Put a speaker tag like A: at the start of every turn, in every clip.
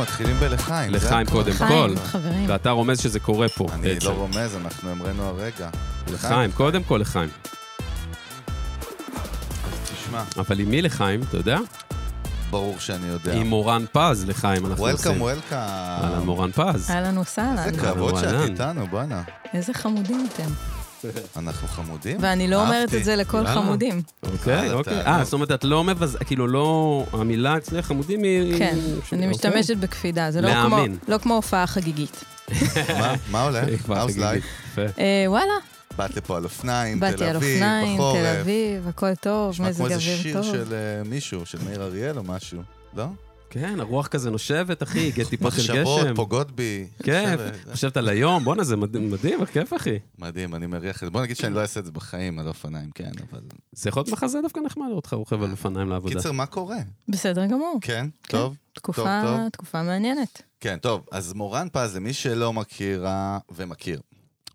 A: מתחילים בלחיים.
B: לחיים
A: זה-
B: קודם כל.
C: חיים, חברים.
B: ואתה רומז שזה קורה פה
A: אני
B: בעצם.
A: לא רומז, אנחנו המראנו הרגע.
B: לחיים, קודם כל לחיים.
A: תשמע,
B: אבל עם מי לחיים, אתה יודע?
A: ברור שאני יודע.
B: עם מורן פז לחיים אנחנו עושים.
A: וולקאם,
B: אהלן
A: וולקאם.
B: מורן פז.
C: אהלן וסהלן,
A: איזה כבוד שאת
B: אהלן.
A: איתנו, בואנה.
C: איזה חמודים אתם.
A: אנחנו חמודים.
C: ואני לא אומרת את זה לכל
B: אה.
C: חמודים.
B: אוקיי,
A: אתה-
B: אוקיי. אה, זאת אומרת, את לא מבז... כאילו, לא... המילה אצלך חמודים היא...
C: כן, אני
B: אוקיי.
C: משתמשת בקפידה, זה לא כמו-
B: להאמין.
C: לא כמו הופעה חגיגית.
A: אהבתי. מה- מה הולך?
B: היא אה, כבר
A: How's
B: חגיגית.
A: life?
B: יפה.
C: אה, וואלה,
A: באת לפה על אופניים,
C: באתי
A: תל
C: על
A: אביב,
C: אופניים, תל
A: בחורף.
C: אביב, הכל טוב,
A: נשמע כמו
C: מזג
A: איזה
C: אוויר
A: שיר
C: טוב.
A: של אה, מישהו, של מאיר אריאל או משהו, לא?
B: כן, הרוח כזה נושבת, אחי, הגיע טיפות של
A: מחשבות
B: גשם.
A: פוגעות בי.
B: כיף,
A: עכשיו, אה,
B: חשבת על היום, בואנה, זה מדהים, מדהים, כיף, אחי.
A: מדהים, אני מריח את זה. בוא נגיד שאני לא אעשה את זה בחיים על אופניים, כן, אבל...
B: זה יכול להיות מחזה דווקא נחמד לראות אותך רוכב על אופניים לעבודה.
A: קיצר, מה קורה?
C: בסדר גמור.
A: כן, טוב.
C: תקופה,
A: טוב.
C: תקופה מעניינת.
A: כן, טוב, אז מורן פז, למי שלא מכירה ומכיר,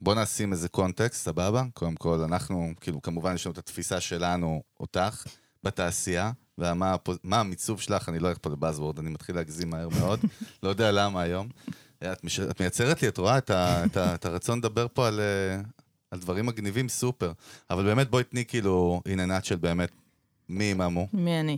A: בוא נשים איזה קונטקסט, סבבה? קודם כל, אנחנו, כאילו, כמובן, יש לנו את התפיסה שלנו, אותך, בתעשייה, ומה הפו- מה המיצוב שלך, אני לא הולך פה לבאזוורד, אני מתחיל להגזים מהר מאוד, לא יודע למה היום. את, מש... את מייצרת לי, את רואה את, ה... את, ה... את הרצון לדבר פה על, אה, על דברים מגניבים סופר, אבל באמת בואי תני כאילו עניינת של באמת מי עם המו.
C: מי אני?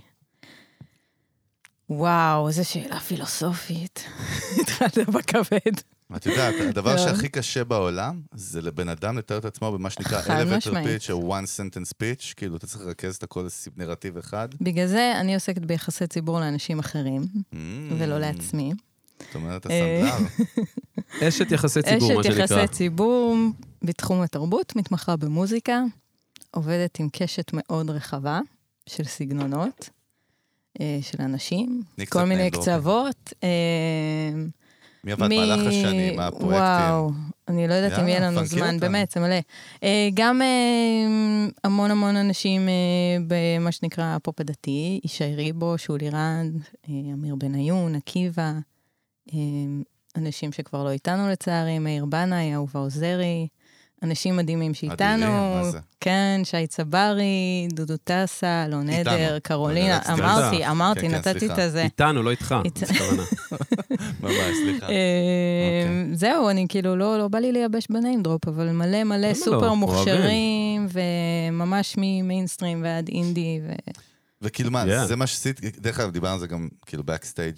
C: וואו, איזו שאלה פילוסופית. התחלת בכבד.
A: את יודעת, הדבר
C: לא.
A: שהכי קשה בעולם, זה לבן אדם לתאר את עצמו במה שנקרא
C: חד
A: elevator
C: משמעית.
A: pitch, או one sentence pitch, כאילו, אתה צריך לרכז את הכל לסיב- נרטיב אחד.
C: בגלל זה אני עוסקת ביחסי ציבור לאנשים אחרים,
A: Mm.
C: ולא לעצמי.
A: זאת אומרת,
C: אה.
A: הסנדלר.
B: אשת יחסי ציבור, מה
C: אשת
B: שנקרא.
C: יחסי ציבור בתחום התרבות, מתמחה במוזיקה, עובדת עם קשת מאוד רחבה של סגנונות, אה, של אנשים,
A: תני קצת
C: כל מיני
A: name dropping.
C: קצוות. אה,
A: מי עבד במהלך השנים, מה הפרויקטים?
C: וואו, אני לא יודעת אם
A: יאללה,
C: יהיה לנו
A: פרקי
C: זמן,
A: אותנו.
C: באמת, זה מלא. אה, גם אה, המון המון אנשים אה, במה שנקרא הפופ הדתי, ישי ריבו, שולי רנד, אה, אמיר בניון, עקיבא, אה, אנשים שכבר לא איתנו לצערי, מאיר בנאי, אהובה עוזרי, אנשים מדהימים שאיתנו.
A: אדירים, מה זה?
C: כן, שי צברי, דודו טסה, אלון
A: איתנו.
C: עדר, קרולינה,
A: רציתי
B: לדעת.
C: אמרתי, אמרתי,
A: כן, כן,
C: נתתי את
A: סליחה.
C: הזה.
B: איתנו, לא איתך,
C: איתנו.
B: בכוונה.
A: ממש, סליחה.
C: אה,
A: אוקיי.
C: זהו, אני כאילו, לא, לא בא לי לייבש בניים דרופ, אבל מלא מלא
B: לא?
C: סופר
B: אוהבים.
C: מוכשרים, וממש ממיינסטרים ועד אינדי, ו-
A: וכאילו, מה,
B: Yeah.
A: זה מה שעשיתי, דרך אגב, דיברנו על זה גם, כאילו, בקסטייג',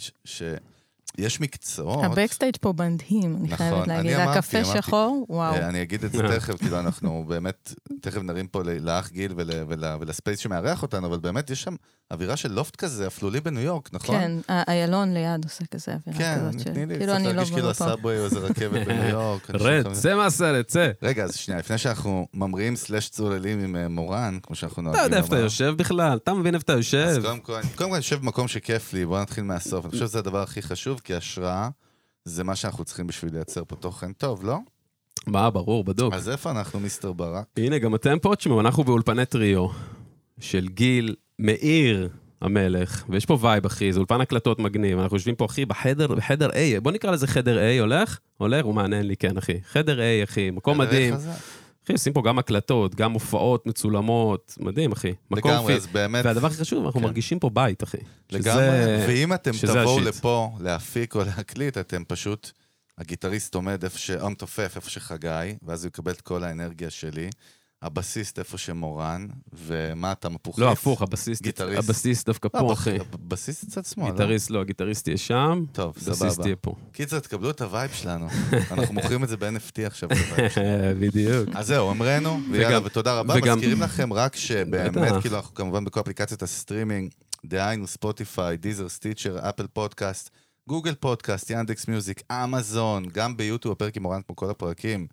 A: שיש מקצועות...
C: הבקסטייג' פה מדהים, אני
A: נכון,
C: חייבת
A: אני
C: להגיד,
A: אמרתי,
C: הקפה
A: אמרתי.
C: שחור, וואו.
A: אה, אני אגיד את זה תכף, כאילו אנחנו באמת, תכף נרים פה ל- לאח גיל ול, ול, ולספייס שמארח אותנו, אבל באמת יש שם אווירה של לופט כזה, אפלולי בניו יורק, נכון?
C: כן, ה- איילון ליד עושה כזה אווירה
A: כן,
C: כזאת,
A: תני לי קצת
C: של- כאילו אני לא
A: להרגיש כאילו
C: במפה.
A: הסאבווי או איזה רכבת בניו יורק. אני
B: רד,
A: שולח-
B: צא מהסרט, צא.
A: לא, רגע, אז שנייה, לפני שאנחנו ממריאים סלאש צוללים עם אה, מורן, כמו שאנחנו נוהגים
B: אתה לא יודע איפה אתה
A: לומר.
B: יושב בכלל, אתה מבין איפה אתה
A: אז
B: יושב.
A: קודם כל, קודם כל אני יושב במקום שכיף לי, בואו נתחיל מהסוף. אני חושב שזה הדבר הכי חשוב, כי השראה זה מה שאנחנו צריכים בשביל לייצר פה תוכן טוב, לא?
B: מה, ברור, בדוק.
A: אז איפה אנחנו, מיסטר ברק?
B: הנה, גם אתם פה, תשמעו, אנחנו באולפני טריו של גיל מאיר המלך, ויש פה וייב, אחי, זה אולפן הקלטות מגניב, אנחנו יושבים פה, אחי, בחדר, בחדר A, בוא נקרא לזה חדר A, הולך? הולך, הוא מעניין לי, כן, אחי. חדר A, אחי, מקום מדהים.
A: חזק.
B: אחי, עושים פה גם הקלטות, גם הופעות מצולמות, מדהים, אחי. מקום
A: לגמרי,
B: פי-
A: אז באמת...
B: והדבר הכי חשוב, אנחנו
A: כן.
B: מרגישים פה בית, אחי.
A: לגמרי, ואם אתם
B: שזה
A: תבואו
B: השיט.
A: לפה להפיק או להקליט, אתם פשוט, הגיטריסט עומד איפה ש... או מתופף איפה שחגי, ואז הוא יקבל את כל האנרגיה שלי, הבסיסט איפה שמורן, ומה אתה מפוחית?
B: לא, הפוך, הבסיסט,
A: גיטריסט.
B: הבסיסט דווקא
A: לא,
B: פה,
A: בח-
B: אחי.
A: הבסיסט אצל עצמו, לא?
B: גיטריסט לא, הגיטריסט יהיה שם,
A: טוב,
B: הבסיסט
A: סבבה.
B: יהיה פה.
A: קיצר, תקבלו את הווייב שלנו. אנחנו מוכרים את זה ב-NFT עכשיו. את הווייב.
B: בדיוק.
A: אז זהו, אמרנו, ויאללה,
B: וגם-
A: ותודה רבה.
B: וגם-
A: מזכירים לכם רק שבאמת,
B: בטח.
A: כאילו, אנחנו כמובן בכל אפליקציות הסטרימינג, דהיינו ספוטיפיי, דיזר, סטיצ'ר, אפל פודקאסט, גוגל פודקאסט, ינדקס מיוזיק, אמזון, גם ביוטיוב הפרק עם אורן, כמו כל הפרקים,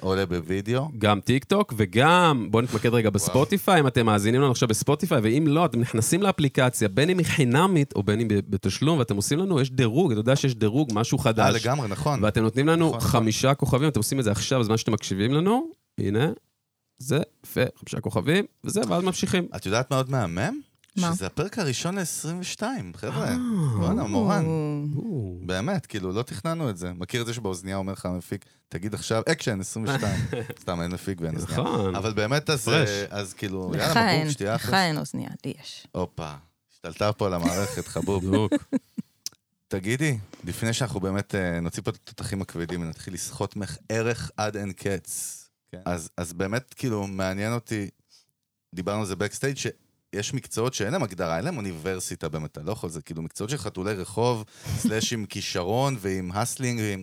A: עולה בווידאו.
B: גם טיק טוק, וגם, בואו נתמקד רגע בספוטיפיי, אם אתם מאזינים לנו עכשיו בספוטיפיי, ואם לא, אתם נכנסים לאפליקציה, בין אם היא חינמית או בין אם ב- בתשלום, ואתם עושים לנו, יש דירוג, אתה יודע שיש דירוג, משהו
A: אה,
B: חדש.
A: לגמרי, נכון.
B: ואתם נותנים לנו
A: נכון.
B: חמישה כוכבים, אתם עושים את זה עכשיו בזמן שאתם מקשיבים לנו, הנה, זה, יפה, חמישה כוכבים, וזה, ואז ממשיכים.
A: את יודעת מה עוד מהמם?
C: מה?
A: שזה הפרק הראשון ל-22,
B: אה.
A: חבר'ה. וואלה, מורן.
B: או,
A: באמת, כאילו, לא תכננו את זה. מכיר את זה שבאוזנייה אומר לך המפיק, תגיד עכשיו, אקשן, 22. סתם, אין מפיק ואין אוזנייה.
B: נכון.
A: אבל באמת, אז,
B: פרש.
A: אה, אז כאילו,
C: לך
A: יאללה,
C: אין,
A: מבוק, שתייה
C: לך
A: אחרי.
C: אין אוזניה, לי יש.
A: הופה, השתלטה פה על המערכת, חבוב.
B: בדיוק.
A: תגידי, לפני שאנחנו באמת אה, נוציא פה את התותחים הכבדים ונתחיל לסחוט ממך ערך עד אין קץ,
D: כן.
A: אז, אז באמת, כאילו, מעניין אותי, דיברנו על זה בקסטייג', שיש מקצועות שאין להם הגדרה, אין להם אוניברסיטה באמת, אתה לא יכול, זה כאילו מקצועות של חתולי רחוב, סלאש עם כישרון ועם הסלינג ועם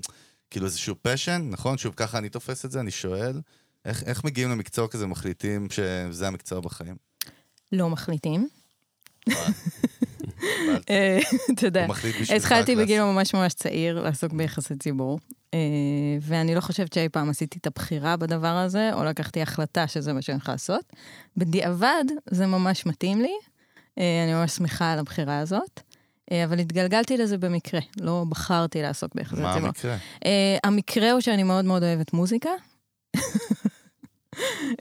A: כאילו איזשהו פשן, נכון? שוב, ככה אני תופס את זה, אני שואל, איך, איך מגיעים למקצוע כזה ומחליטים שזה המקצוע בחיים?
C: לא מחליטים.
A: אבל
C: אה, אתה יודע.
A: הוא מחליט בשבילך.
C: התחלתי
A: הקלאס.
C: בגיל ממש ממש צעיר לעסוק ביחסי ציבור, אה, ואני לא חושבת שאי פעם עשיתי את הבחירה בדבר הזה, או לקחתי החלטה שזה מה שאני הולכת לעשות. בדיעבד, זה ממש מתאים לי, אה, אני ממש שמחה על הבחירה הזאת, אה, אבל התגלגלתי לזה במקרה, לא בחרתי לעסוק ביחסי
A: מה
C: ציבור.
A: המקרה?
C: אה, המקרה הוא שאני מאוד מאוד אוהבת מוזיקה.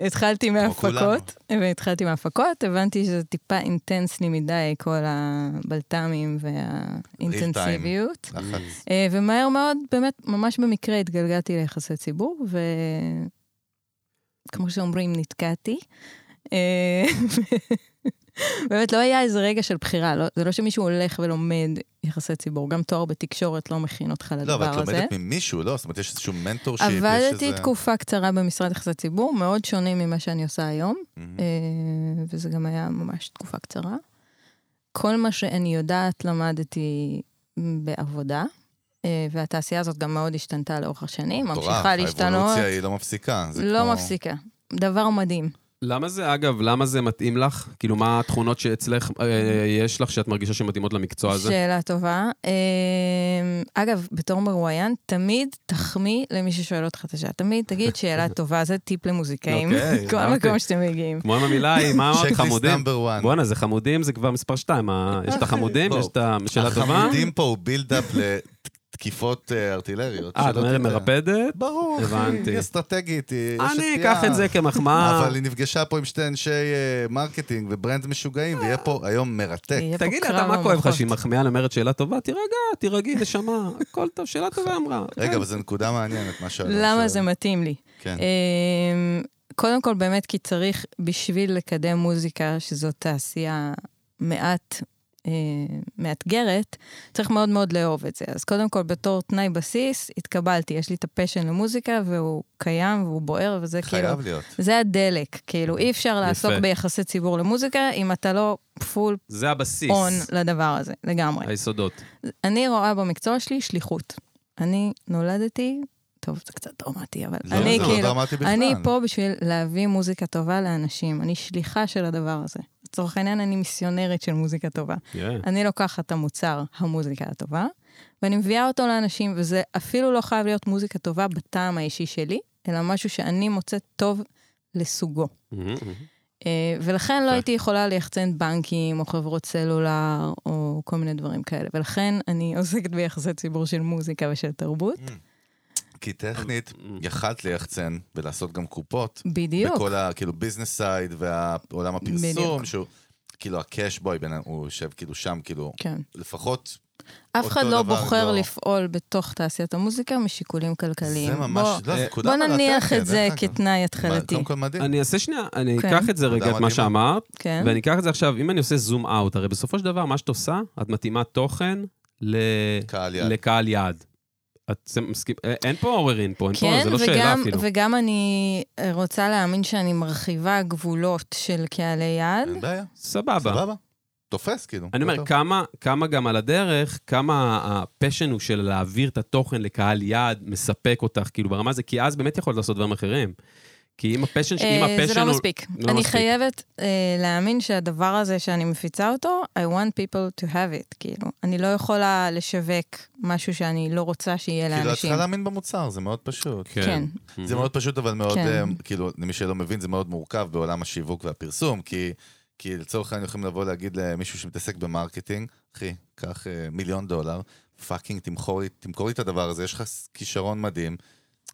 C: התחלתי מהפקות, והתחלתי מהפקות, הבנתי שזה טיפה אינטנס לי מדי, כל הבלת"מים והאינטנסיביות.
A: לחץ.
C: אה, ומהר מאוד, באמת, ממש במקרה התגלגלתי ליחסי ציבור, וכמו שאומרים, נתקעתי. אה, באמת, לא היה איזה רגע של בחירה, לא, זה לא שמישהו הולך ולומד יחסי ציבור, גם תואר בתקשורת לא מכין אותך לדבר הזה.
A: לא, אבל את לומדת ממישהו, לא? זאת אומרת, יש איזשהו מנטור שיפ, יש
C: עבדתי
A: איזה-
C: תקופה קצרה במשרד יחסי ציבור, מאוד שונה ממה שאני עושה היום,
A: מהמם.
C: אה, וזה גם היה ממש תקופה קצרה. כל מה שאני יודעת למדתי בעבודה, אה, והתעשייה הזאת גם מאוד השתנתה לאורך השנים,
A: מטורף,
C: ממשיכה להשתנות,
A: האבולוציה היא לא מפסיקה. זה
C: לא
A: כמו-
C: מפסיקה. דבר מדהים.
B: למה זה, אגב, למה זה מתאים לך? כאילו, מה התכונות שאצלך, אה, אה, יש לך שאת מרגישה שמתאימות למקצוע הזה?
C: שאלה טובה. אה, אגב, בתור מרואיין, תמיד תחמיא למי ששואל אותך את השאלה. תמיד תגיד שאלה טובה, זה טיפ למוזיקאים.
B: אוקיי,
C: כל
B: אהבתי.
C: מקום שאתם מגיעים.
B: כמו עם המילה היא, מה אמרת?
A: Checklist
B: חמודים?
A: number one.
B: בואנה, זה חמודים, זה כבר מספר שתיים. אה, יש את החמודים,
A: בוא.
B: יש את השאלה טובה.
A: החמודים פה הוא בילדאפ לתקיפות אה, ארטילריות.
B: אה, את
A: שלא
B: אומרת
A: תדע.
B: מרפדת?
A: ברור,
B: הבנתי.
A: היא אסטרטגית, היא יש
B: אני
A: עטייה.
B: אקח את זה כמחמאה.
A: אבל היא נפגשה פה עם שתי אנשי אה, מרקטינג וברנד משוגעים, ויהיה פה היום מרתק.
C: יהיה פה
B: תגיד לה,
C: קרב
B: אתה, מה כואב לך
C: המוחות.
B: שהיא מחמיאה למרד שאלה טובה? תירגע, תירגעי, נשמה, הכל טוב, שאלה טובה היא אמרה.
A: רגע, אבל זו נקודה מעניינת, מה שאלה.
C: כן. למה זה מתאים לי?
A: כן.
C: אמ, קודם כל, באמת, כי צריך, בשביל לקדם מוזיקה, שזו תעשייה מעט אה, מאתגרת, צריך מאוד מאוד לאהוב את זה. אז קודם כל, בתור תנאי בסיס, התקבלתי, יש לי את הפשן למוזיקה, והוא קיים והוא בוער, וזה כאילו...
A: חייב להיות.
C: זה הדלק, כאילו, אי אפשר לעסוק ביחסי ציבור למוזיקה אם אתה לא פול
B: זה הבסיס,
C: און לדבר הזה, לגמרי.
B: היסודות.
C: אני רואה במקצוע שלי שליחות. אני נולדתי, טוב, זה קצת דרמטי, אבל
A: לא,
C: אני
A: זה לא
C: כאילו,
A: דרמטי בכלל.
C: אני פה בשביל להביא מוזיקה טובה לאנשים. אני שליחה של הדבר הזה. לצורך העניין, אני מיסיונרית של מוזיקה טובה.
B: כן.
C: אני לוקחת את המוצר, המוזיקה הטובה, ואני מביאה אותו לאנשים, וזה אפילו לא חייב להיות מוזיקה טובה בטעם האישי שלי, אלא משהו שאני מוצאת טוב לסוגו.
B: Mm-hmm.
C: אה, ולכן לא
B: יפה.
C: הייתי יכולה ליחצן בנקים, או חברות סלולר, או כל מיני דברים כאלה. ולכן אני עוסקת ביחסי ציבור של מוזיקה ושל תרבות.
A: Mm, כי טכנית, יכלת ליחצן ולעשות גם קופות.
C: בדיוק.
A: בכל ה... כאילו ביזנס סייד ועולם הפרסום,
C: בדיוק.
A: שהוא... כאילו הקאש בוי, בין ה- הוא יושב כאילו שם, כאילו,
C: כן.
A: לפחות,
C: אף אחד
A: אותו
C: לא
A: דבר,
C: בוחר
A: לא.
C: לפעול בתוך תעשיית המוזיקה משיקולים כלכליים.
A: זה ממש,
C: בוא-
A: לא, זה
B: אה,
A: נקודה
C: בוא
A: מרתקת,
C: נניח את
A: דרך
C: זה
A: אגב.
C: כתנאי
A: מה,
C: התחלתי.
A: קודם כל מדהים.
B: אני אעשה שנייה, אני
C: כן.
B: אקח את זה
A: תודה
B: רגע, את
A: מדהימה.
B: מה שאמרת,
C: כן.
B: ואני אקח את זה עכשיו, אם אני עושה זום אאוט, הרי בסופו של דבר, מה שאת עושה, את מתאימה תוכן ל-
A: קהל יד.
B: לקהל יעד. את זה מסכים, אה, אין פה עוררין פה, אין פה,
C: כן,
B: זה לא שאלה
C: וגם,
B: אפילו.
C: וגם אני אה, רוצה להאמין שאני מרחיבה גבולות של קהלי יעד.
A: אין בעיה,
B: סבבה.
A: סבבה. תופס, כאילו.
B: אני אומר,
A: טוב.
B: כמה, כמה גם על הדרך, כמה הפשן הוא של להעביר את התוכן לקהל יעד, מספק אותך, כאילו ברמה הזאת, כי אז באמת יכולת לעשות דברים אחרים. כי אם הפשן, ש- אם
C: אה,
B: הפשן
C: זה לא
B: הוא...
C: מספיק.
B: לא
C: אני
B: מספיק.
C: חייבת אה, להאמין שהדבר הזה שאני מפיצה אותו, I want people to have it, כאילו. אני לא יכולה לשווק משהו שאני לא רוצה שיהיה
A: כאילו, את
C: לאנשים.
A: צריכה להאמין במוצר, זה מאוד פשוט.
C: כן.
A: זה מאוד פשוט, אבל מאוד,
C: כן.
A: אה, כאילו, למי שלא מבין, זה מאוד מורכב בעולם השיווק והפרסום, כי... כי לצורך העניין יכולים לבוא להגיד למישהו שמתעסק במרקטינג, אחי, קח אה, מיליון דולר, פאקינג, תמכור לי, תמכור לי את הדבר הזה, יש לך ס- כישרון מדהים.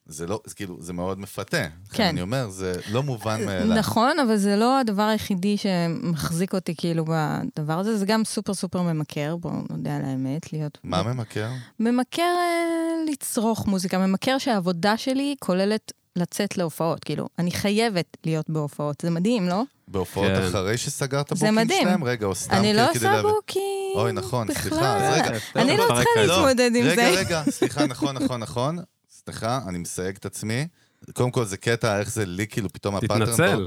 A: זה לא, זה כאילו, זה מאוד מפתה. כן.
C: כן.
A: אני אומר, זה לא מובן
B: כן,
A: מאליו.
C: נכון, אבל זה לא הדבר היחידי שמחזיק אותי כאילו בדבר הזה, זה גם סופר סופר ממכר, בואו נודה על האמת, להיות...
A: מה ממכר?
C: ממכר אה, לצרוך מוזיקה, ממכר שהעבודה שלי כוללת לצאת להופעות, כאילו, אני חייבת להיות בהופעות, זה מדהים, לא?
A: בהופעות
B: כן.
A: אחרי שסגרת
C: זה
A: בוקים
C: מדהים.
A: שלהם? רגע, או סתם
C: אני לא
A: כאילו כדי
C: עושה
A: להבין.
C: בוקים
A: אוי, נכון,
C: בכלל.
A: סליחה, אז רגע.
C: אני לא
B: אתה
C: צריכה
B: מפרק
A: לא,
C: להתמודד עם
A: רגע,
C: זה.
A: רגע, סליחה, נכון, נכון, נכון. סליחה, אני מסייג את עצמי. קודם כל, זה קטע, איך זה לי, כאילו, פתאום הפאטרן...
B: תתנצל.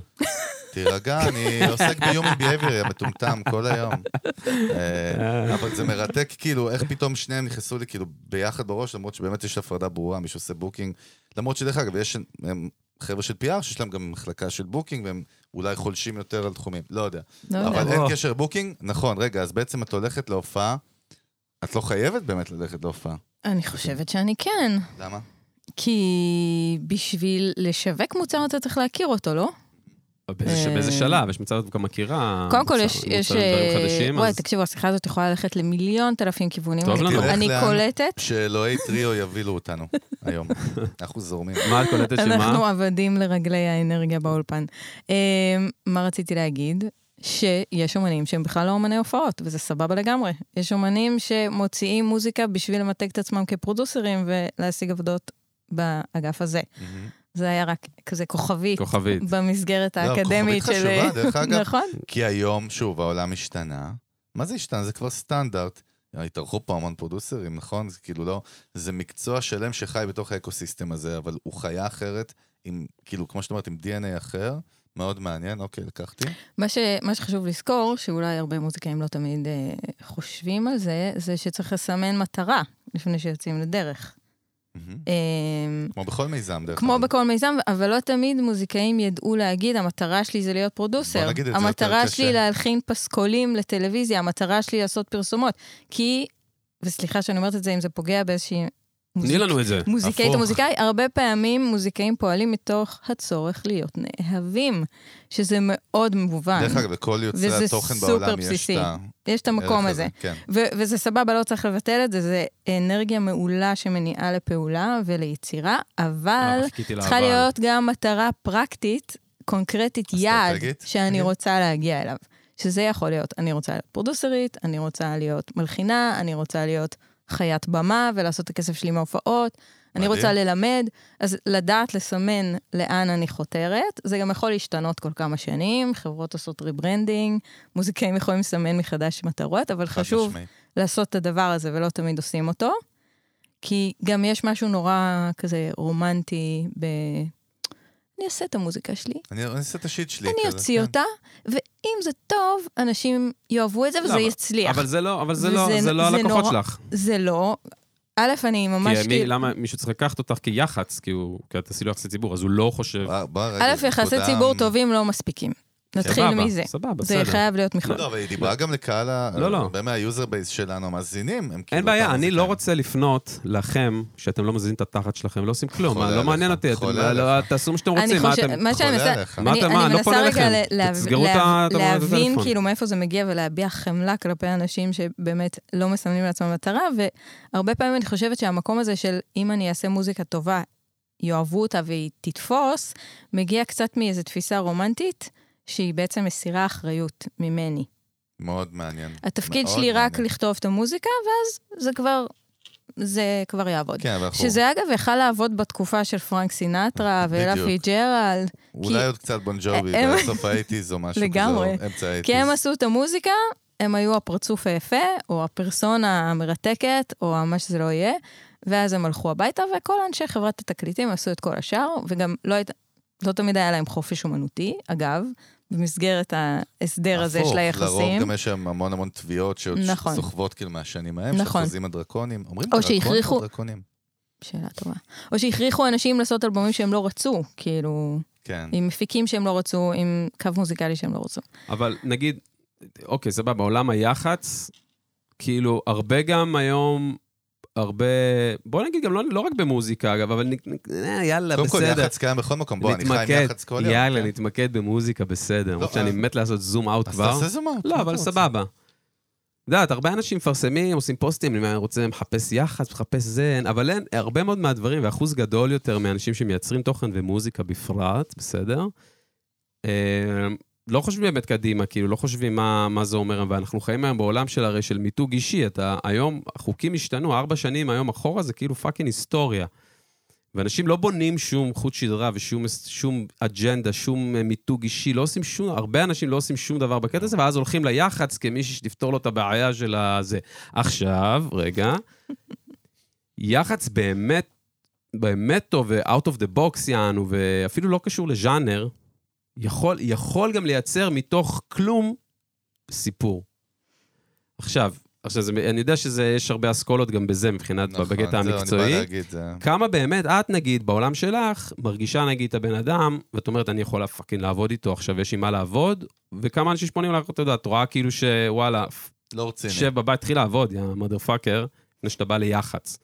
A: תירגע, אני עוסק ב-Human Behavior המטומטם כל היום. אה, אבל זה מרתק, כאילו, איך פתאום שניהם נכנסו לי כאילו ביחד בראש, למרות שבאמת יש הפרדה ברורה, מי שעושה בוקינג. למרות שדרך אגב, יש הם חבר'ה של PR שיש להם גם מחלקה של בוקינג, והם אולי חולשים יותר על תחומים, לא יודע.
C: לא יודע.
A: אבל
B: יודע.
A: אין
B: או.
A: קשר בוקינג, נכון, רגע, אז בעצם את הולכת להופעה, את לא חייבת באמת ללכת להופעה.
C: אני חושבת שאני כן,
A: למה?
C: כי בשביל לשווק מוצר אתה צריך להכיר אותו, לא?
B: באיזה ש- באיזה
C: אה,
B: שלב? יש מצב את גם מכירה.
C: קודם כל
B: אה, מוצר-
C: יש... יש,
B: מוצרים, דברים
C: אה,
B: חדשים,
C: וואי,
B: אז-
C: תקשיבו, השיחה הזאת יכולה ללכת למיליון אלפים כיוונים.
B: טוב
C: אני-
B: לנו.
C: אני
A: תלך לאן?
C: קולטת,
A: שאלוהי טריו יבילו אותנו היום. אנחנו זורמים.
B: מה את קולטת שמה?
C: אנחנו עבדים לרגלי האנרגיה באולפן. אה, מה רציתי להגיד? שיש אומנים שהם בכלל לא אומני הופעות, וזה סבבה לגמרי. יש אומנים שמוציאים מוזיקה בשביל למתג את עצמם כפרודוסרים ולהשיג עבודות באגף הזה.
A: מהמם.
C: זה היה רק כזה כוכבית
B: כוכבית.
C: במסגרת
A: לא,
C: האקדמית
A: כוכבית
C: של...
A: חשובה, דרך אגב.
C: נכון?
A: כי היום, שוב, העולם השתנה. מה זה השתנה? זה כבר סטנדרט. התארחו פה המון פרודוסרים, נכון? זה כאילו לא... זה מקצוע שלם שחי בתוך האקוסיסטם הזה, אבל הוא חיה אחרת, עם, כאילו, כמו שאת אומרת, עם DNA אחר. מאוד מעניין, אוקיי, לקחתי.
C: מה, ש, מה שחשוב לזכור, שאולי הרבה מוזיקאים לא תמיד אה, חושבים על זה, זה שצריך לסמן מטרה לפני שיוצאים לדרך.
A: מהמם.
C: אה,
A: כמו בכל מיזם, דרך
C: כמו
A: אגב.
C: בכל מיזם, אבל לא תמיד מוזיקאים ידעו להגיד, המטרה שלי זה להיות פרודוסר.
A: בוא נגיד את זה יותר
C: המטרה
A: קשה.
C: שלי להלחין פסקולים לטלוויזיה, המטרה שלי לעשות פרסומות. כי, וסליחה שאני אומרת את זה, אם זה פוגע באיזושהי...
B: תני
C: מוזיק-
B: לנו את זה.
C: מוזיקאית
A: הפוך.
C: או מוזיקאי, הרבה פעמים מוזיקאים פועלים מתוך הצורך להיות נאהבים, שזה מאוד מובן.
A: דרך אגב, לכל יוצרי
C: אה, וזה
A: התוכן
C: סופר
A: בעולם יש
C: בסיסי.
A: את ה...
C: יש את המקום
A: הערך
C: הזה.
A: כן.
C: ו- וזה סבבה, לא צריך לבטל את זה, זה אנרגיה מעולה שמניעה לפעולה וליצירה, אבל
B: אה, חיכיתי
C: צריכה
B: לאבל.
C: להיות גם מטרה פרקטית, קונקרטית, יעד
A: אסטרטגית,
C: שאני
A: נגיד?
C: רוצה להגיע אליו. שזה יכול להיות, אני רוצה להיות פרודוסרית, אני רוצה להיות מלחינה, אני רוצה להיות חיית במה ולעשות את הכסף שלי מההופעות, אני
A: מדהים.
C: רוצה ללמד, אז לדעת לסמן לאן אני חותרת, זה גם יכול להשתנות כל כמה שנים, חברות עושות ריברנדינג, מוזיקאים יכולים לסמן מחדש מטרות, אבל
A: חד
C: חשוב
A: משמעית.
C: לעשות את הדבר הזה ולא תמיד עושים אותו. כי גם יש משהו נורא כזה רומנטי ב... אני אעשה את המוזיקה שלי,
A: אני אני אעשה את השיט שלי.
C: אני
A: כזה,
C: אוציא
A: כן.
C: אותה, ואם זה טוב, אנשים יאהבו את זה וזה
B: למה?
C: יצליח.
B: אבל זה לא, אבל זה לא,
C: וזה-
B: זה לא
C: זה
B: הלקוחות
C: נורא-
B: שלך.
C: זה לא... א', אני ממש... כאילו-
B: כי מי- למה מישהו צריך לקחת אותך כיח"צ, כי הוא, כי את עשי לו יחסי ציבור, אז הוא לא חושב...
A: בוא- בוא רגע,
C: א', יחסי
A: נקודה-
C: ציבור טובים לא מספיקים. נתחיל
B: סבבה,
C: מזה.
B: סבבה,
C: זה
B: בסדר.
C: חייב להיות מכלול.
A: לא, אבל היא דיברה גם לקהל ה...
B: לא, לא.
A: הרבה מהיוזר בייס שלנו, המאזינים, הם כאילו...
B: אין בעיה,
A: אותם
B: אני לא
A: מוזיקאים.
B: רוצה לפנות לכם, שאתם לא מזינים את התחת שלכם, לא עושים כלום,
A: חולה
B: מה, לא
A: עליך,
B: מעניין אותי, אתם-
A: חולה
B: לא- תעשו מה שאתם
C: אני
B: רוצים, מה
C: חושבת,
B: אתם...
C: מה שאני
A: חולה
C: מנסה,
A: עליך.
B: מה
C: אני
B: אתה- מה,
C: אני
B: לא פונה
C: מנסה רגע
B: אליכם.
C: ל- להב-
B: תסגרו את
C: להב-
B: ה- את
C: להבין
B: הטלפון.
C: כאילו מאיפה זה מגיע ולהביע חמלה כלפי אנשים שבאמת לא מסמנים לעצמם מטרה, והרבה פעמים אני חושבת שהמקום הזה של אם אני אעשה מוזיקה טובה, יאהבו אותה והיא תתפוס, מגיע קצת מאיזו תפיסה רומנטית, שהיא בעצם מסירה אחריות ממני.
A: מאוד מעניין.
C: התפקיד
A: מאוד
C: שלי רק
A: מעניין.
C: לכתוב את המוזיקה, ואז זה כבר, זה כבר יעבוד.
A: כן, אבל אנחנו...
C: שזה אגב יכל לעבוד בתקופה של פרנק סינטרה ואלה
A: בדיוק.
C: פיג'רל,
A: אולי
C: כי-
A: עוד קצת בון ג'ובי,
C: הם-
A: בסוף האייטיז או משהו כזה,
C: לגמרי.
A: או אמצע האייטיז.
C: כי הם עשו את המוזיקה, הם היו הפרצוף היפה, או הפרסונה המרתקת, או מה שזה לא יהיה, ואז הם הלכו הביתה, וכל אנשי חברת התקליטים עשו את כל השאר, וגם לא, היית, לא תמיד היה להם חופש אומנותי, אגב, במסגרת ההסדר הזה
A: הפוך,
C: של היחסים.
A: לרוב גם יש שם המון המון תביעות שעוד
C: נכון.
A: סוחבות כאילו מהשנים ההם, של
C: נכון.
A: החוזים הדרקונים. אומרים
C: או
A: דרקונים
C: שהכריחו-
A: או דרקונים?
C: שאלה טובה. או שהכריחו אנשים לעשות אלבומים שהם לא רצו, כאילו,
A: כן.
C: עם מפיקים שהם לא רצו, עם קו מוזיקלי שהם לא רצו.
B: אבל נגיד, אוקיי, סבבה, עולם היח"צ, כאילו, הרבה גם היום, הרבה... בוא נגיד גם לא, לא רק במוזיקה, אגב, אבל נ- נ- אה, יאללה,
A: קודם כל,
B: בסדר.
A: יח"צ קיים בכל מקום. בוא, אני חי עם
B: נתמקד.
A: יח"צ כל יום. כן. לא,
B: יאללה, נתמקד במוזיקה, בסדר. למרות שאני
A: אז-
B: מת לעשות זום אאוט
A: אז
B: כבר.
A: תעשה נכון. זומאות.
B: לא, אבל סבבה. את יודעת, הרבה אנשים מפרסמים, עושים פוסטים, אני רוצה מחפש יח"צ, מחפש זה, אבל אין, הרבה מאוד מהדברים, ואחוז גדול יותר מאנשים שמייצרים תוכן ומוזיקה בפרט, בסדר? אה, לא חושבים באמת קדימה, כאילו, לא חושבים מה, מה זה אומר, ואנחנו חיים היום בעולם של הרי של מיתוג אישי, אתה היום, החוקים השתנו, ארבע שנים היום אחורה זה כאילו פאקינג היסטוריה. ואנשים לא בונים שום חוט שדרה ושום שום אג'נדה, שום אה, מיתוג אישי, לא עושים שום, הרבה אנשים לא עושים שום דבר בקטע הזה, ואז הולכים ליח"צ כמישהי שתפתור לו את הבעיה של הזה. עכשיו, רגע, יח"צ באמת, באמת טוב, ו-out of the box יענו, ואפילו לא קשור לז'אנר, יכול, יכול גם לייצר מתוך כלום סיפור. עכשיו, עכשיו זה, אני יודע שיש הרבה אסכולות גם בזה מבחינת,
A: נכון,
B: בקטע
A: זהו,
B: המקצועי.
A: אני בא להגיד, זה...
B: כמה באמת את, נגיד, בעולם שלך, מרגישה, נגיד, את הבן אדם, ואת אומרת, אני יכולה פאקינג לעבוד איתו, עכשיו יש עם מה לעבוד, וכמה אנשים שפונים לך, אתה יודע, את רואה כאילו שוואלה,
A: לא רציני.
B: שב בבית, תתחיל לעבוד, יא מודר פאקר, לפני שאתה בא ליח"צ.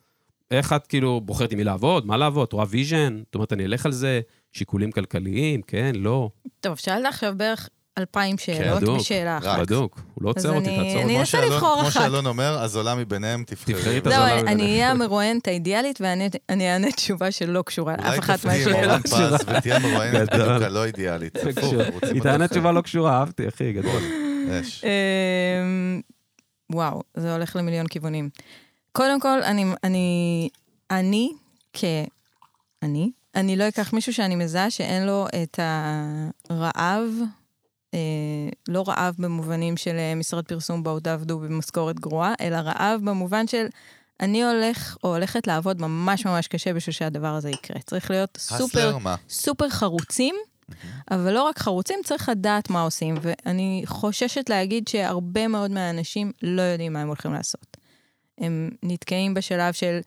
B: איך את כאילו בוחרת עם מי לעבוד, מה לעבוד, את רואה ויז'ן, את אומרת, אני אלך על זה, שיקולים כלכליים, כן, לא,
C: טוב, שאלת עכשיו בערך אלפיים
A: כן,
C: שאלות
B: בדיוק.
C: בשאלה אחת.
A: רק.
B: בדוק, הוא לא
C: אז
B: עוצר אותי,
C: אני-
B: תעצור
C: אני
B: אותי.
A: כמו
C: אנסה
A: שאלון-
C: לבחור
A: כמו
C: אחת.
A: שאלון אומר, אז עולה מביניהם, תבחרי.
B: תבחרי את
A: אולי
B: הזונה.
C: לא,
B: הזנב
C: אני
B: ממנה.
C: אהיה המרואיינת האידיאלית ואני אני אענה תשובה שלא קשורה לאף אחת
A: תפתיעי עם
C: מהשאלות.
A: אורן פז
B: שלה.
A: ותהיה מרואיינת
B: גדול.
A: בדיוק הלא אידיאלית. הפוך, רוצים
B: היא
A: אותך.
B: טענה תשובה לא קשורה, אהבתי, אחי, גדול.
A: אש.
C: אמ, וואו, זה הולך למיליון כיוונים. קודם כל, אני, אני, אני, כ... אני, אני לא אקח מישהו שאני מזהה שאין לו את הרעב, אה, לא רעב במובנים של אה, משרד פרסום בואו תעבדו במשכורת גרועה, אלא רעב במובן של אני הולך או הולכת לעבוד ממש ממש קשה בשביל שהדבר הזה יקרה. צריך להיות סופר
A: הסלר מה?
C: סופר חרוצים, אבל לא רק חרוצים, צריך לדעת מה עושים. ואני חוששת להגיד שהרבה מאוד מהאנשים לא יודעים מה הם הולכים לעשות. הם נתקעים בשלב של,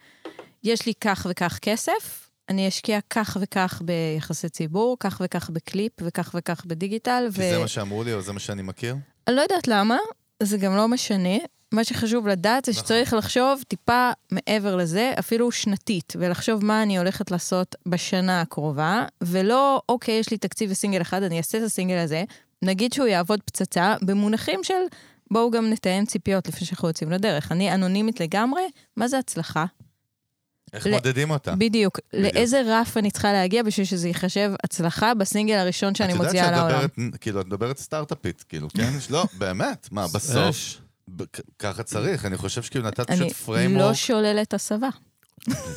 C: יש לי כך וכך כסף, אני אשקיע כך וכך ביחסי ציבור, כך וכך בקליפ, וכך וכך בדיגיטל,
A: כי זה מה שאמרו לי, או זה מה שאני מכיר?
C: אני לא יודעת למה, זה גם לא משנה. מה שחשוב לדעת זה
A: נכון.
C: שצריך לחשוב טיפה מעבר לזה, אפילו שנתית, ולחשוב מה אני הולכת לעשות בשנה הקרובה, ולא, אוקיי, יש לי תקציב לסינגל אחד, אני אעשה את הסינגל הזה, נגיד שהוא יעבוד פצצה, במונחים של בואו גם נתאם ציפיות לפני שאנחנו יוצאים לדרך. אני אנונימית לגמרי, מה זה הצלחה?
A: איך
C: ל-
A: מודדים אותה?
C: בדיוק.
A: כן, בדיוק.
C: לאיזה רף אני צריכה להגיע בשביל שזה ייחשב הצלחה בסינגל הראשון שאני מוציאה
A: את
C: לעולם?
A: יודעת שאת מדברת, כאילו, את מדברת סטארט-אפית, כאילו, כן? לא, באמת, מה, בסוף,
B: אש.
A: ב- כ- ככה צריך, אני חושב שכאילו נתת
C: אני
A: פשוט פריימורק,
C: לא שוללת הסבה.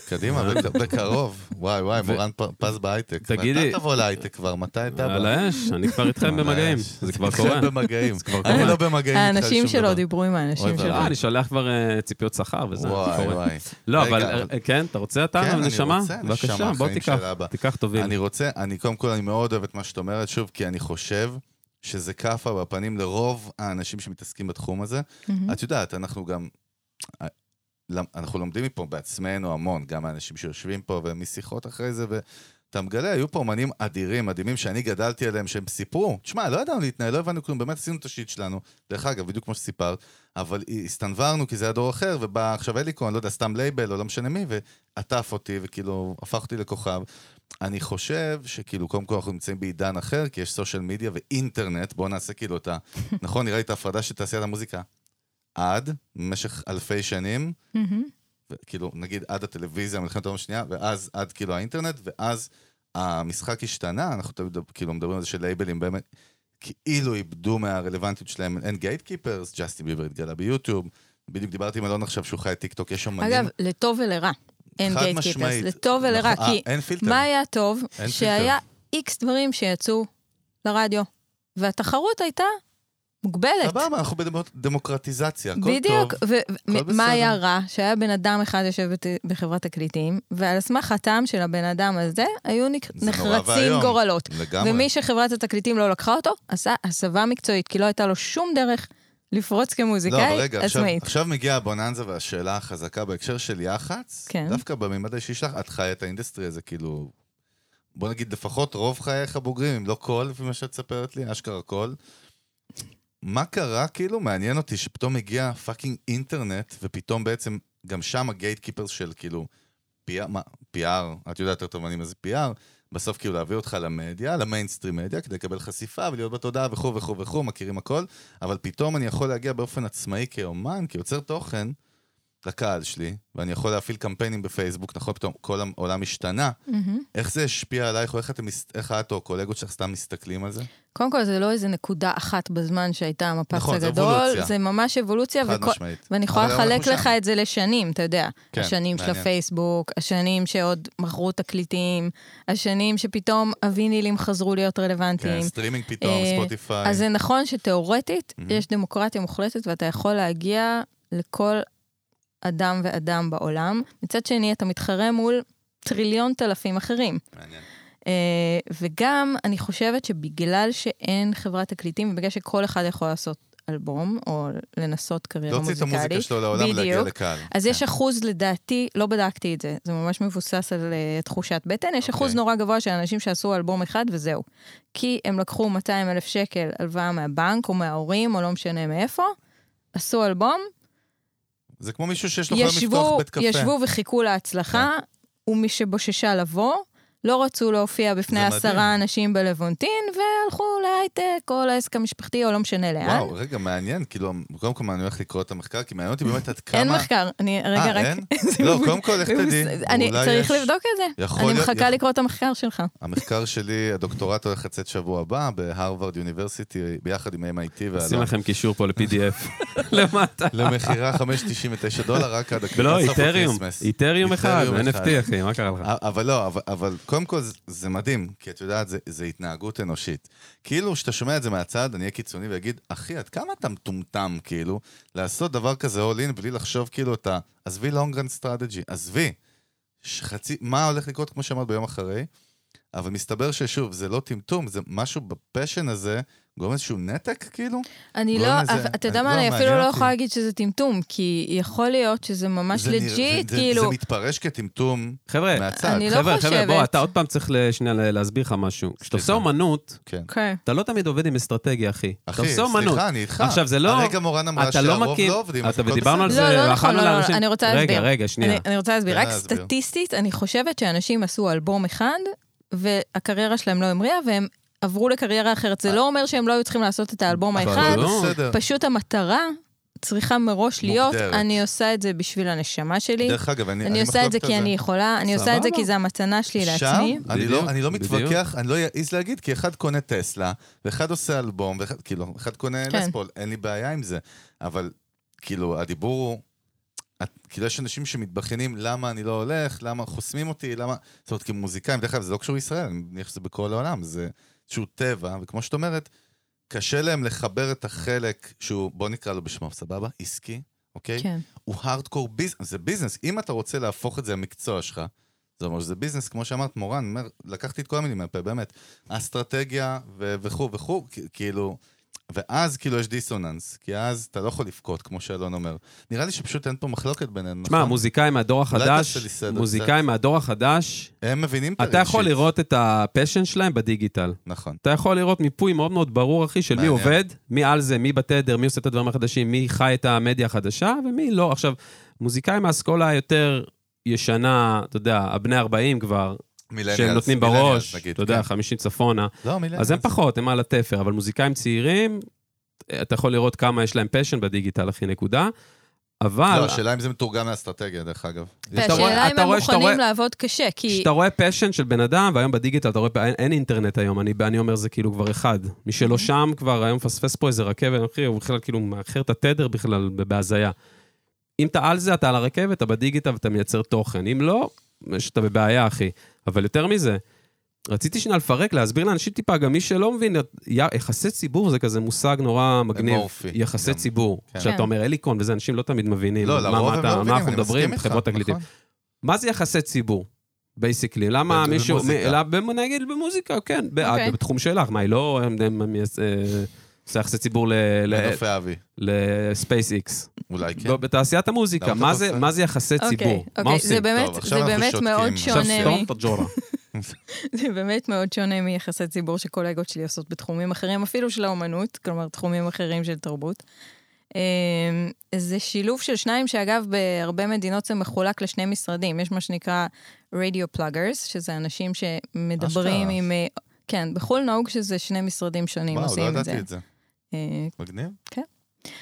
A: קדימה, בק- בקרוב, וואי וואי, מורן פ- פז בהייטק.
B: תגידי-
A: מתי תבוא להייטק כבר? מתי אתה
B: על
A: בא?
B: האש, אני כבר איתכם במגעים, זה כבר קורה.
A: במגעים.
B: קורה.
A: אני לא במגעים. איתך
C: האנשים
A: לשום
C: שלו
A: דבר.
C: דיברו עם האנשים
A: אוי,
C: שלו.
B: אה, אני שולח כבר אה, ציפיות שכר וזה.
A: וואי
B: קורה.
A: וואי.
B: לא,
A: רגע,
B: אבל אה, כן, אתה רוצה אתה,
A: כן, אני
B: נשמה?
A: רוצה, נשמה,
B: בבקשה, בוא
A: חיים
B: תיקח,
A: של אבא.
B: תיקח תוביל.
A: אני רוצה, אני קודם כל, אני מאוד אוהב את מה שאת אומרת, שוב, כי אני חושב שזה כאפה בפנים לרוב האנשים שמתעסקים בתחום הזה.
C: מהמם.
A: את יודעת, אנחנו גם... אה, למ- אנחנו לומדים מפה בעצמנו המון, גם האנשים שיושבים פה ומשיחות אחרי זה, ואתה מגלה, היו פה אומנים אדירים, מדהימים, שאני גדלתי עליהם, שהם סיפרו. תשמע, לא ידענו להתנהל, לא הבנו כלום, באמת עשינו את השיט שלנו. דרך אגב, בדיוק כמו שסיפרת, אבל הסתנוורנו כי זה היה דור אחר, ובא עכשיו אליקון, לא יודע, סתם לייבל, או לא משנה מי, ועטף אותי, וכאילו, הפך אותי לכוכב. אני חושב שכאילו, קודם כל אנחנו נמצאים בעידן אחר, כי יש סושיאל מדיה ואינטרנט, בואו נעשה כאילו את ה... נכון, נראה לי את ההפרדה של תעשיית המוזיקה. עד, במשך אלפי שנים,
C: מהמם.
A: ו- כאילו, נגיד עד הטלוויזיה, מלחמת העולם השנייה, ואז עד כאילו האינטרנט, ואז המשחק השתנה, אנחנו תמיד כאילו מדברים על זה של לייבלים באמת, כאילו איבדו מהרלוונטיות שלהם, אין גייט קיפרס, ג'סטין ביבר התגלה ביוטיוב, בדיוק דיברתי עם אלון עכשיו שהוא חי טיק טוק, יש אמנים,
C: אגב, לטוב ולרע. אין
A: חד
C: גייט קיפרס,
A: משמעית.
C: לטוב ולרע,
A: נכון,
C: כי
A: אה, אין פילטר,
C: מה היה טוב?
A: אין
C: שהיה איקס דברים שיצאו לרדיו, והתחרות הייתה מוגבלת.
A: סבבה, אנחנו בדמוקרטיזציה, הכל טוב.
C: בדיוק,
A: הכל בסדר.
C: ומה היה רע? שהיה בן אדם אחד יושב בת- בחברת תקליטים, ועל סמך הטעם של הבן אדם הזה, היו נק-
A: זה נורא
C: נחרצים
A: ואיום.
C: גורלות.
A: לגמרי.
C: ומי שחברת התקליטים לא לקחה אותו, עשה הסבה מקצועית, כי לא הייתה לו שום דרך לפרוץ
A: לא, אבל
C: כמוזיקאי
A: רגע, עכשיו,
C: עצמאית.
A: עכשיו מגיעה הבוננזה והשאלה החזקה בהקשר של יח"צ.
C: כן.
A: דווקא בממד האישי שלך, את חיה את האינדסטרי הזה, כאילו... בוא נגיד, לפחות רוב חייך הבוגרים, אם לא כל, לפי מה שאת מספרת לי, אשכרה כל. מה קרה, כאילו, מעניין אותי שפתאום הגיע פאקינג אינטרנט, ופתאום בעצם גם שם הגייט קיפרס של כאילו PR, מה- PR, את יודעת יותר טוב ממני מה זה PR, בסוף כאילו להביא אותך למדיה, למיינסטרים מדיה, כדי לקבל חשיפה ולהיות בתודעה וכו' וכו' וכו', מכירים הכל, אבל פתאום אני יכול להגיע באופן עצמאי כאומן, כיוצר תוכן, לקהל שלי, ואני יכול להפעיל קמפיינים בפייסבוק, נכון? פתאום כל העולם השתנה.
C: מהמם.
A: איך זה השפיע עלייך, או איך, אתם, מס- איך את או הקולגות שלך סתם מסתכלים על זה?
C: קודם כל, זה לא איזה נקודה אחת בזמן שהייתה המפץ
A: נכון, זה
C: הגדול,
A: אבולוציה.
C: זה ממש אבולוציה,
A: חד
C: כן, וכל-
A: משמעית.
C: ואני יכולה
A: אבל היום
C: לחלק
A: אנחנו
C: לך
A: שם.
C: את זה לשנים, אתה יודע.
A: כן,
C: השנים של
A: מעניין.
C: הפייסבוק, השנים שעוד מכרו תקליטים, השנים שפתאום הווינילים חזרו להיות רלוונטיים.
A: כן, סטרימינג פתאום,
C: אה,
A: ספוטיפיי.
C: אז זה נכון שתיאורטית
A: מהמם.
C: יש דמוקרטיה מוחלטת ואתה יכול להגיע לכל אדם ואדם בעולם. מצד שני, אתה מתחרה מול טריליון תלפים אחרים.
A: מעניין.
C: אה, וגם, אני חושבת שבגלל שאין חברת תקליטים, ובגלל שכל אחד יכול לעשות אלבום, או לנסות קריירה
A: להוציא את
C: מוזיקלית,
A: המוזיקה שלו לעולם, להגיע
C: בדיוק.
A: לקהל.
C: אז
A: כן.
C: יש אחוז, לדעתי, לא בדקתי את זה, זה ממש מבוסס על אה, תחושת בטן, יש אחוז
A: אוקיי.
C: נורא גבוה של אנשים שעשו אלבום אחד וזהו. כי הם לקחו 200 אלף שקל הלוואה מהבנק או מההורים, או לא משנה מאיפה, עשו אלבום,
A: זה כמו מישהו שיש לו חלום לפתוח
C: ישבו,
A: בית קפה. כן.
C: ישבו וחיכו להצלחה, ומשבוששה לבוא, לא רצו להופיע בפני
A: זה מדהים.
C: עשרה אנשים בלוונטין, והלכו להייטק או לעסק המשפחתי או לא משנה לאן.
A: וואו, רגע, מעניין, כאילו, קודם כל אני הולך לקרוא את המחקר, כי מעניין אותי באמת עד כמה...
C: אין מחקר, אני רגע
A: אה,
C: רק...
A: אין?
C: זה
A: לא,
C: מבוס-
A: קודם כל, איך תדעי?
C: מבוס- אני
A: אולי
C: צריך
A: יש-
C: לבדוק את זה.
A: יכול
C: אני
A: להיות-
C: מחכה
A: יכול-
C: לקרוא את המחקר שלך.
A: המחקר שלי, הדוקטורט הולך לצאת שבוע הבא בהרווארד יוניברסיטי, ביחד עם MIT
B: עושים
A: והלאה.
B: לכם קישור פה ל-PDF למטה.
A: למכירה 5.99 דולר, רק עד הקריאה
B: ולא,
A: סוף
B: איתריום,
A: הקריסמס.
B: איתריום אחד,
A: איתריום אחד.
B: NFT אחי, מה קרה לך?
A: א- אבל לא, אבל, אבל קודם כל זה, זה מדהים, כי את יודעת, זה, זה התנהגות אנושית. כאילו, כשאתה שומע את זה מהצד, אני אהיה קיצוני ואגיד, אחי, עד כמה אתה מטומטם, כאילו, לעשות דבר כזה all in בלי לחשוב, כאילו, אתה, עזבי לונגרן סטרטג'י, עזבי. שחצי, מה הולך לקרות, כמו שאמרת, ביום אחרי, אבל מסתבר ששוב, זה לא טמטום, זה משהו בפשן הזה, גורם איזשהו נתק, כאילו.
C: אני
A: גורם
C: לא,
A: לזה-
C: אבל אתה יודע מה,
A: לא,
C: אני אפילו
A: מעניין
C: לא
A: אותי.
C: יכולה להגיד שזה טמטום, כי יכול להיות שזה ממש
A: זה נראה-
C: לג'יט,
A: זה- זה- זה
C: כאילו,
A: מתפרש כטמטום
B: חבר'ה,
A: מהצד.
C: אני לא
B: אה, חבר'ה, חבר'ה, בוא,
C: חושבת.
B: אתה עוד פעם צריך ל- שנייה ל- להסביר לך משהו. כשאתה עושה
A: סליחה.
B: אומנות,
A: כן.
C: כן.
B: אתה לא תמיד עובד עם אסטרטגיה, אחי. אתה
A: אחי,
B: עושה אומנות.
A: סליחה, אני איתך.
B: עכשיו, זה לא-
A: הרגע מורן אמרה
B: אתה לא
A: שהרוב
B: מכיר-
A: לא עובדים, אז
B: אתה-
A: הכל
B: ודיברנו על
A: בסדר.
B: זה,
C: לא, לא
B: ואכלנו
C: נכון, לא, לא,
B: לאנשים-
C: אני רוצה
B: רגע,
C: להסביר.
B: רגע, שנייה.
C: אני, אני רוצה להסביר,
A: כן,
C: רק
A: להסביר.
C: סטטיסטית, אני חושבת שאנשים עשו אלבום אחד, והקריירה שלהם לא המריאה, והם עברו לקריירה אחרת. זה לא אומר שהם לא היו צריכים לעשות את האלבום
A: אבל
C: האחד,
A: זה לא
B: לא.
A: בסדר.
C: פשוט המטרה צריכה מראש להיות,
A: מוגדרת.
C: אני עושה את זה בשביל הנשמה שלי,
A: דרך אגב, אני
C: אני עושה את זה
A: מחלוק
C: כי אני יכולה, אני עושה את זה
B: סבבה.
C: כי זה המתנה שלי לעצמי.
A: שם, אני
B: בדיוק,
A: לא- אני לא
B: בדיוק.
A: מתווכח, אני לא אעז להגיד, כי אחד קונה טסלה, ואחד עושה אלבום, ואחד, כאילו, אחד קונה
C: כן.
A: לספול, אין לי בעיה עם זה. אבל, כאילו, הדיבור הוא... את, כאילו, יש אנשים שמתבכיינים למה אני לא הולך, למה חוסמים אותי, למה... זאת אומרת, כמוזיקאים, דרך אגב, זה לא קשור לישראל, אני מניח שזה בכל העולם, זה איזשהו טבע, וכמו שאת אומרת, קשה להם לחבר את החלק שהוא, בוא נקרא לו בשמו, סבבה? עסקי, אוקיי?
C: כן.
A: הוא הארדקור ביזנס, זה ביזנס. אם אתה רוצה להפוך את זה למקצוע שלך, זה אומר שזה ביזנס, כמו שאמרת, מורן, אני אומר, לקחתי את כל המילים מהפה, באמת. אסטרטגיה ו- וכו' וכו', כ- כאילו, ואז כאילו יש דיסוננס, כי אז אתה לא יכול לבכות, כמו שאלון אומר. נראה לי שפשוט אין פה מחלוקת בינינו,
B: תשמע, מוזיקאים מהדור
A: נכון. תעשה לי
B: החדש,
A: סדר
B: מוזיקאים מהדור החדש,
A: הם מבינים את
B: אתה יכול
A: הרגשית.
B: לראות את הפשן שלהם בדיגיטל.
A: נכון.
B: אתה יכול לראות מיפוי מאוד מאוד ברור, אחי, של מי
A: מעניין.
B: עובד, מי על זה, מי בתדר, מי עושה את הדברים החדשים, מי חי את המדיה החדשה ומי לא. עכשיו, מוזיקאים מהאסכולה היותר ישנה, אתה יודע, הבני 40 כבר, שהם
A: מילניאלס,
B: נותנים
A: מילניאלס,
B: בראש,
A: נגיד,
B: אתה יודע,
A: כן.
B: 50 צפונה,
A: לא, מילניאלס.
B: אז הם פחות, הם על התפר, אבל מוזיקאים צעירים, אתה יכול לראות כמה יש להם פשן בדיגיטל, אחי, נקודה. אבל...
A: לא, השאלה אם זה מתורגם לאסטרטגיה, דרך אגב.
B: אה, אתה רואה- אה,
C: והשאלה אם
B: אתה
C: הם
B: רואה שאתה רואה-
C: מוכנים לעבוד קשה, כי...
B: כשאתה רואה פשן של בן אדם, והיום בדיגיטל אתה רואה, אין, אין אינטרנט היום, אני, אני אומר זה כאילו כבר אחד. מי שלא שם כבר, היום מפספס פה איזה רכבת, אחי, הוא בכלל כאילו מאחר את התדר בכלל ב- בהזיה. אם אתה על זה, אתה על הרכבת, אתה בדיגיטל ואתה מייצר תוכן. אם לא, יש- אתה בבעיה, אחי. אבל יותר מזה, רציתי שנייה לפרק, להסביר לאנשים טיפה, גם מי שלא מבין, י- יחסי ציבור זה כזה מושג נורא מגניב.
A: אמורפי.
B: יחסי
A: גם.
B: ציבור.
A: כן.
B: שאתה
C: כן.
B: אומר אליקון, וזה אנשים לא תמיד מבינים.
A: לא,
B: מה-
A: לרוב
B: מה
A: הם
B: אתה-
A: לא
B: מה
A: מבינים,
B: אנחנו
A: אני מסכים
B: מדברים,
A: איתך.
B: חברות תקליטים.
A: נכון.
B: מה זה יחסי ציבור? בייסיקלי, למה
A: ב-
B: מישהו, מ-
A: במוזיקה.
B: אלא במ- נגיד במוזיקה, כן, בעד,
C: אוקיי.
B: בתחום שלך, מה, היא לא הם- הם- הם- אה, עושה יחסי ציבור
A: לנופי אבי,
B: לספייס איקס.
A: אולי כן.
B: בתעשיית המוזיקה,
A: למה אתה
B: מה זה-
A: דופק?
B: מה זה יחסי
C: אוקיי,
B: ציבור? מה
C: אוקיי, זה
B: עושים?
A: טוב,
C: באמת,
A: עכשיו
C: זה
A: אנחנו
C: באמת
A: שותקים.
C: מאוד
A: עכשיו
B: עכשיו
C: שונה מ...
B: סתום את הג'ורה.
C: זה באמת מאוד שונה מיחסי ציבור שקולגות שלי עושות בתחומים אחרים, אפילו של האומנות, כלומר תחומים אחרים של תרבות. אמ, זה שילוב של שניים, שאגב, בהרבה מדינות זה מחולק לשני משרדים. יש מה שנקרא radio pluggers, שזה אנשים שמדברים
A: אשכרה.
C: עם... אה, כן, בחו"ל נהוג שזה שני משרדים שונים
A: וואו, לא
C: עושים את זה.
A: ידעתי את זה.
C: אה,
A: מגניב.
C: כן.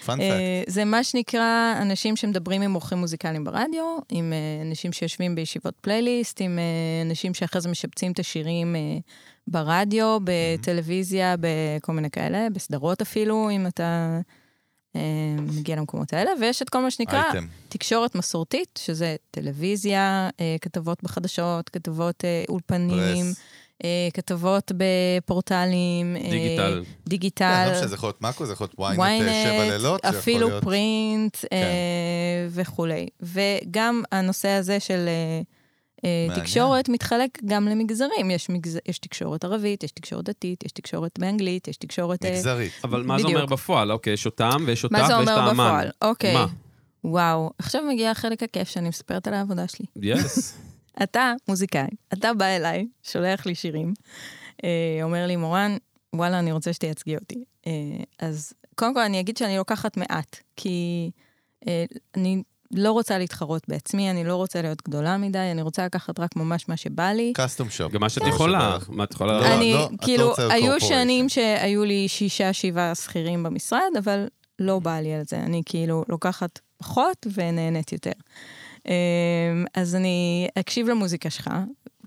A: פאנפקט.
C: אה, זה מה שנקרא אנשים שמדברים עם עורכים מוזיקליים ברדיו, עם אה, אנשים שיושבים בישיבות פלייליסט, עם אה, אנשים שאחרי זה משפצים את השירים אה, ברדיו, בטלוויזיה, בכל מיני כאלה, בסדרות אפילו, אם אתה אה, מגיע למקומות האלה, ויש את כל מה שנקרא
A: אייטם.
C: תקשורת מסורתית, שזה טלוויזיה, אה, כתבות בחדשות, כתבות אה, אולפנים,
A: פרס.
C: אה, כתבות בפורטלים, אה,
B: דיגיטל.
A: כן,
C: דיגיטל.
A: לא משנה, זה יכול להיות מאקו, זה יכול להיות ynet אה, שבע לילות,
C: ynet,
A: זה יכול
C: אפילו
A: להיות- כן.
C: פרינט אה, וכולי. וגם הנושא הזה של אה, אה,
A: מעניין.
C: תקשורת מתחלק גם למגזרים. יש מגז- יש תקשורת ערבית, יש תקשורת דתית, יש תקשורת באנגלית, יש תקשורת... אה,
A: מגזרית.
B: אבל מה זה
C: בדיוק.
B: אומר בפועל? אוקיי, יש אותם ויש אותך
C: מה
B: ויש
C: זה
B: את האמן.
C: אומר בפועל? אוקיי.
B: מה?
C: וואו, עכשיו מגיע החלק הכיף שאני מספרת על העבודה שלי.
B: יס.
C: אתה מוזיקאי, אתה בא אליי, שולח לי שירים, אה, אומר לי, מורן, וואלה, אני רוצה שתייצגי אותי. אה, אז קודם כל אני אגיד שאני לוקחת מעט, כי אה, אני לא רוצה להתחרות בעצמי, אני לא רוצה להיות גדולה מדי, אני רוצה לקחת רק ממש מה שבא לי.
A: קאסטום שופ.
B: גם מה שאת
C: כן.
A: ברור
B: יכולה.
A: שבערך.
B: מה את יכולה...
A: כן. לא,
C: אני,
A: לא, את לא
C: כאילו,
A: רוצה להיות
C: היו
A: corporation.
C: שנים שהיו לי שישה, שבעה שכירים במשרד, אבל לא בא לי על זה. אני כאילו לוקחת פחות ונהנית יותר. אמ, אז אני אקשיב למוזיקה שלך.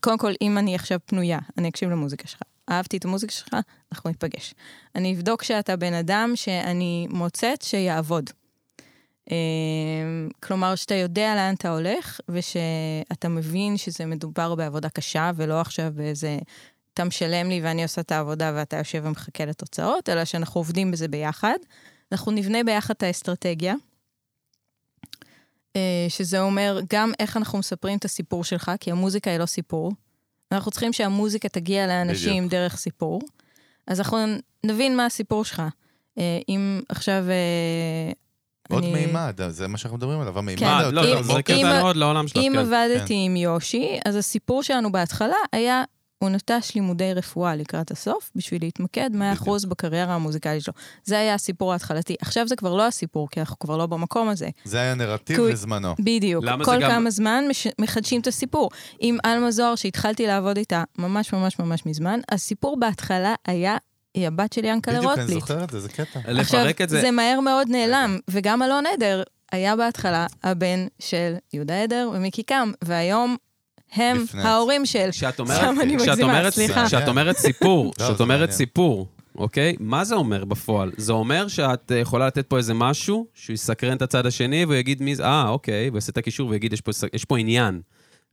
C: קודם כל, אם אני עכשיו פנויה, אני אקשיב למוזיקה שלך. אהבתי את המוזיקה שלך, אנחנו ניפגש. אני אבדוק שאתה בן אדם שאני מוצאת שיעבוד. אמ, כלומר, שאתה יודע לאן אתה הולך, ושאתה מבין שזה מדובר בעבודה קשה, ולא עכשיו באיזה אתה משלם לי ואני עושה את העבודה ואתה יושב ומחכה לתוצאות, אלא שאנחנו עובדים בזה ביחד. אנחנו נבנה ביחד את האסטרטגיה, אה, שזה אומר גם איך אנחנו מספרים את הסיפור שלך, כי המוזיקה היא לא סיפור. אנחנו צריכים שהמוזיקה תגיע לאנשים
A: בדיוק.
C: בדיוק. דרך סיפור. אז אנחנו נבין מה הסיפור שלך. אה, אם עכשיו... אה,
A: עוד
C: אני-
A: מימד, זה מה שאנחנו מדברים עליו, המימד.
C: כן.
B: מה,
A: היותר
B: לא,
C: אם-
B: זה
A: אוקיי.
C: אם-
B: כזה מאוד לעולם שלך.
C: אם
B: כן.
A: כן.
C: עבדתי עם יושי, אז הסיפור שלנו בהתחלה היה, הוא נטש לימודי רפואה לקראת הסוף, בשביל להתמקד 100% בקריירה המוזיקלית שלו. זה היה הסיפור ההתחלתי. עכשיו זה כבר לא הסיפור, כי אנחנו כבר לא במקום הזה.
A: זה היה נרטיב
C: כי-
A: לזמנו.
C: בדיוק.
B: למה זה
C: כל
B: גם-
C: כמה זמן מש... מחדשים את הסיפור. עם עלמה זוהר, שהתחלתי לעבוד איתה ממש ממש ממש מזמן, הסיפור בהתחלה היה, היא הבת של ינקלה
A: בדיוק, אני
C: רוטבליט.
A: זוכר את זה, זה קטע.
B: אה, לפרק את זה.
C: זה מהר מאוד נעלם, וגם אלון עדר היה בהתחלה הבן של יהודה עדר ומיקי קם, והיום הם
A: לפני.
C: ההורים של...
B: כשאת
C: סתם,
B: אומרת,
C: אני
B: כשאת
C: מגזימה,
B: אומרת-
C: סליחה.
B: כשאת אומרת סיפור,
A: לא,
B: כשאת
A: זה
B: אומרת
A: מעניין.
B: סיפור, אוקיי? מה זה אומר בפועל? זה אומר שאת אה, יכולה לתת פה איזה משהו, שהוא יסקרן את הצד השני, והוא יגיד מי זה, אה, אוקיי, ויעשה את הקישור ויגיד, "יש פה- יש פה עניין.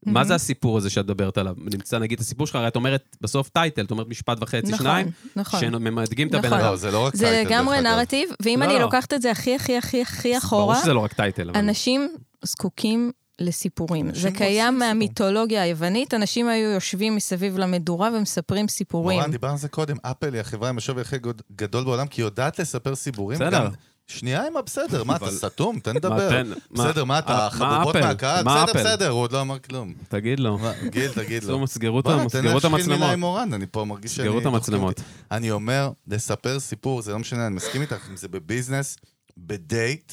B: מה זה הסיפור הזה שאת מדברת עליו? נמצא, נגיד, את הסיפור שלך, הרי את אומרת בסוף טייטל, את אומרת משפט וחצי,
C: נכון,
B: שניים,
C: נכון.
B: שמדגים את הבן
C: נכון.
B: אדם.
A: לא, זה לא רק
C: זה
A: טייטל,
C: לגמרי
A: דרך אגב.
C: נרטיב, ואם
B: לא,
C: אני
B: לא.
C: לוקחת את זה הכי הכי הכי הכי
B: ברור
C: אחורה,
B: שזה לא רק טייטל, אבל...
C: אנשים זקוקים לסיפורים.
A: אנשים
C: זה
A: רוצים
C: קיים
A: סיפור.
C: מהמיתולוגיה היוונית, אנשים היו יושבים מסביב למדורה ומספרים סיפורים.
A: מורן, דיברנו על זה קודם, אפל היא החברה עם השווי הכי גוד- גדול בעולם, כי היא יודעת לספר סיפורים.
B: בסדר.
A: גם- שנייה עם הבסדר, מה אתה
B: אבל-
A: סתום? תן
B: מה,
A: לדבר.
B: תן-
A: בסדר, מה
B: מה
A: אתה, חבובות
B: אפל?
A: מהקהל?
B: מה
A: בסדר,
B: אפל?
A: בסדר, הוא עוד לא אמר כלום.
B: תגיד לו.
A: מה, גיל, תגיד לו.
B: תעשו, מסגרו את
A: בוא'נה,
B: ה-
A: תן
B: מסגרו את
A: להשחיל מילה עם
B: המצלמות.
A: מורן, אני פה מרגיש שאני...
B: מסגרו את המצלמות.
A: אני אומר, לספר סיפור, זה לא משנה, אני מסכים איתך, אם זה בביזנס, בדייט,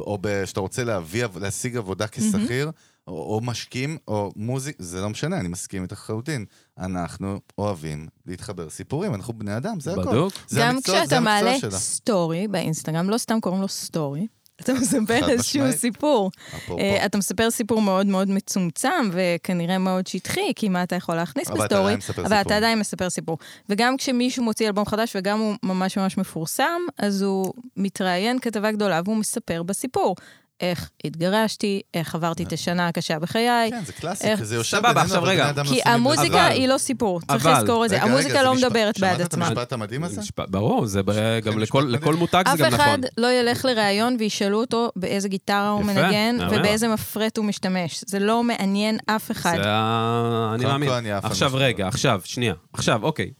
A: או ב- שאתה רוצה להביא, להשיג עבודה כשכיר, או, או משקיעים, או מוזיק, זה לא משנה, אני מסכים איתך לחלוטין. אנחנו אוהבים להתחבר סיפורים, אנחנו בני אדם, זה הכל.
B: בדוק.
A: זה
C: גם
A: המקצוע- זה
C: כשאתה
A: המקצוע
C: מעלה
A: שלה.
C: סטורי באינסטגרם, לא סתם קוראים לו סטורי, אתה מספר
A: חד
C: איזשהו
A: משמעית.
C: סיפור.
A: אפרופו.
C: אה, אתה מספר סיפור מאוד מאוד מצומצם, וכנראה מאוד שטחי, כי מה אתה יכול להכניס
A: אבל אתה
C: בסטורי,
A: עדיין מספר
C: אבל
A: סיפור.
C: אתה עדיין מספר סיפור. וגם כשמישהו מוציא אלבום חדש, וגם הוא ממש ממש מפורסם, אז הוא מתראיין כתבה גדולה, והוא מספר בסיפור. איך התגרשתי, איך עברתי את השנה הקשה בחיי.
A: אה. כן, זה קלאסי,
C: איך-
A: כי זה יושב
B: סבבה,
A: בינינו,
B: עכשיו
A: אבל
B: רגע.
A: בני אדם
C: כי
A: נושאים את זה.
B: אבל-
C: המוזיקה היא לא סיפור, צריך
B: אבל-
C: לזכור את זה.
A: רגע, רגע,
C: המוזיקה
A: זה
C: לא
A: משפט-
C: מדברת בעד
A: שמעת את
C: עצמה.
A: המשפט המדהים הזה?
B: משפט- ברור, זה ב- גם
A: כן, משפט
B: לכל
A: מדהים.
B: לכל מותג
C: אף
B: זה גם
C: אחד
B: נכון.
C: לא ילך לראיון וישאלו אותו באיזה גיטרה הוא
B: יפה,
C: מנגן
B: מהמם.
C: ובאיזה מפרט הוא משתמש. זה לא מעניין אף אחד.
B: זה ה... אני
A: קודם
B: מאמין.
A: כל אני אף פעם
B: עכשיו,
A: לא
B: רגע, עכשיו, שנייה. עכשיו, אוקיי.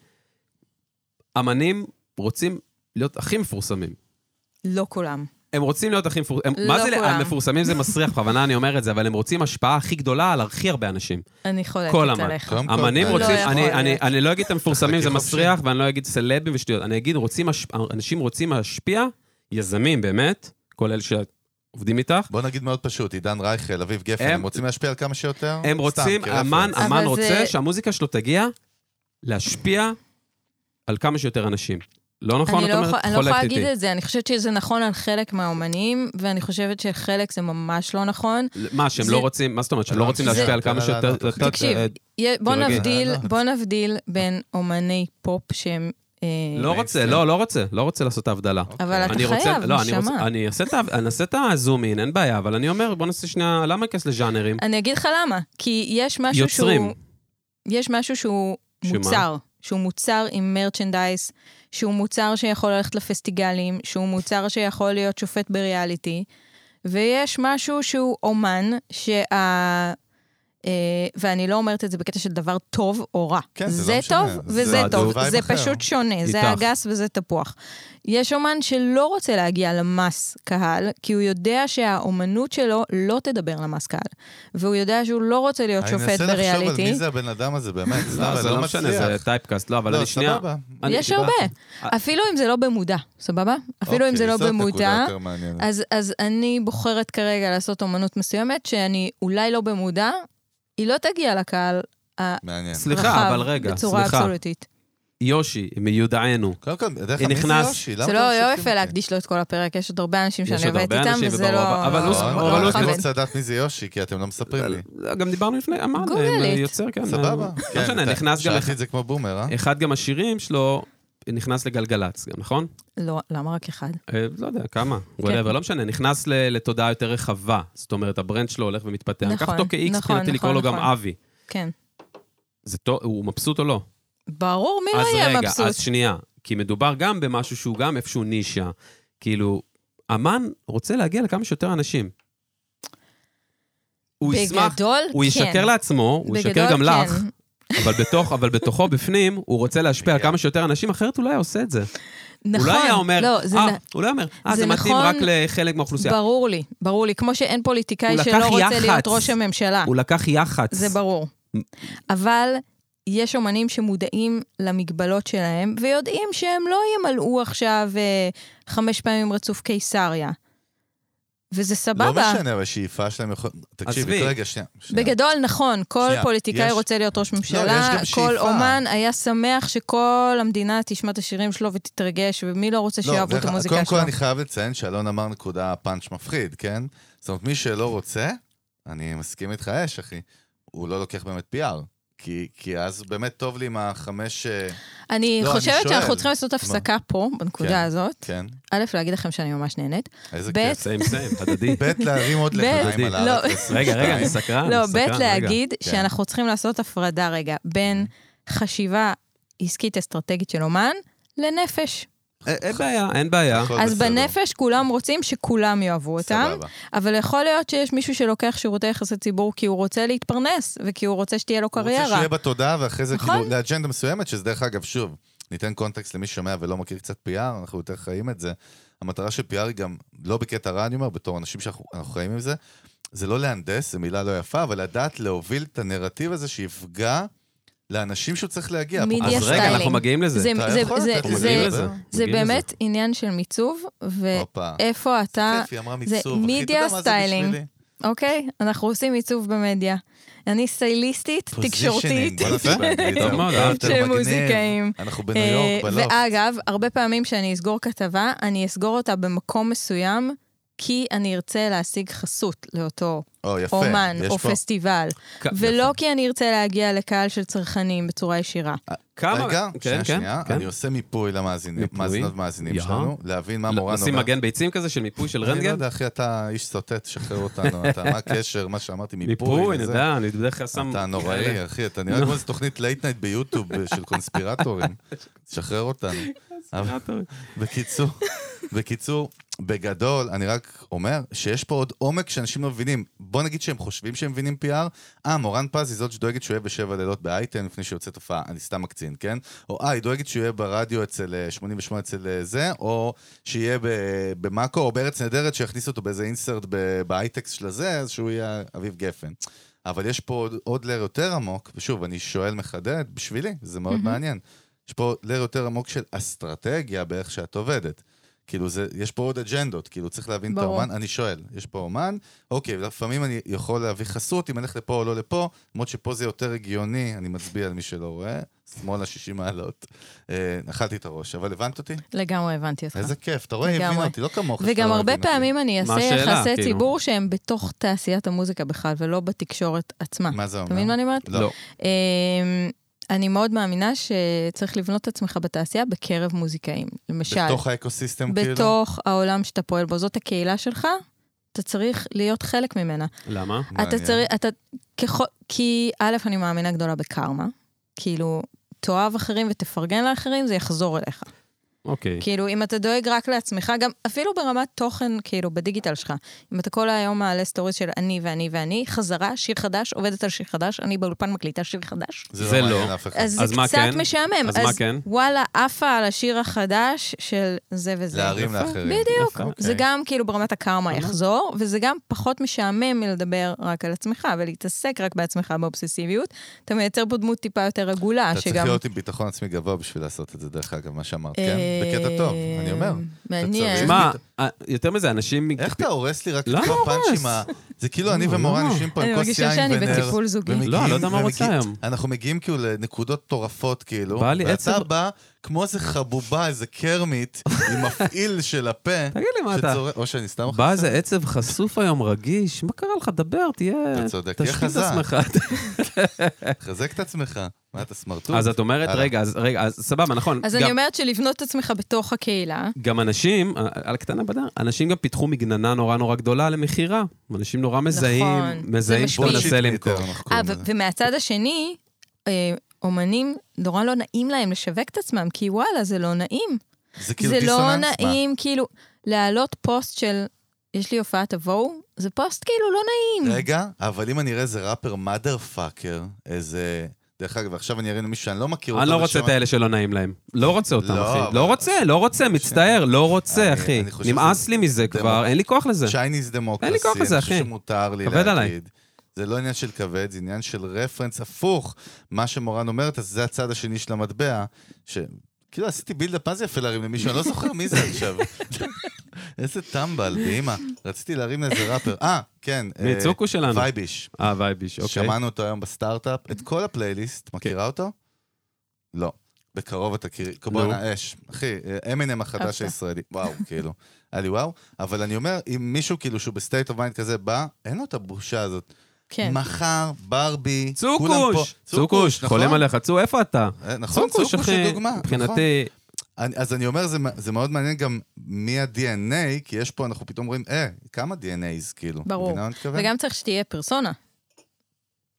B: אמנים רוצים להיות הכי מפורסמים.
C: לא כולם.
B: הם רוצים להיות הכי מפורסמים.
C: לא
B: מה זה
C: כולם.
B: המפורסמים זה מסריח, בכוונה אני אומר את זה, אבל הם רוצים השפעה הכי גדולה על הכי הרבה אנשים.
C: אני חולקת
B: כל אמן.
C: עליך.
A: קודם כל,
B: אמנים
A: אה,
B: רוצים,
C: לא
B: אני-
C: יכול
B: אני-
C: להיות.
B: אני לא אגיד את המפורסמים,
A: תחלקי
B: זה
A: חופשי.
B: מסריח, ואני לא אגיד סלבים ושטויות. אני אגיד, רוצים הש- אנשים רוצים להשפיע, יזמים באמת, כל אלה שעובדים איתך,
A: בוא נגיד מאוד פשוט, עידן רייכל, אביב גפן,
B: הם-
A: הם רוצים להשפיע על כמה שיותר?
B: הם רוצים,
A: סתם, כרפרנס.
B: אמן,
C: אבל
B: אמן
C: זה-
B: רוצה שהמוזיקה שלו תגיע להשפיע על כמה שיותר אנשים. לא נכון,
C: אני
B: את
C: לא
B: אומרת,
C: יכול- אני לא
B: חולקת
C: יכולה
B: איתי.
C: להגיד את זה, אני חושבת שזה נכון על חלק מהאומנים, ואני חושבת שחלק זה ממש לא נכון.
B: מה, שהם
C: זה-
B: לא רוצים, מה זאת אומרת, שהם
A: זה-
B: לא רוצים
A: זה-
B: להשפיע על
A: לא, לא,
B: כמה
A: לא,
B: שיותר...
A: לא,
B: אתה-
C: תקשיב,
B: אה,
C: יה- בוא
B: תירגע.
C: נבדיל,
A: אה, לא. בוא
C: בוא נבדיל בין אומני פופ שהם... אה,
B: לא רוצה,
A: Makes
B: לא, לא רוצה, לא רוצה לעשות את ההבדלה.
A: אוקיי.
C: אבל אתה
B: אני רוצה-
C: חייב,
B: לא, אני רוצה-
C: נשמה.
B: אני אעשה את ה- אני אעשה את הזום אין, אין בעיה, אבל אני אומר, בוא נעשה שנייה, למה להיכנס לז'אנרים?
C: אני אגיד לך למה, כי יש אה, משהו שהוא...
B: יוצרים.
C: יש משהו שהוא
B: שמה?
C: מוצר, שהוא מוצר עם מרצ'נדייז, שהוא מוצר שיכול ללכת לפסטיגלים, שהוא מוצר שיכול להיות שופט בריאליטי, ויש משהו שהוא אומן, שה... אה, ואני לא אומרת את זה בקטע של דבר טוב או רע.
A: כן, זה לא
C: זה
A: משנה.
C: טוב
A: זה-
C: וזה
A: זה
C: טוב,
A: וייב
C: זה
A: אחר.
C: פשוט שונה,
B: איתך.
C: זה אגס וזה תפוח. יש אומן שלא רוצה להגיע למס קהל, כי הוא יודע שהאומנות שלו לא תדבר למס קהל. והוא יודע שהוא לא רוצה להיות
A: אני
C: שופט
A: מנסה לחשוב על
C: בריאליטי.
A: מי זה הבן אדם הזה, באמת, סתם,
B: לא,
A: אני
B: זה
A: לא
B: לא משנה, זה
A: מצליח.
B: טייפקאסט, לא, אבל
A: לא,
B: אני שנייה...
A: סבבה.
B: אני-
C: יש הרבה.
B: אה,
C: אפילו אם זה לא במודע, סבבה? אפילו אם
A: אוקיי,
C: זה לא
A: זאת נקודה
C: במודע,
A: יותר מעניינת.
C: אז, אז אני בוחרת כרגע לעשות אומנות מסוימת, שאני אולי לא במודע, היא לא תגיע לקהל הרחב
A: מעניין.
B: סליחה, אבל רגע,
C: בצורה
B: סליחה.
C: אבסולוטית.
B: יושי, מיודענו.
A: קודם כל, דרך
B: היא
A: אגב, מי זה
B: נכנס-
A: יושי? למה
C: זה
A: אתם
C: לא לא
A: משתפים
C: יפה
A: אותי?
C: להקדיש לו את כל הפרק, יש עוד הרבה אנשים
B: יש
C: שאני
B: עוד
C: עובדת
B: הרבה
C: איתם,
B: אנשים,
C: וזה
B: וברור,
C: לא...
B: אבל- אבל הוא-
A: לא,
B: אבל
A: אני-
B: הוא-
A: אני
C: מכבד.
A: רוצה לדעת מי זה יושי, כי אתם לא מספרים לי.
B: גם דיברנו לפני, אמרנו,
C: גוגל it.
B: יוצר, כן.
A: סבבה.
B: לא
A: כן,
B: משנה,
A: אתה-
B: נכנס גם...
A: שאלתי את זה כמו בומר, אה?
B: אחד גם השירים שלו נכנס לגלגלצ, גם, נכון?
C: לא, למה רק אחד?
B: אה, לא יודע, כמה,
C: כן.
B: וואטאבר, לא משנה, נכנס ל- לתודעה יותר רחבה. זאת אומרת, הברנד שלו הולך ומתפתח.
C: נכון,
B: קח אותו כ-X,
C: נכון,
B: מבחינתי לקרוא
C: נכון,
B: לו גם
C: נכון.
B: אבי.
C: כן.
B: זה טוב, הוא מבסוט או לא?
C: ברור, מי
B: אז
C: לא יהיה
B: רגע,
C: מבסוט?
B: אז שנייה, כי מדובר גם במשהו שהוא גם איפשהו נישה. כאילו, אמן רוצה להגיע לכמה שיותר אנשים. הוא ישמח,
C: בגדול,
B: הוא
C: כן.
B: ישקר לעצמו, הוא ישקר
C: בגדול,
B: גם לך,
C: כן.
B: אבל בתוך, אבל בתוכו, בפנים, הוא רוצה להשפיע
A: כן.
B: על כמה שיותר אנשים, אחרת הוא לא היה עושה את זה. הוא
C: נכון.
B: לא היה אומר,
C: לא, זה
B: אה,
C: נ-
B: הוא לא היה אומר, אה,
C: זה
B: זה מתאים
C: נכון-
B: רק לחלק מהאוכלוסייה.
C: ברור לי, ברור לי. כמו שאין פוליטיקאי
B: הוא
C: שלא
B: לקח
C: רוצה
B: יח"צ.
C: להיות ראש הממשלה.
B: הוא לקח יח"צ.
C: זה ברור. אבל יש אומנים שמודעים למגבלות שלהם, ויודעים שהם לא ימלאו עכשיו אה, חמש פעמים רצוף קיסריה. וזה
A: לא
C: סבבה.
A: משנה, אבל השאיפה שלהם יכול... תקשיבי,
B: עזבי.
A: רגע, שנייה. שנייה.
C: בגדול, נכון, כל
A: שנייה,
C: פוליטיקאי
A: יש- לא,
C: רוצה להיות ראש
A: יש
C: ממשלה,
A: גם
C: כל
A: שאיפה.
C: אומן היה שמח שכל המדינה תשמע את השירים שלו ותתרגש, ומי לא רוצה
A: לא,
C: שיאהבו את
A: דרך-
C: המוזיקה שלו.
A: קודם כל אני חייב לציין שאלון אמר נקודה פאנץ' מפחיד, כן? זאת אומרת, מי שלא רוצה, אני מסכים איתך אש, אחי, הוא לא לוקח באמת PR. כי, כי אז באמת טוב לי עם החמש... אה,
C: אני
A: לא, אני
C: חושבת
A: שואל.
C: שאנחנו צריכים לעשות הפסקה פה, בנקודה
A: כן.
C: הזאת.
A: כן,
C: א', להגיד לכם שאני ממש נהנית.
A: איזה
C: ב',
A: כיף.
B: סיים סיים, הדדי.
A: ב', להרים עוד
C: ב',
A: לחיים על
B: לא.
A: הארץ.
B: רגע, רגע, אני
A: אה,
B: סקרן,
C: לא,
B: אני סקרן,
C: ב',
B: רגע.
C: להגיד
A: כן. אוקיי.
C: שאנחנו צריכים לעשות הפרדה רגע בין חשיבה עסקית אסטרטגית של אומן לנפש.
B: אה, אין בעיה, אין בעיה.
A: הכל
C: אז
A: אוקיי, בסדר.
C: בנפש כולם רוצים שכולם יאהבו אותם,
A: סבבה.
C: אבל יכול להיות שיש מישהו שלוקח שירותי יחסי ציבור כי הוא רוצה להתפרנס, וכי הוא רוצה שתהיה לו
A: הוא רוצה
C: קריירה.
A: שיהיה בתודעה, ואחרי זה
C: נכון.
A: כאילו לאג'נדה מסוימת, שזה דרך אגב, שוב, ניתן קונטקסט למי ששומע ולא מכיר קצת PR, אנחנו יותר חיים את זה. המטרה של PR היא גם, לא בקטע רע, אני אומר, בתור אנשים שאנחנו אנחנו חיים עם זה, זה לא להנדס, זו מילה לא יפה, אבל לדעת להוביל את הנרטיב הזה שיפגע לאנשים שהוא צריך להגיע.
C: מידיה
A: אפרופו-
B: אז רגע,
C: סטיילינג.
B: אנחנו מגיעים לזה.
C: זה-
A: אתה יכול לתת
B: אנחנו
A: לי
B: מגיעים
A: לדבר?
B: לזה.
C: זה
B: מגיעים לזה.
C: באמת עניין של מיצוב, ואיפה
A: הופה.
C: אתה...
A: כיף, היא אמרה
C: אה, זה
A: מיצוב, אחי, אתה יודע
C: מידיה
A: מה זה
C: סטיילינג.
A: בשבילי?
C: אוקיי, אנחנו עושים עיצוב במדיה. אני סטייליסטית,
A: Positioning,
C: תקשורתית,
A: בוא נעשה באנגלית,
B: טוב מאוד,
A: זה הרבה יותר
C: של
A: מגניב.
C: מוזיקאים.
A: אנחנו בניו יורק,
C: אה,
A: בלופט.
C: ואגב, הרבה פעמים שאני אסגור כתבה, אני אסגור אותה במקום מסוים, כי אני ארצה להשיג חסות לאותו
A: או, יפה,
C: אומן
A: יש
C: או
A: פה-
C: פסטיבל,
B: כ-
C: ולא כי אני ארצה להגיע לקהל של צרכנים בצורה ישירה.
A: אה,
B: כמה...
A: רגע,
B: כן,
A: שנייה,
B: כן,
A: שנייה,
B: כן.
A: אני עושה מיפוי למאזינים,
B: מיפוי?
A: מאזינות מאזינים
B: יא.
A: שלנו, להבין מה מורן
B: לשים
A: אומר.
B: מגן ביצים כזה של מיפוי של
A: אני לא
B: רנטגן?
A: יודע, אחי, אתה איש סוטט, שחרר אותנו, אתה, מה הקשר, מה שאמרתי, מיפוי,
B: מיפוי, אני
A: וזה.
B: יודע, אני בדרך כלל שם... כן.
A: אתה נוראי, אחי, אתה נראה כמו איזה תוכנית לייט נייט ביוטיוב אה, של קונספירטורים. שחרר אותנו. אבל- בקיצור, בקיצור, בגדול, אני רק אומר שיש פה עוד עומק שאנשים לא מבינים. בוא נגיד שהם חושבים שהם מבינים PR. אה, מורן פז היא זאת שדואגת שהוא יהיה בשבע לילות באייטם לפני שיוצאת הופעה, אני סתם מקצין, כן? או אה, היא דואגת שהוא יהיה ברדיו אצל אה, 88 אצל אה, זה, או שיהיה ב- במאקו, או בארץ נהדרת, שיכניס אותו באיזה אינסרט ב- בהייטקס של הזה, אז שהוא יהיה אביב גפן. אבל יש פה עוד, עוד לר יותר עמוק, ושוב, אני שואל מחדד, בשבילי, זה מאוד מעניין. יש פה לר יותר עמוק של אסטרטגיה באיך שאת עובדת. כאילו, זה, יש פה עוד אג'נדות, כאילו, צריך להבין את
C: ברור.
A: האומן. אני שואל, יש פה אומן, אוקיי, לפעמים אני יכול להביא חסות, אם אני אלך לפה או לא לפה, למרות שפה זה יותר הגיוני, אני מצביע על מי שלא רואה, שמאלה 60 מעלות. אה, אכלתי את הראש, אבל הבנת אותי?
C: לגמרי הבנתי אותך.
A: איזה כיף, אתה רואה, היא
C: לגמרי.
A: הבינה אותי, לא כמוך. שאתה
C: וגם
A: לא
C: הרבה
A: מבין אותי.
C: פעמים אני
B: מה
C: אעשה
B: השאלה,
C: יחסי
B: כאילו?
C: ציבור שהם בתוך תעשיית המוזיקה בכלל, ולא בתקשורת עצמה.
A: מה זה אומר?
C: אתה מבין מה אני אומרת?
A: לא.
C: אמ, אני מאוד מאמינה שצריך לבנות את עצמך בתעשייה בקרב מוזיקאים. למשל,
A: בתוך האקוסיסטם, כאילו?
C: בתוך העולם שאתה פועל בו, זאת הקהילה שלך, אתה צריך להיות חלק ממנה.
B: למה?
C: אתה
A: מעניין.
C: צריך, אתה, ככל, כי א', אני מאמינה גדולה בקרמה, כאילו, תאהב אחרים ותפרגן לאחרים, זה יחזור אליך.
B: אוקיי.
C: כאילו, אם אתה דואג רק לעצמך, גם אפילו ברמת תוכן, כאילו, בדיגיטל שלך, אם אתה כל היום מעלה סטוריז של אני ואני ואני, חזרה, שיר חדש, עובדת על שיר חדש, אני באולפן מקליטה שיר חדש.
B: זה
A: זה
B: לא.
A: לא מעניין אף אחד.
C: אז,
B: אז
C: זה
B: מה
C: קצת
B: כן?
C: משעמם.
B: אז מה כן?
C: וואלה, עפה על השיר החדש של זה וזה.
A: להרים
B: יפה.
A: לאחרים.
C: בדיוק.
B: יפה, אוקיי.
C: זה גם כאילו ברמת הקרמה יחזור, וזה גם פחות משעמם מלדבר רק על עצמך ולהתעסק רק בעצמך באובססיביות. אתה מייצר פה דמות טיפה יותר עגולה,
A: אתה צריך
C: שגם...
A: להיות עם ביטחון עצמי גבוה בשביל לעשות את זה, דרך אגב, מה שאמרת, כן?
C: אה,
A: בקטע טוב, אני אומר.
C: מעניין.
A: צריך-
B: שמע, אה, יותר מזה, אנשים...
A: איך אתה הורס לי רק
B: למה
A: למה
B: לא הורס?
A: הורס? זה כאילו אני
B: למה?
A: ומורן
B: למה?
A: יושבים פה
C: אני
A: עם כוס
C: מרגישה
A: יין
C: שאני
A: ונר.
C: בטיפול זוגי.
A: ומגיעים-
B: לא, אני לא יודע מה הוא רוצה
A: ומגיעים-
B: היום.
A: אנחנו מגיעים כאילו לנקודות מטורפות, כאילו,
B: בא לי
A: ואתה
B: עצם-
A: בא כמו איזה חבובה, איזה קרמית, עם מפעיל של הפה.
B: תגיד לי מה אתה...
A: שצורא- או שאני סתם
B: בא איזה עצב חשוף היום, רגיש, מה קרה לך? דבר, תהיה...
A: אתה צודק, תהיה
B: תשחיל את
A: חזק.
B: עצמך.
A: חזק את עצמך. מה אתה סמרטוט?
B: אז את אומרת,
A: הלאה.
B: רגע, אז רגע, אז סבבה, נכון.
C: אז
B: גם-
C: אני אומרת שלבנות את עצמך בתוך הקהילה,
B: גם אנשים, אה, על הקטנה בדרך, אנשים גם פיתחו מגננה נורא נורא גדולה למכירה. אנשים נורא מזהים,
C: נכון, זה
B: מזהים שאתה
C: משפיע.
B: מנסה
A: בולשיט
B: למכור.
A: מיטר, אנחנו
C: אה,
A: קוראים
C: ו-
A: לזה.
C: ומהצד השני, אה, אומנים, נורא לא נעים להם לשווק את עצמם, כי וואלה, זה לא נעים.
A: זה כאילו
C: זה לא
A: דיסוננס? מה?
C: נעים, כאילו, להעלות פוסט של, יש לי הופעה, תבואו, זה פוסט כאילו לא נעים.
A: רגע, אבל אם אני אראה איזה ראפר מאדר פאקר, איזה... דרך אגב, עכשיו אני אראה מישהו שאני לא מכיר אותו.
B: אני לא רוצה
A: ושמע-
B: את האלה שלא נעים להם. לא רוצה אותם,
A: לא,
B: אחי.
A: אבל-
B: לא רוצה, לא רוצה, מצטער, לא רוצה,
A: אני-
B: אחי.
A: אני חושב
B: נמאס
A: שזה-
B: לי מזה
A: זה
B: כבר,
A: מ-
B: אין לי כוח לזה.
A: צ'ייניז דמוקרסי,
B: אין לי כוח לזה,
A: אני חושב
B: אחי.
A: שמותר לי
B: כבד עליי.
A: להגיד. זה לא עניין של כבד, זה עניין של רפרנס הפוך. מה שמורן אומרת, אז זה הצד השני של המטבע, ש... כאילו עשיתי בילדאפ, מה זה יפה להרים למישהו? אני לא זוכר מי זה עכשיו. איזה טמבל, באמא. רציתי להרים לאיזה ראפר. אה, כן. אה,
B: מי, צוקו שלנו.
A: וייביש.
B: אה, וייביש, אוקיי. כן.
A: שמענו אותו היום בסטארט-אפ, את כל הפלייליסט, מכירה אותו? לא. בקרוב אתה
B: לא.
A: תכירי, קובונה אש. אחי, אמינם החדש
C: אהבת.
A: הישראלי. וואו, כאילו. היה לי וואו. אבל אני אומר, אם מישהו כאילו שהוא בסטייט אוף מיינד כזה בא, אין לו את הבושה הזאת.
C: כן.
A: מחר, ברבי, כולם פה. נכון?
B: צוקוש! צוקוש, חולם עליך. צו, איפה אתה?
A: אה, נכון,
B: צוקוש,
A: צוקוש
B: אחי.
A: הוא דוגמה. נכון.
B: מבחינתי,
A: אני, אז אני אומר, זה, מ- זה מאוד מעניין גם מי ה-DNA, כי יש פה, אנחנו פתאום רואים, אה, כמה DNA's, כאילו.
C: ברור.
A: מבינה מה אני מתכוון?
C: וגם צריך שתהיה פרסונה.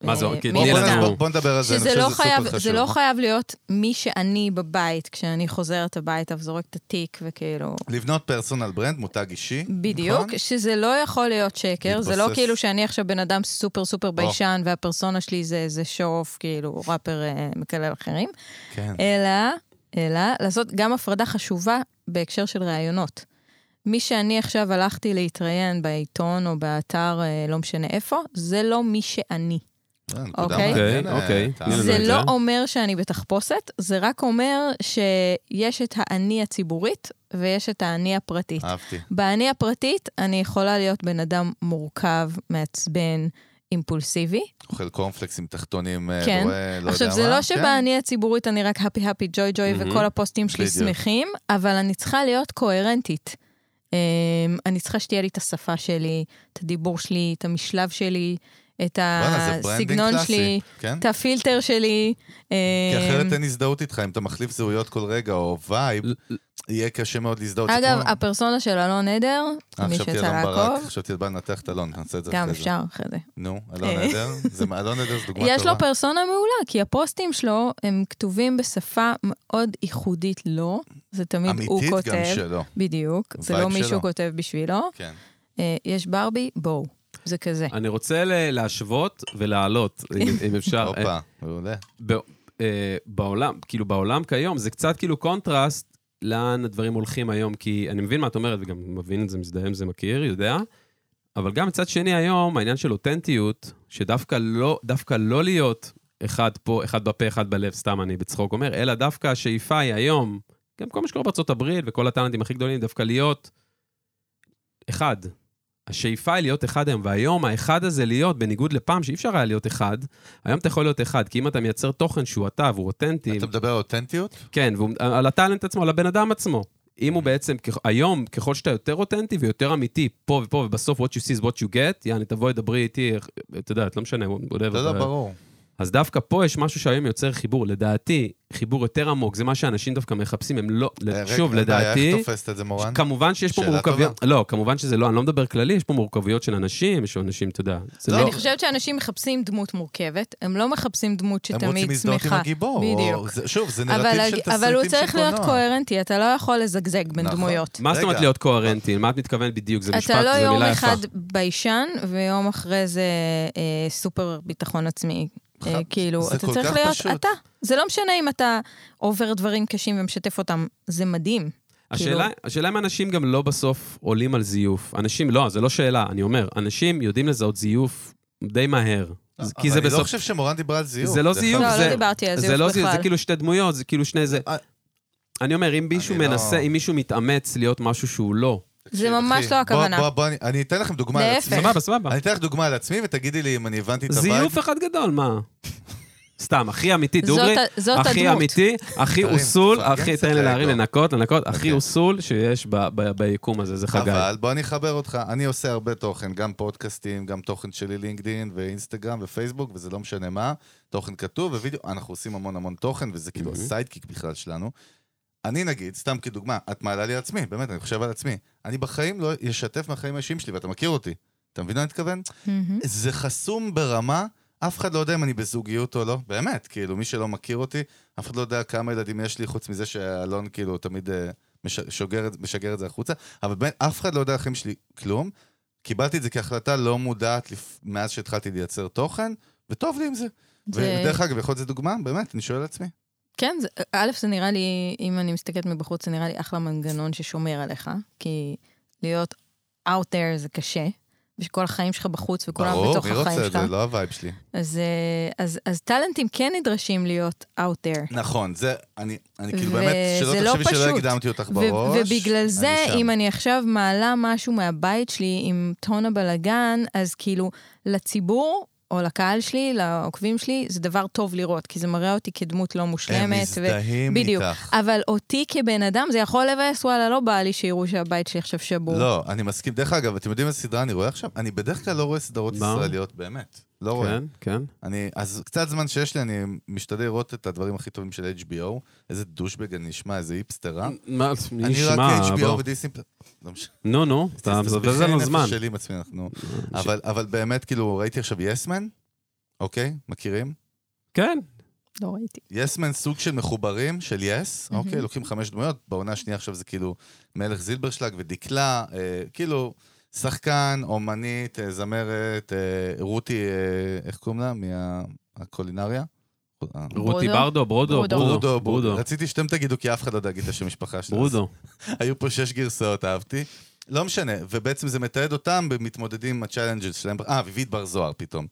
B: מה זה,
C: אה,
B: כי
A: בוא-
C: מן
B: תני
A: בוא-
C: הסתם.
B: לנו-
A: בוא- בוא נדבר על זה, אני
C: שזה
A: חושב
C: לא
A: שזה סופר
C: חייב,
A: חשוב.
C: זה לא חייב להיות מי שאני בבית, כשאני חוזרת הביתה וזורקת את התיק וכאילו...
A: לבנות פרסונל ברנד, מותג אישי.
C: בדיוק,
A: נכון?
C: שזה לא יכול להיות שקר, זה לא
A: להתבסס.
C: כאילו שאני עכשיו בן אדם סופר סופר ביישן והפרסונה שלי זה איזה שואוף, כאילו ראפר אה, מקלל אחרים,
A: כן.
C: אה, אלא, אלא לעשות גם הפרדה חשובה בהקשר של ראיונות. מי שאני עכשיו הלכתי להתראיין בעיתון או באתר, אה, לא משנה איפה, זה לא מי שאני.
A: אה, נקודה
C: אוקיי.
A: מעניינת.
B: אוקיי, אוקיי.
A: אתה-
B: תני לנו
C: זה
B: את
C: לא
B: זה.
C: אומר שאני בתחפושת, זה רק אומר שיש את האני הציבורית ויש את האני הפרטית.
A: אהבתי.
C: באני הפרטית, אני יכולה להיות בן אדם מורכב, מעצבן, אימפולסיבי.
A: אוכל קורנפלקס עם תחתונים, אה,
C: כן.
A: רואה, לא
C: עכשיו,
A: יודע
C: זה
A: מה.
C: לא
A: כן.
C: שבאני הציבורית אני רק הפי הפי ג'וי ג'וי
B: מהמם.
C: וכל הפוסטים שלי
A: בדיוק.
C: שמחים, אבל אני צריכה להיות קוהרנטית. אמ, אני צריכה שתהיה לי את השפה שלי, את הדיבור שלי, את המשלב שלי, את
A: וואלה, זה ברנדינג
C: הסגנון
A: קלאסי.
C: שלי,
A: כן?
C: את הפילטר שלי.
A: כי אחרת
C: אמ,
A: אין הזדהות איתך, אם אתה מחליף זהויות כל רגע, או וייב, יהיה קשה מאוד להזדהות. זה
C: אגב,
A: כמו-
C: הפרסונה של אלון עדר,
A: אה,
C: מי
A: חשבתי
C: שיצא
A: אלון ברק,
C: לעקוב,
A: חשבתי בא לנתח את אלון, נעשה את זה
C: גם
A: אחרי זה.
C: אפשר אחרי זה.
A: נו, אלון
C: אה.
A: עדר, זה אלון עדר זו דוגמה טובה.
C: יש לו פרסונה מעולה, כי הפוסטים שלו הם כתובים בשפה מאוד ייחודית לו, זה תמיד הוא
A: אמיתית
C: כותב.
A: גם שלו.
C: בדיוק, זה
A: וייב
C: לא מישהו
A: שלו.
C: כותב בשבילו.
A: כן.
C: אה, יש ברבי, בואו. זה כזה.
B: אני רוצה ל- להשוות ולהעלות, אם- אם אפשר. אה,
A: הופה, מעולה.
B: ב- אה, בעולם, כאילו בעולם כיום, זה קצת כאילו קונטרסט לאן הדברים הולכים היום, כי אני מבין מה את אומרת, וגם מבין את זה, מזדהה עם זה, מכיר, יודע, אבל גם מצד שני היום, העניין של אותנטיות, שדווקא לא, דווקא לא להיות אחד פה, אחד בפה, אחד בלב, סתם אני בצחוק אומר, אלא דווקא השאיפה היא היום גם כל מה שקורה בארצות הברית וכל הטאלנטים הכי גדולים, דווקא להיות אחד. השאיפה היא להיות אחד היום, והיום האחד הזה להיות, בניגוד לפעם שאי אפשר היה להיות אחד, היום אתה יכול להיות אחד, כי אם אתה מייצר תוכן שהוא אתה והוא אותנטי,
A: אתה מדבר על אותנטיות?
B: כן, והוא, על הטאלנט עצמו, על הבן אדם עצמו. אם הוא בעצם, כ- היום, ככל שאתה יותר אותנטי ויותר אמיתי, פה ופה, ובסוף what you see is what you get, יעני, תבואי, דברי איתי, איך- את יודעת, לא משנה, whatever.
A: לא,
B: אתה-
A: לא, ברור.
B: אז דווקא פה יש משהו שהיום יוצר חיבור, לדעתי, חיבור יותר עמוק, זה מה שאנשים דווקא מחפשים, הם לא,
A: אה, רגע,
B: שוב,
A: אין בעיה,
B: לדעתי,
A: איך תופסת את זה, מורן?
B: כמובן שיש פה
A: שאלה
B: מורכבויות, לא, כמובן שזה לא, אני לא מדבר כללי, יש פה מורכבויות של אנשים, יש אנשים, אתה יודע, זה
A: לא,
B: לא,
C: אני חושבת שאנשים מחפשים דמות מורכבת, הם לא מחפשים דמות
A: הם
C: שתמיד שמחה.
A: רוצים להזדהות עם הגיבור.
C: בדיוק.
A: או- זה- שוב, זה
C: אבל,
A: נרטיב של תסריטים של
C: הג-
A: קולנוע.
C: אבל הוא צריך להיות קוהרנטי, אתה לא יכול לזגזג בין
A: נכון.
C: דמויות.
B: מה זאת אומרת
A: רגע.
B: להיות קוהרנטי? מה את מתכוונת בדיוק? זה משפט,
C: אתה לא
B: זו
C: יום
B: מילה יפה.
C: אחד ביישן, ויום אחרי זה אה, סופר ביטחון עצמי. אה,
A: חד-
C: כאילו,
A: זה
C: אתה
A: כל
C: צריך
A: כך
C: להיות
A: פשוט.
C: אתה. זה לא משנה אם אתה עובר דברים קשים ומשתף אותם, זה מדהים. כאילו-
B: השאלה, השאלה אם אנשים גם לא בסוף עולים על זיוף. אנשים, לא, זה לא שאלה, אני אומר, אנשים יודעים לזהות זיוף די מהר. זה- כי זה
A: אבל אני לא
B: בסוף...
A: חושב שמורן דיברה על זיוף.
B: זה לא
A: דרך
B: זיוף,
A: אגב.
C: לא,
B: זה-
C: לא דיברתי על
B: זה
C: זיוף
B: לא
C: בכלל.
B: זיוף, זה כאילו שתי דמויות, זה כאילו שני זה...
A: אה.
B: אני אומר, אם מישהו
A: אני לא-
B: מנסה, אם מישהו מתאמץ להיות משהו שהוא לא,
A: תקשיב,
C: ממש
A: אחי,
C: לא
A: בוא-
C: הכוונה.
A: בוא, בוא, אני- אני אתן לכם דוגמה על עצמי.
C: להפך.
B: סבבה, סבבה.
A: אני אתן לך דוגמה על עצמי ותגידי לי אם אני הבנתי את הווייב.
B: זיוף אחד גדול, מה? סתם, הכי אמיתי,
C: זאת
B: דוגרי,
C: ה- זאת
B: הכי
C: הדמות.
B: אמיתי, הכי
A: חברים,
B: אוסול,
A: פרגן
B: הכי,
A: קצת
B: תן לי להרים,
A: לאגו.
B: לנקות, לנקות, הכי
A: אוקיי.
B: אוסול שיש ב- ב- ביקום הזה, זה חגי.
A: אבל בוא אני אחבר אותך, אני עושה הרבה תוכן, גם פודקאסטים, גם תוכן שלי לינקדין ואינסטגרם ופייסבוק, וזה לא משנה מה, תוכן כתוב ווידאו, אנחנו עושים המון המון תוכן, וזה כאילו
B: Mhm.
A: הסיידקיק בכלל שלנו. אני נגיד, סתם כדוגמה, את מעלה לי על עצמי, באמת, אני חושב על עצמי. אני בחיים לא אשתף מהחיים האישיים שלי, ואתה מכיר אותי. אתה מבין מה אני מתכוון?
C: מהמם.
A: זה חסום ברמה, אף אחד לא יודע אם אני בזוגיות או לא, באמת, כאילו, מי שלא מכיר אותי, אף אחד לא יודע כמה ילדים יש לי, חוץ מזה שאלון כאילו תמיד אה, מש, שוגר, את- משגר את זה החוצה, אבל באמת, אף אחד לא יודע על החיים שלי כלום. קיבלתי את זה כהחלטה לא מודעת לפ... מאז שהתחלתי לייצר תוכן, וטוב לי עם זה.
C: זה-
A: ודרך אגב, יכול להיות זו דוגמה? באמת, אני שואל את עצמי.
C: כן, זה, א', זה נראה לי, אם אני מסתכלת מבחוץ, זה נראה לי אחלה מנגנון ששומר עליך, כי להיות out there זה קשה, ושכל החיים שלך בחוץ וכולם
A: ברור,
C: בתוך
A: מי
C: החיים שלך.
A: רוצה את זה? לא הווייב שלי.
C: אז, אה, אז, אז טאלנטים כן נדרשים להיות out there.
A: נכון, זה, אני, אני כאילו
C: ו-
A: באמת, שלא
C: זה לא
A: תחשבי שלא
C: פשוט.
A: הקדמתי אותך
C: ו-
A: בראש.
C: ובגלל
A: אני
C: זה,
A: שם.
C: אם אני עכשיו מעלה משהו מהבית שלי עם טון הבלגן, אז כאילו, לציבור, או לקהל שלי, לעוקבים שלי, זה דבר טוב לראות, כי זה מראה אותי כדמות לא
A: הם
C: מושלמת. ו-
A: מזדהים
C: בדיוק.
A: איתך.
C: אבל אותי כבן אדם, זה יכול לבאס, וואלה, לא בא לי שיראו שהבית שלי עכשיו שבור.
A: לא, אני מסכים. דרך אגב, אתם יודעים איזה סדרה אני רואה עכשיו? אני בדרך כלל לא רואה סדרות
B: מה?
A: ישראליות, באמת. לא רואה.
B: כן, כן.
A: אני, אז קצת זמן שיש לי, אני משתדל לראות את הדברים הכי טובים של HBO. איזה דושבג אני נשמע, איזה היפסטרה.
B: מה,
A: אני רק
B: נשמע,
A: HBO
B: בוא.
A: ודיסני... פל- לא משנה.
B: נו, נו, אתה
A: זה- זה
B: מבזבז לנו
A: נפש
B: זמן.
A: שלי עם עצמי, אנחנו... אבל- אבל באמת, כאילו, ראיתי עכשיו יסמן, אוקיי? מכירים?
B: כן,
C: לא ראיתי.
A: יסמן סוג של מחוברים של יס, yes,
C: מהמם.
A: אוקיי, לוקחים חמש דמויות, בעונה השנייה עכשיו זה כאילו מלך זילברשלג ודקלה, אה, כאילו שחקן, אומנית, אה, זמרת, אה, רותי, אה, איך קוראים לה? מהקולינריה? אה,
B: רותי ברדו,
C: ברודו?
B: ברודו,
C: ברודו.
B: ברודו,
A: ברודו.
B: ברודו.
A: רציתי שאתם תגידו, כי אף אחד לא יודע להגיד את השם משפחה שלה. אז
B: ברודו.
A: היו פה שש גרסאות, אהבתי. לא משנה, ובעצם זה מתעד אותם במתמודדים עם הצ'אלנג'ס שלהם. אה, אביבית בר זוהר פתאום.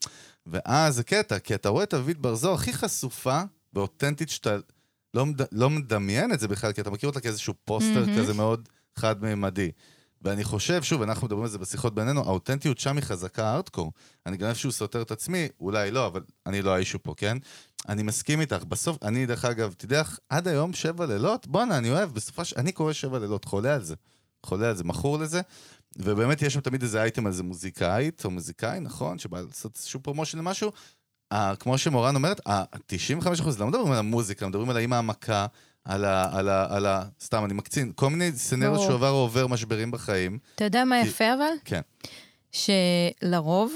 A: ואז זה קטע, כי אתה רואה את אביבית בר זוהר הכי חשופה ואותנטית שאתה לא, מד... לא מדמיין את זה בכלל, כי אתה מכיר אותה כאיזשהו פוסטר
C: מהמם.
A: mm-hmm. כזה מאוד חד-מימדי. ואני חושב, שוב, אנחנו מדברים על זה בשיחות בינינו, האותנטיות שם היא חזקה הארדקור. אני גם איפשהו סותר את עצמי, אולי לא, אבל אני לא האישו פה, כן? אני מסכים איתך. בסוף, אני, דרך אגב, תדע לך, עד היום שבע לילות, בואנה, אני אוהב, בסופה ש... אני קורא שבע לילות, חולה על זה. חולה על זה, מכור לזה. ובאמת יש שם תמיד איזה אייטם על איזה מוזיקאית או מוזיקאי, נכון? שבא לעשות איזשהו פרומושן למשהו. ה- כמו שמורן אומרת, ה-95% לא מדברים על המוזיקה, מדברים על האם העמקה, על ה... על ה... על ה... סתם, אני מקצין. כל מיני סצנריות
C: ברור.
A: שהוא עבר או עובר משברים בחיים.
C: אתה יודע מה
A: כי-
C: יפה אבל?
A: כן.
C: שלרוב,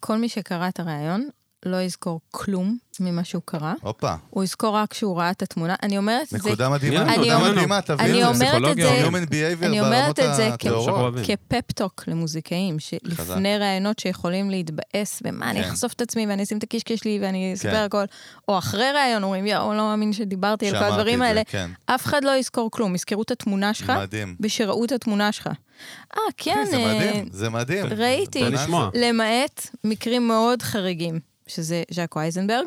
C: כל מי שקרא את הריאיון לא יזכור כלום ממה שהוא קרא.
A: הופה,
C: הוא יזכור רק כשהוא ראה את התמונה. אני אומרת את זה
A: נקודה מדהימה.
B: אני
A: נקודה
B: אומר-
A: מדהימה, תבין
C: אני
A: את זה.
C: אומרת את
B: פסיכולוגיה,
C: זה-
A: Human behavior
C: אני אומרת
A: ברמות
C: את זה כי-
A: הטהורות.
B: עכשיו אוהבים.
C: כפפטוק למוזיקאים, שלפני
A: חזק.
C: ראיונות שיכולים להתבאס, ומה, אני
A: כן.
C: אחשוף את עצמי ואני אשים את הקישקע שלי ואני אספר
A: כן.
C: הכל, או אחרי ראיון אומרים, יואו, לא מאמין שדיברתי על כל
A: שאמרתי
C: הדברים
A: את זה,
C: האלה.
A: כן,
C: אף אחד לא יזכור כלום, יזכרו את התמונה שלך,
A: מדהים. אוקיי,
C: ושראו את התמונה שלך. אה, כן,
A: זה
C: אה,
A: מדהים, זה מדהים.
C: ראיתי.
B: לא
A: בנאסה.
B: לשמוע.
C: למעט מקרים מאוד חריגים, שזה ז'קו אייזנברג,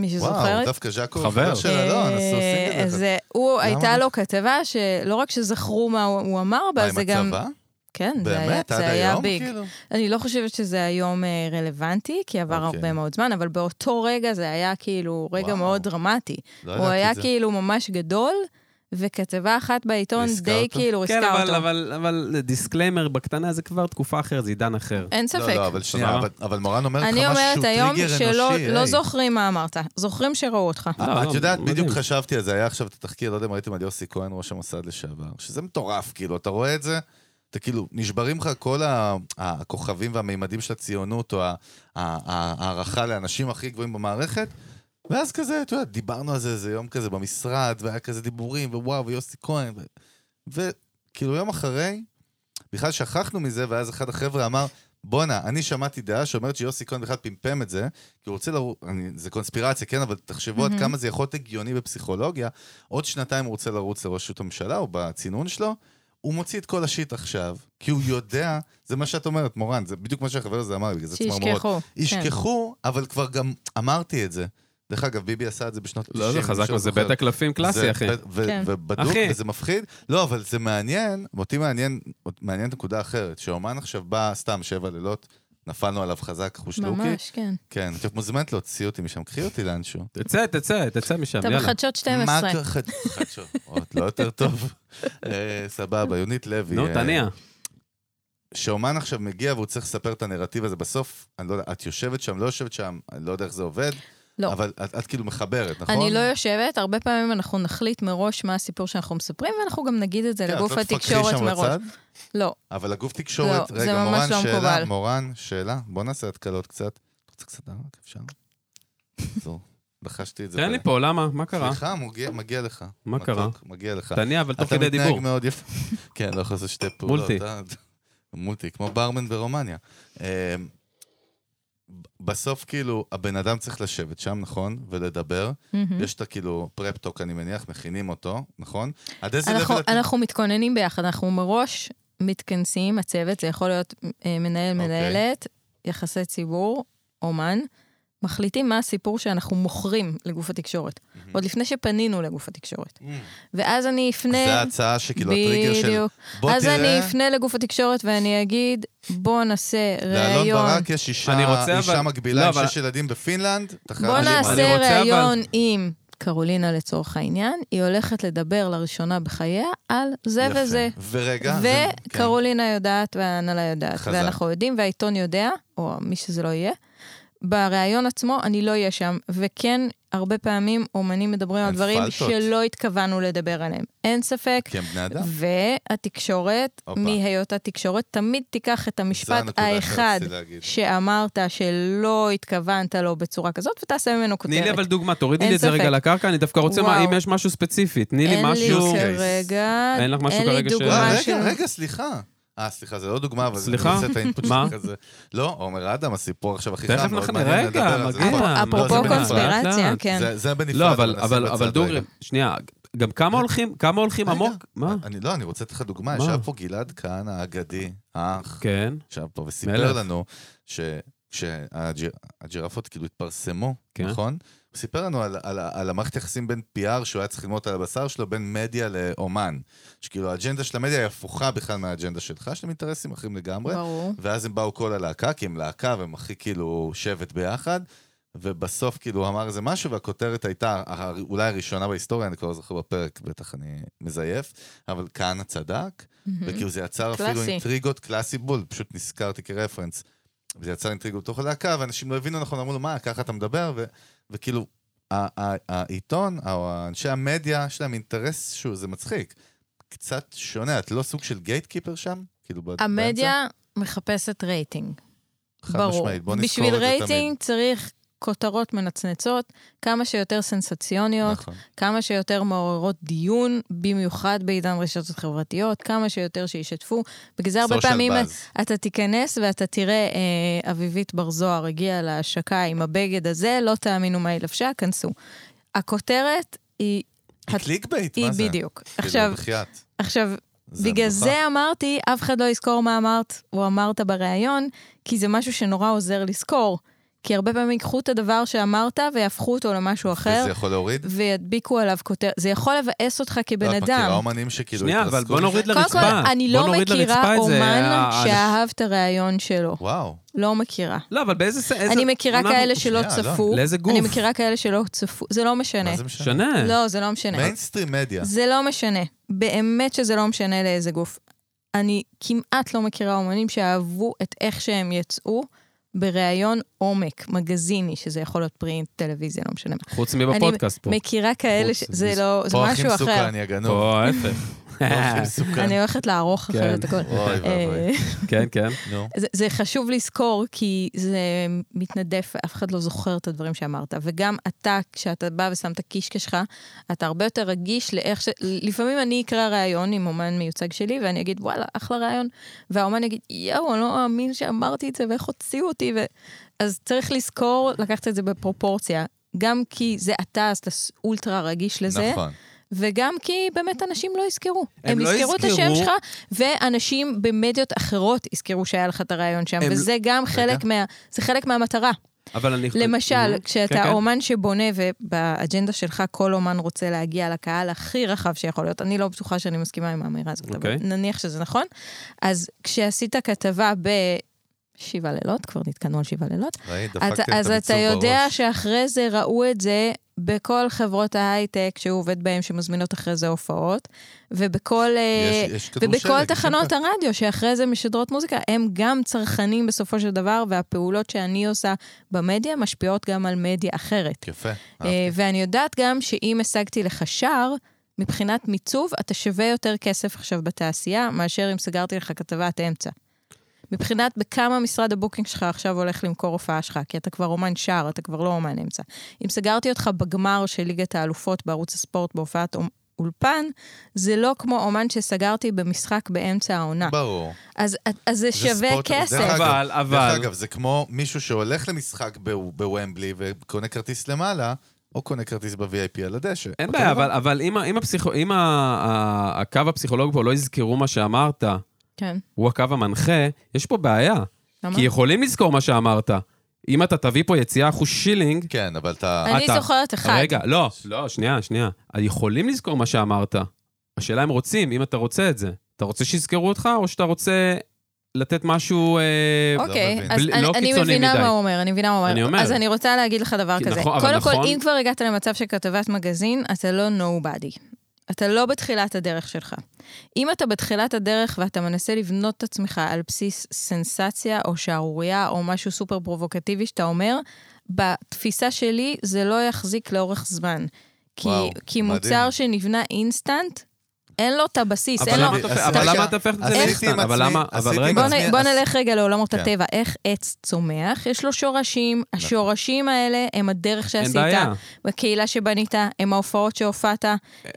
C: מי
A: וואו,
C: שזוכרת.
A: דווקא ז'קו.
D: חבר.
A: חבר לא, של אלון, עשו
C: אה,
A: סינגל.
C: אז
A: דווקא.
C: אה, הוא, הייתה
A: למה? לא?
C: לו כתבה שלא רק שזכרו מה הוא הוא אמר בה, זה גם...
A: מה, אה, עם הצבא?
C: כן, זה היה,
A: באמת? עד
C: זה היה
A: היום?
C: ביג.
A: כאילו?
C: אני לא חושבת שזה היום אה, רלוונטי, כי עבר
A: אוקיי.
C: הרבה מאוד זמן, אבל באותו רגע זה היה כאילו רגע
A: וואו.
C: מאוד דרמטי.
A: לא
C: הוא
A: ידעתי
C: היה
A: את זה.
C: כאילו ממש גדול, וכתבה אחת בעיתון
A: ריסקה
C: די
A: אותו?
C: כאילו
B: כן,
C: ריסקה
B: אבל,
C: אותו.
B: אבל, אבל דיסקליימר בקטנה זה כבר תקופה אחרת, זה עידן אחר.
C: אין
A: לא,
C: ספק.
A: לא, אבל שנייה,
B: סבבה?
A: אבל- אבל מורן אומרת לך
C: אני אומרת
A: משהו
C: היום
A: טריגר אנושי.
C: שלא לא
A: היי. אה,
C: זוכרים מה אמרת, זוכרים שראו אותך.
B: לא,
A: את
B: לא,
A: יודעת,
B: מדהים.
A: בדיוק חשבתי על זה, היה עכשיו את התחקיר, לא יודע אם ראיתם על יוסי כהן, ראש המוסד לשעבר, שזה מטורף, כאילו, אתה רואה את זה, אתה כאילו, נשברים לך כל ה- הכוכבים והמימדים של הציונות, או ה- ה- ה- ההערכה לאנשים הכי גבוהים במערכת, ואז כזה, אתה יודע, דיברנו על זה איזה יום כזה במשרד, והיה כזה דיבורים, ווואו, ויוסי כהן, ו- וכאילו יום אחרי, בכלל שכחנו מזה, ואז אחד החבר'ה אמר, בואנה, אני שמעתי דעה שאומרת שיוסי כהן בכלל פמפם את זה, כי הוא רוצה לרוץ, זה קונספירציה, כן, אבל תחשבו עד
C: מהמם.
A: כמה זה יכול להיות הגיוני בפסיכולוגיה. עוד שנתיים הוא רוצה לרוץ לראשות הממשלה, או בצינון שלו, הוא מוציא את כל השיט עכשיו, כי הוא יודע, זה מה שאת אומרת, מורן, זה בדיוק מה שהחבר הזה אמר, בגלל זה צמרמורות.
C: שישכחו. כן.
A: ישכחו, אבל כבר גם אמרתי את זה. דרך אגב, ביבי עשה את זה בשנות ה-90.
B: לא, זה חזק, לו, זה בית הקלפים קלאסי, אחי.
A: ו-
C: כן.
A: ובדוק,
B: אחי.
A: וזה מפחיד. לא, אבל זה מעניין, אותי מעניין, מעניינת נקודה אחרת, שהאומן עכשיו בא סתם שבע לילות, נפלנו עליו חזק, חוש לוקי.
C: ממש, כן.
A: כן, את מוזמנת להוציא אותי משם, קחי אותי לאנשהו.
B: תצא, תצא, תצא משם,
C: אתה
B: יאללה.
C: בחדשות 12.
A: מה ככה? חדשות, עוד לא יותר טוב. אה, סבבה, יונית לוי.
B: נו,
A: אה,
B: תניע.
A: שאומן עכשיו מגיע והוא צריך לספר את הנרטיב הזה בסוף, אני לא יודע, את יושבת שם, לא יושבת שם, אני לא יודע איך זה עובד.
C: לא.
A: אבל את, את כאילו מחברת, נכון?
C: אני לא יושבת, הרבה פעמים אנחנו נחליט מראש מה הסיפור שאנחנו מספרים, ואנחנו גם נגיד את זה
A: כן, את
C: לגוף
A: לא תפקחי
C: התקשורת
A: שם
C: מראש.
A: בצד?
C: לא,
A: אבל הגוף תקשורת,
C: לא, זה
A: רגע, מורן,
C: ממש לא
A: שאלה,
C: מקובל.
A: מורן, שאלה, בוא נעשה התקלות קצת. את רוצה קצת ערק, אפשר? זו, לחשתי את זה.
B: תן
A: ב-
B: לי פה, למה? מה קרה?
A: סליחה, מגיע, מגיע לך.
B: מה
A: מתוק,
B: קרה?
A: מגיע לך.
B: תניע, אבל תוך
A: אתה
B: כדי
A: מתנהג
B: דיבור.
A: מאוד יפה. כן, לא יכול לעשות שתי פעולות.
B: מולטי.
A: אה? מולטי, כמו ברמן ברומניה. אה, ב- בסוף, כאילו, הבן אדם צריך לשבת שם, נכון? ולדבר.
C: מהמם.
A: יש את הכאילו פרפטוק, אני מניח, מכינים אותו, נכון? עד איזה
C: אנחנו-
A: לבל... אתם-
C: אנחנו מתכוננים ביחד, אנחנו מראש מתכנסים, הצוות, זה יכול להיות אה, מנהל,
A: אוקיי.
C: מנהלת, יחסי ציבור, אומן, מחליטים מה הסיפור שאנחנו מוכרים לגוף התקשורת,
A: מהמם.
C: עוד לפני שפנינו לגוף התקשורת.
A: Mm.
C: ואז אני אפנה...
A: זה ההצעה שכאילו הטריגר של...
C: בדיוק.
A: בוא
C: אז אני
A: תראה,
C: אפנה לגוף התקשורת ואני אגיד, בוא נעשה
A: לאלון
C: ראיון.
A: ברק יש אישה
B: אני רוצה,
A: אישה
B: אבל-
A: מקבילה
B: לא,
A: עם
B: אבל-
A: שש ילדים בפינלנד. תחרטי
C: בוא
A: מה.
B: אני
C: נעשה
B: רוצה, אבל-
C: ראיון עם קרולינה לצורך העניין, היא הולכת לדבר לראשונה בחייה על זה
A: יפה.
C: וזה.
A: ורגע. זה- כן.
C: וקרולינה יודעת וההנהלה יודעת,
A: חזק.
C: ואנחנו יודעים, והעיתון יודע, או מי שזה לא יהיה. בריאיון עצמו אני לא אהיה שם, וכן, הרבה פעמים אומנים מדברים על
A: אין
C: דברים
A: פלטות.
C: שלא התכוונו לדבר עליהם. אין ספק.
A: כן, כי הם בני אדם.
C: והתקשורת,
A: הופה.
C: מהיותה תקשורת, תמיד תיקח את
A: זו
C: המשפט
A: הנקודה
C: האחד
A: שרציתי להגיד.
C: שאמרת שלא התכוונת לו בצורה כזאת, ותעשה ממנו
B: תני לי אבל
C: כותרת.
B: דוגמה, תורידי
C: אין
B: לי את זה
C: ספק.
B: רגע לקרקע, אני דווקא רוצה, מה-
C: וואו.
B: אם יש משהו ספציפי, תני לי
C: אין
B: משהו...
C: לי כרגע,
B: אין לך משהו
C: לי
B: כרגע ש-
C: דוגמה
A: אה,
C: של...
A: אוקיי. רגע, רגע, סליחה. אה, סליחה, זה לא דוגמה, אבל זה
B: סליחה?
A: אני רוצה את האינפוט
B: מה?
A: שלך כזה. לא, עומר אדם, הסיפור עכשיו הכי חם.
B: תכף
A: מאוד
B: נכנס,
A: מעניין לדבר
B: רגע,
A: על זה.
B: מגיע.
A: נכון.
B: מה,
C: אפרופו
A: לא, זה בנפרד.
C: קונספירציה,
B: לאט-לאט.
C: כן.
A: זה- זה בנפרד.
B: לא, אבל-
A: נשים
B: אבל-
A: בצד רגע.
B: אבל
A: אה?
B: דוגרי, שנייה, גם כמה הולכים, כמה הולכים
A: רגע,
B: עמוק? מה?
A: אני לא, אני רוצה לתת לך דוגמה.
B: מה?
A: ישב פה גלעד כהנא האגדי, האח,
B: כן,
A: ישב פה וסיפר
B: מלך.
A: לנו שהג'ירפות כאילו התפרסמו,
B: כן.
A: נכון? הוא סיפר לנו על- על- על המערכת יחסים בין PR שהוא היה צריך ללמוד על הבשר שלו, בין מדיה לאומן. שכאילו האג'נדה של המדיה היא הפוכה בכלל מהאג'נדה שלך, יש להם אינטרסים אחרים לגמרי.
C: ברור.
A: ואז הם באו כל הלהקה, כי הם להקה והם הכי כאילו שבט ביחד, ובסוף כאילו הוא אמר איזה משהו, והכותרת הייתה ה- אולי הראשונה בהיסטוריה, אני כבר לא זוכר בפרק, בטח אני מזייף, אבל כהנא צדק, וכאילו זה יצר אפילו
C: קלאסי.
A: אינטריגות, קלאסי בול, פשוט נזכרתי כרפרנס. זה יצר אינטריגות בתוך הלהקה, ואנשים לא הבינו נכון, אמרו לו, מה, ככה אתה מדבר? ו- וכאילו, ה- ה- העיתון, או אנשי המדיה, יש להם אינטרס שהוא, זה מצחיק. קצת שונה, את לא סוג של גייטקיפר שם? כאילו, ב- באמצע?
C: המדיה מחפשת רייטינג,
A: חד
C: ברור.
A: משמעית, בוא נזכור את
C: בשביל
A: זה תמיד.
C: רייטינג צריך כותרות מנצנצות, כמה שיותר סנסציוניות,
A: נכון.
C: כמה שיותר מעוררות דיון, במיוחד בעידן רשתות חברתיות, כמה שיותר שישתפו. בגלל זה הרבה
A: Social
C: פעמים
A: buzz.
C: אתה תיכנס ואתה תראה, אה, אביבית בר זוהר הגיעה להשקה עם הבגד הזה, לא תאמינו מה היא לבשה, כנסו. הכותרת היא...
A: היא קליק בייט,
C: היא
A: מה זה?
C: בדיוק.
A: כאילו,
C: עכשיו,
A: בחייאת.
C: עכשיו,
A: זה
C: בגלל
A: מגוחך.
C: זה אמרתי, אף אחד לא יזכור מה אמרת או אמרת בריאיון, כי זה משהו שנורא עוזר לזכור. כי הרבה פעמים ייקחו את הדבר שאמרת ויהפכו אותו למשהו אחר,
A: וזה יכול להוריד?
C: וידביקו עליו כותר... זה יכול לבאס אותך כבן
A: לא, את מכירה
C: אדם.
A: אומנים שכאילו
B: שנייה, אבל בוא נוריד
A: מזה?
C: קודם
B: לרצפה.
C: כל, אני
B: בוא
C: לא
B: נוריד לרצפה
C: מכירה
B: את זה, אה,
C: אומן
B: ה-
C: שאהב את הרעיון שלו.
A: וואו,
C: לא מכירה.
B: לא, אבל באיזה... ס- איזה-
C: אני מכירה
B: אנחנו-
C: כאלה שלא
A: שנייה, לא.
C: צפו.
B: לאיזה גוף?
C: אני מכירה כאלה שלא צפו. זה לא משנה.
A: מה זה משנה?
B: שנה.
C: לא, זה לא משנה.
A: מיינסטרים מדיה.
C: זה לא משנה. באמת שזה לא משנה לאיזה גוף. אני כמעט לא מכירה אומנים שאהבו את איך שהם יצאו בראיון עומק, מגזיני, שזה יכול להיות פרינט, טלוויזיה, לא משנה מה.
B: חוץ מבפודקאסט פה.
C: מכירה כאלה
B: חוץ,
C: שזה
B: מס-
C: לא, זה
A: פה הכי
C: משהו אחר.
A: מסוכן, יא גנוב.
B: פה ההפך.
A: פה הכי מסוכן.
C: אני הולכת לערוך
B: כן.
C: אחרי את הכל.
A: אוי
C: אה,
A: ואבוי.
B: כן, כן.
A: נו.
C: זה, זה חשוב לזכור, כי זה מתנדף, אף אחד לא זוכר את הדברים שאמרת. וגם אתה, כשאתה בא ושם את הקישקע שלך, אתה הרבה יותר רגיש לאיך ש... לפעמים אני אקרא ראיון עם אומן מיוצג שלי, ואני אגיד, וואלה, אחלה ראיון. והאומן יגיד, יואו, אני לא מאמין שאמרתי את זה, ואיך הוציאו אותי. ו... אז צריך לזכור, לקחת את זה בפרופורציה. גם כי זה אתה, אז אתה ס- אולטרה רגיש לזה,
A: נכון.
C: וגם כי באמת אנשים לא יזכרו.
B: הם
C: הם,
B: לא
C: יזכרו את
B: יזכרו.
C: השם שלך, ואנשים במדיות אחרות יזכרו שהיה לך את הרעיון שם,
B: הם-
C: וזה גם חלק, מה, זה חלק מהמטרה.
B: אבל אני...
C: למשל, כשאתה
B: אוקיי. כן, כן.
C: אומן שבונה, ובאג'נדה שלך כל אומן רוצה להגיע לקהל הכי רחב שיכול להיות, אני לא בטוחה שאני מסכימה עם האמירה הזאת, אבל
B: אוקיי.
C: נניח שזה נכון. אז כשעשית כתבה ב... שבעה לילות, כבר נתקענו על שבעה לילות.
A: ראית,
C: אתה-
A: דפקתם את
C: אז אתה
A: הביצור
C: יודע
A: בראש.
C: שאחרי זה ראו את זה בכל חברות ההייטק שהוא עובד בהן, שמזמינות אחרי זה הופעות, ובכל, אה,
A: יש- יש כדור
C: ובכל
A: שלג,
C: תחנות
A: כן.
C: הרדיו שאחרי זה משדרות מוזיקה, הם גם צרכנים בסופו של דבר, והפעולות שאני עושה במדיה משפיעות גם על מדיה אחרת.
A: יפה.
C: אה, ואני יודעת גם שאם השגתי לך שער, מבחינת מיצוב, אתה שווה יותר כסף עכשיו בתעשייה, מאשר אם סגרתי לך כתבת אמצע. מבחינת בכמה משרד הבוקינג שלך עכשיו הולך למכור הופעה שלך, כי אתה כבר אומן שער, אתה כבר לא אומן אמצע. אם סגרתי אותך בגמר של ליגת האלופות בערוץ הספורט בהופעת אום- אולפן, זה לא כמו אומן שסגרתי במשחק באמצע העונה.
A: אה, ברור.
C: אז, אז זה
A: זה
C: שווה
A: ספורט,
C: כסף.
A: דרך אגב,
B: אבל- אבל-
A: דרך אגב, זה כמו מישהו שהולך למשחק ב- בוומבלי וקונה כרטיס למעלה, או קונה כרטיס ב-VIP על הדשא.
B: אין
A: אותו
B: בעיה,
A: דבר.
B: אבל- אבל אם ה- אם הפסיכו- אם ה- ה- הקו הפסיכולוגי פה לא יזכרו מה שאמרת,
C: כן,
B: הוא הקו המנחה, יש פה בעיה.
C: למה?
B: כי יכולים לזכור מה שאמרת. אם אתה תביא פה יציאה אחוז שילינג,
A: כן, אבל אתה...
C: אני
B: אתה-
C: זוכרת אחד.
B: רגע, לא, לא, שנייה, שנייה. יכולים לזכור מה שאמרת. השאלה אם רוצים, אם אתה רוצה את זה. אתה רוצה שיזכרו אותך, או שאתה רוצה לתת משהו... אה,
C: אוקיי,
A: מבין.
C: אז
B: בלי-
C: אני,
B: לא
C: אני
B: קיצוני
C: מבינה
B: מדי.
C: מה הוא אומר, אני מבינה מה הוא אומר.
B: אני אומר.
C: אז אני רוצה להגיד לך דבר
B: כי
C: כזה.
B: נכון, אבל
C: קודם
B: נכון-
C: כל, אם כבר הגעת למצב של כתבת מגזין, אתה לא nobody. אתה לא בתחילת הדרך שלך. אם אתה בתחילת הדרך ואתה מנסה לבנות את עצמך על בסיס סנסציה או שערורייה או משהו סופר פרובוקטיבי שאתה אומר, בתפיסה שלי זה לא יחזיק לאורך זמן. כי,
A: וואו,
C: כי
A: מדהים.
C: מוצר שנבנה אינסטנט, אין לו את הבסיס,
B: אבל
C: אין לו...
B: למה אתה הופך- אבל
A: רגע,
B: למה אתה הופך את זה
A: עשיתי עם
B: לאינסטנט? אבל
A: עצמי-
B: למה- אבל
A: עשיתי עם
B: רגע.
C: בוא,
A: עצמי-
C: נ, בוא
A: עש-
C: נלך רגע לעולמות
A: כן.
C: הטבע. איך עץ צומח? יש לו שורשים, השורשים האלה הם הדרך
B: נכון. אין
C: שעשית,
B: בעיה.
C: הקהילה שבנית, הם ההופעות שהופעת,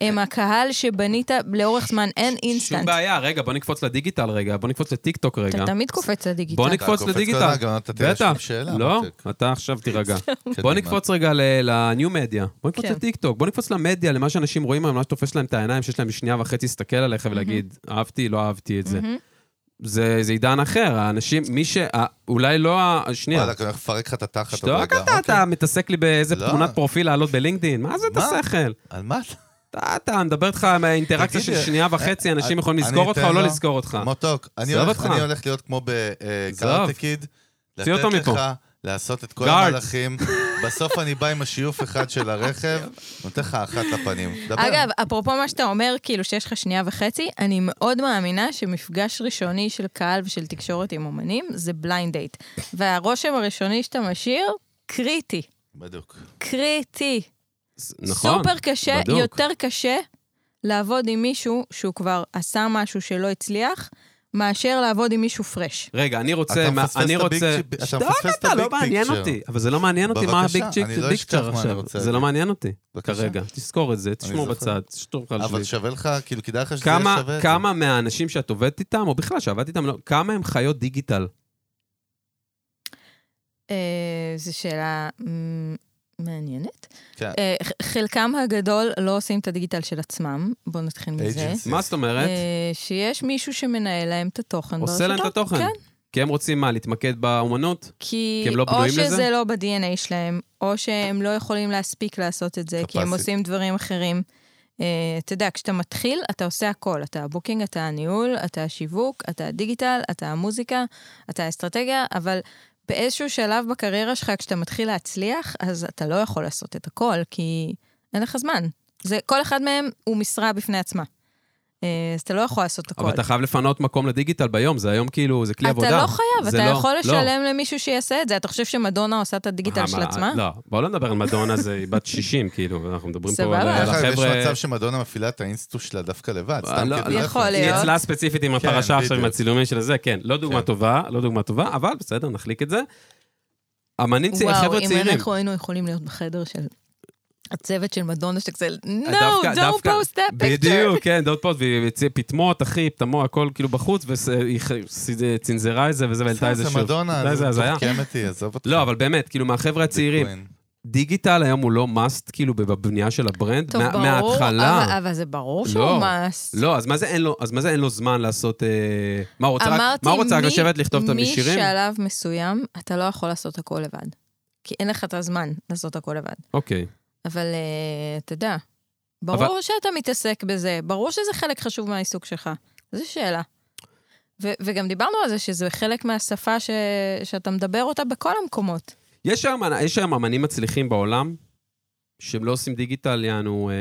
C: הם הקהל שבנית לאורך זמן, אין
B: אה, שום
C: אינסטנט.
B: בעיה, רגע, בוא נקפוץ לדיגיטל רגע, בוא נקפוץ לטיק טוק רגע.
C: אתה תמיד קופץ לדיגיטל.
B: בוא
A: אתה
B: נקפוץ
A: קופץ
B: לדיגיטל.
A: כל הזמן, אתה תראה
B: בטח.
A: שום שאלה,
B: לא,
A: מתוק.
B: אתה עכשיו תירגע. בוא
A: קדימה.
B: נקפוץ רגע לניו מדיה, בוא נקפוץ
C: כן.
B: לטיק טוק, בוא נקפוץ למדיה, למה שאנשים רואים היום, מה שתופס להם את העיניים, שיש להם שנייה וחצי להסתכל עליך ולהגיד, אהבתי, לא אהבתי את זה.
C: מהמם.
B: זה זה עידן אחר, האנשים, מי ש... אה, אולי לא ה... שנייה,
A: וואלה, אני הולך לפרק לך את התחת. עוד
B: שתוק
A: רגע.
B: אתה,
A: אוקיי.
B: אתה מתעסק לי באיזה
A: לא.
B: תמונת פרופיל לעלות בלינקדאין, מה זה את
A: מה?
B: השכל?
A: על מה אתה?
B: אתה, אתה, מדבר איתך עם האינטראקציה של
A: תגיד, אה,
B: שנייה וחצי, אנשים יכולים
A: אני
B: לזכור אותך
A: אתן
B: או לא
A: לו.
B: לזכור אותך.
A: מותוק. אני
B: עזוב
A: הולך-
B: אותך.
A: אני הולך להיות כמו בקראטה
B: עזוב.
A: קיד.
B: תוציא אותו
A: לתת
B: מפה.
A: לך לעשות את כל
B: Guard.
A: המהלכים. בסוף אני בא עם השיוף אחד של הרכב, נותן לך אחת לפנים. דבר.
C: אגב, אפרופו מה שאתה אומר, כאילו שיש לך שנייה וחצי, אני מאוד מאמינה שמפגש ראשוני של קהל ושל תקשורת עם אומנים זה בליינד דייט. והרושם הראשוני שאתה משאיר, קריטי.
A: בדוק.
C: קריטי.
B: נכון,
C: סופר קשה,
B: בדוק.
C: בדוק. יותר קשה לעבוד עם מישהו שהוא כבר עשה משהו שלא הצליח, מאשר לעבוד עם מישהו פרש.
B: רגע, אני רוצה...
A: אתה
B: מה-
A: מפספס
B: אני
A: את הביג
B: רוצה...
A: צ'יפ- אתה
B: שתוק
A: מפספס את
B: אתה, לא
A: הביג
B: מעניין
A: פיקצ'ר.
B: אותי. אבל זה לא מעניין אותי מה
A: בבקשה,
B: הביג צ'יק
A: אני לא אשכח
B: פיקצ'ר
A: מה אני
B: עכשיו.
A: רוצה
B: זה
A: להגיד.
B: לא מעניין אותי.
A: בבקשה.
B: כרגע, תזכור את זה, תשמור
A: זוכר.
B: בצד, תשתור לך על
A: אבל
B: שלי.
A: שווה לך, כאילו, כדאי לך שזה יהיה
B: כמה,
A: שווה. את זה.
B: כמה מהאנשים שאת עובדת איתם, או בכלל שעבדת איתם, לא, כמה הם חיות דיגיטל?
C: אה, זו שאלה מ, מעניינת.
A: כן.
C: אה, ח- חלקם הגדול לא עושים את הדיגיטל של עצמם, בואו נתחיל מזה.
A: Agency.
B: מה זאת אומרת?
C: אה, שיש מישהו שמנהל להם את התוכן
B: עושה להם את התוכן.
C: כן,
B: כי הם רוצים מה, להתמקד באומנות?
C: כי,
B: כי הם לא
C: או
B: בנויים
C: שזה
B: לזה?
C: לא ב-DNA שלהם, או שהם לא יכולים להספיק לעשות את זה, כי הם
A: Capacity.
C: עושים דברים אחרים. אה, אתה יודע, כשאתה מתחיל, אתה עושה הכל. אתה הבוקינג, אתה הניהול, אתה השיווק, אתה הדיגיטל, אתה המוזיקה, אתה האסטרטגיה, אבל באיזשהו שלב בקריירה שלך, כשאתה מתחיל להצליח, אז אתה לא יכול לעשות את הכל, כי אין לך זמן. זה, כל אחד מהם הוא משרה בפני עצמה. אה, אז אתה לא יכול לעשות הכל.
B: אבל אתה חייב לפנות מקום לדיגיטל ביום, זה היום כאילו, זה כלי עבודה.
C: אתה לא
B: זה
C: חייב, אתה
B: לא-
C: יכול
B: לא.
C: לשלם למישהו שיעשה את זה. אתה חושב שמדונה עושה את הדיגיטל
B: אה,
C: של
B: מה,
C: עצמה?
B: לא, בואו לא נדבר על מדונה, זה היא בת 60, כאילו, אנחנו מדברים פה
C: סבבה.
B: על על
A: דרך אגב, יש
B: החבר'ה...
A: מצב שמדונה מפעילה את האינסטו שלה דווקא לבד, סתם
B: לא,
A: כדי...
B: לא.
C: יכול
A: רפרנס.
B: היא
C: להיות.
B: אצלה ספציפית עם
A: כן,
B: הפרשה עכשיו, עם
A: בדיוק.
B: הצילומים של זה, כן, לא דוגמה
A: כן.
B: טובה, לא דוגמה טובה, אבל בסדר, נחליק את זה. אמנים צעירים,
C: וואו,
B: חבר'ה
C: אם
B: צעירים.
C: אנחנו היינו יכולים להיות בחדר של הצוות של מדונה שכזה, no,
B: דווקא-
C: don't
B: דווקא-
C: post that picture.
B: בדיוק, כן, דוד פוסט, והיא הציעה פטמות, אחי, פטמו, הכל כאילו בחוץ, והיא צנזרה את זה וזה, והעלתה את זה
A: זה
B: שוב.
A: מדונה,
B: זה הזיה.
A: קמתי, עזוב אותך.
B: לא, אבל באמת, כאילו, מהחבר'ה הצעירים,
A: ביטקוין.
B: דיגיטל היום הוא לא must, כאילו, בבנייה של הברנד,
C: טוב,
B: מה-
C: ברור,
B: מההתחלה.
C: אבל- אבל זה ברור
B: לא.
C: שהוא מס.
B: לא, אז מה זה אין לו, אז מה זה אין לו זמן לעשות... אה, מה הוא רוצה? רק-
C: אמרתי,
B: מה הוא רוצה? רק
C: מי-
B: לשבת לכתוב את השירים?
C: משלב מסוים, אתה לא יכול לעשות הכל לבד. כי אין לך את הזמן לעשות הכל לבד.
B: אוקיי.
C: אבל אה, אתה יודע,
B: אבל-
C: ברור אבל... שאתה מתעסק בזה, ברור שזה חלק חשוב מהעיסוק שלך. זו שאלה. ו- וגם דיברנו על זה שזה חלק מהשפה ש- שאתה מדבר אותה בכל המקומות.
B: יש היום, יש היום אמנים מצליחים בעולם, שהם לא עושים דיגיטל, יענו... אה,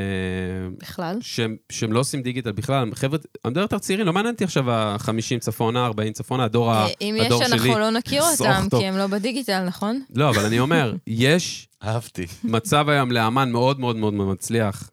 C: בכלל.
B: שהם, שהם לא עושים דיגיטל בכלל, חבר'ה, אני מדבר יותר צעירים, לא מעניין אותי עכשיו ה-50 צפונה, 40 צפונה, הדור, ה...
C: אה, אם יש,
B: הדור
C: אנחנו
B: שלי.
C: לא נכיר
B: שרוך
C: אותם,
B: טוב.
C: כי הם לא בדיגיטל, נכון?
B: לא, אבל אני אומר, יש
A: אהבתי.
B: מצב היום לאמן מאוד מאוד מאוד מצליח,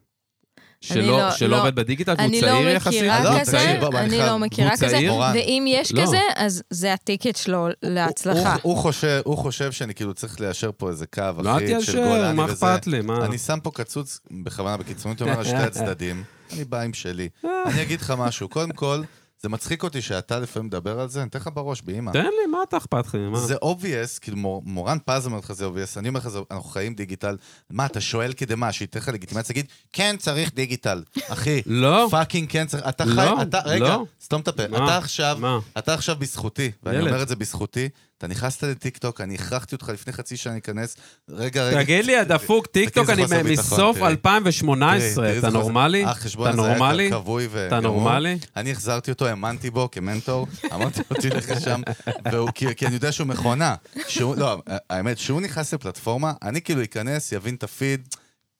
B: שלא,
C: לא-
B: שלא
C: לא.
B: עובד בדיגיטל, והוא
C: אני
B: צעיר
C: לא
B: יחסית.
C: מכירה
A: לא,
C: כזה,
A: תקשיב, בוא, מה,
C: אני
A: אני
C: לא
A: חייב-
C: מכירה
B: הוא
C: כזה,
B: צעיר?
C: ואם יש
B: לא.
C: כזה, אז זה הטיקט שלו להצלחה.
A: הוא- הוא חושב- הוא חושב שאני כאילו צריך ליישר פה איזה קו,
B: לא
A: אחי,
B: הייתי
A: של
B: אשר,
A: גולני
B: מה
A: וזה.
B: אכפת לי, מה?
A: אני שם פה קצוץ, בכוונה בקיצוניות, אומר על
B: אה.
A: שתי הצדדים, אני בא עם שלי. אני אגיד לך משהו, קודם כל, זה מצחיק אותי שאתה לפעמים מדבר על זה, אני אתן לך בראש, באמא.
B: תן לי, מה אתה אכפת לך? מה?
A: זה obvious, כאילו מור, מורן פז אומר לך זה obvious, אני אומר לך, זה- אנחנו חיים דיגיטל. מה, אתה שואל כדי מה, שייתן לך לגיטימציה, תגיד, כן צריך דיגיטל. אחי,
B: לא.
A: פאקינג כן צריך, אתה
B: לא,
A: חי, אתה, רגע,
B: לא.
A: סתום את הפה,
B: מה?
A: אתה עכשיו,
B: מה?
A: אתה עכשיו בזכותי, ואני
B: ילד.
A: אומר את זה בזכותי, אתה נכנסת לטיקטוק, אני הכרחתי אותך לפני חצי שנה להיכנס, רגע, רגע.
B: תגיד לי, הדפוק טיקטוק,
A: זה
B: אני
A: חוסר ביטחון,
B: מסוף
A: תראי. תראי,
B: 2018,
A: תראי איזה
B: אתה
A: חוסר-
B: נורמלי?
A: החשבון
B: אתה
A: הזה היה
B: נורמלי?
A: כבר כבוי ו...
B: אתה נורמלי?
A: אני החזרתי אותו, האמנתי בו כמנטור, אמרתי לו, תלך לשם, והוא- כי כי אני יודע שהוא מכונה. שהוא- לא, האמת, כשהוא נכנס לפלטפורמה, אני כאילו אכנס, יבין את הפיד,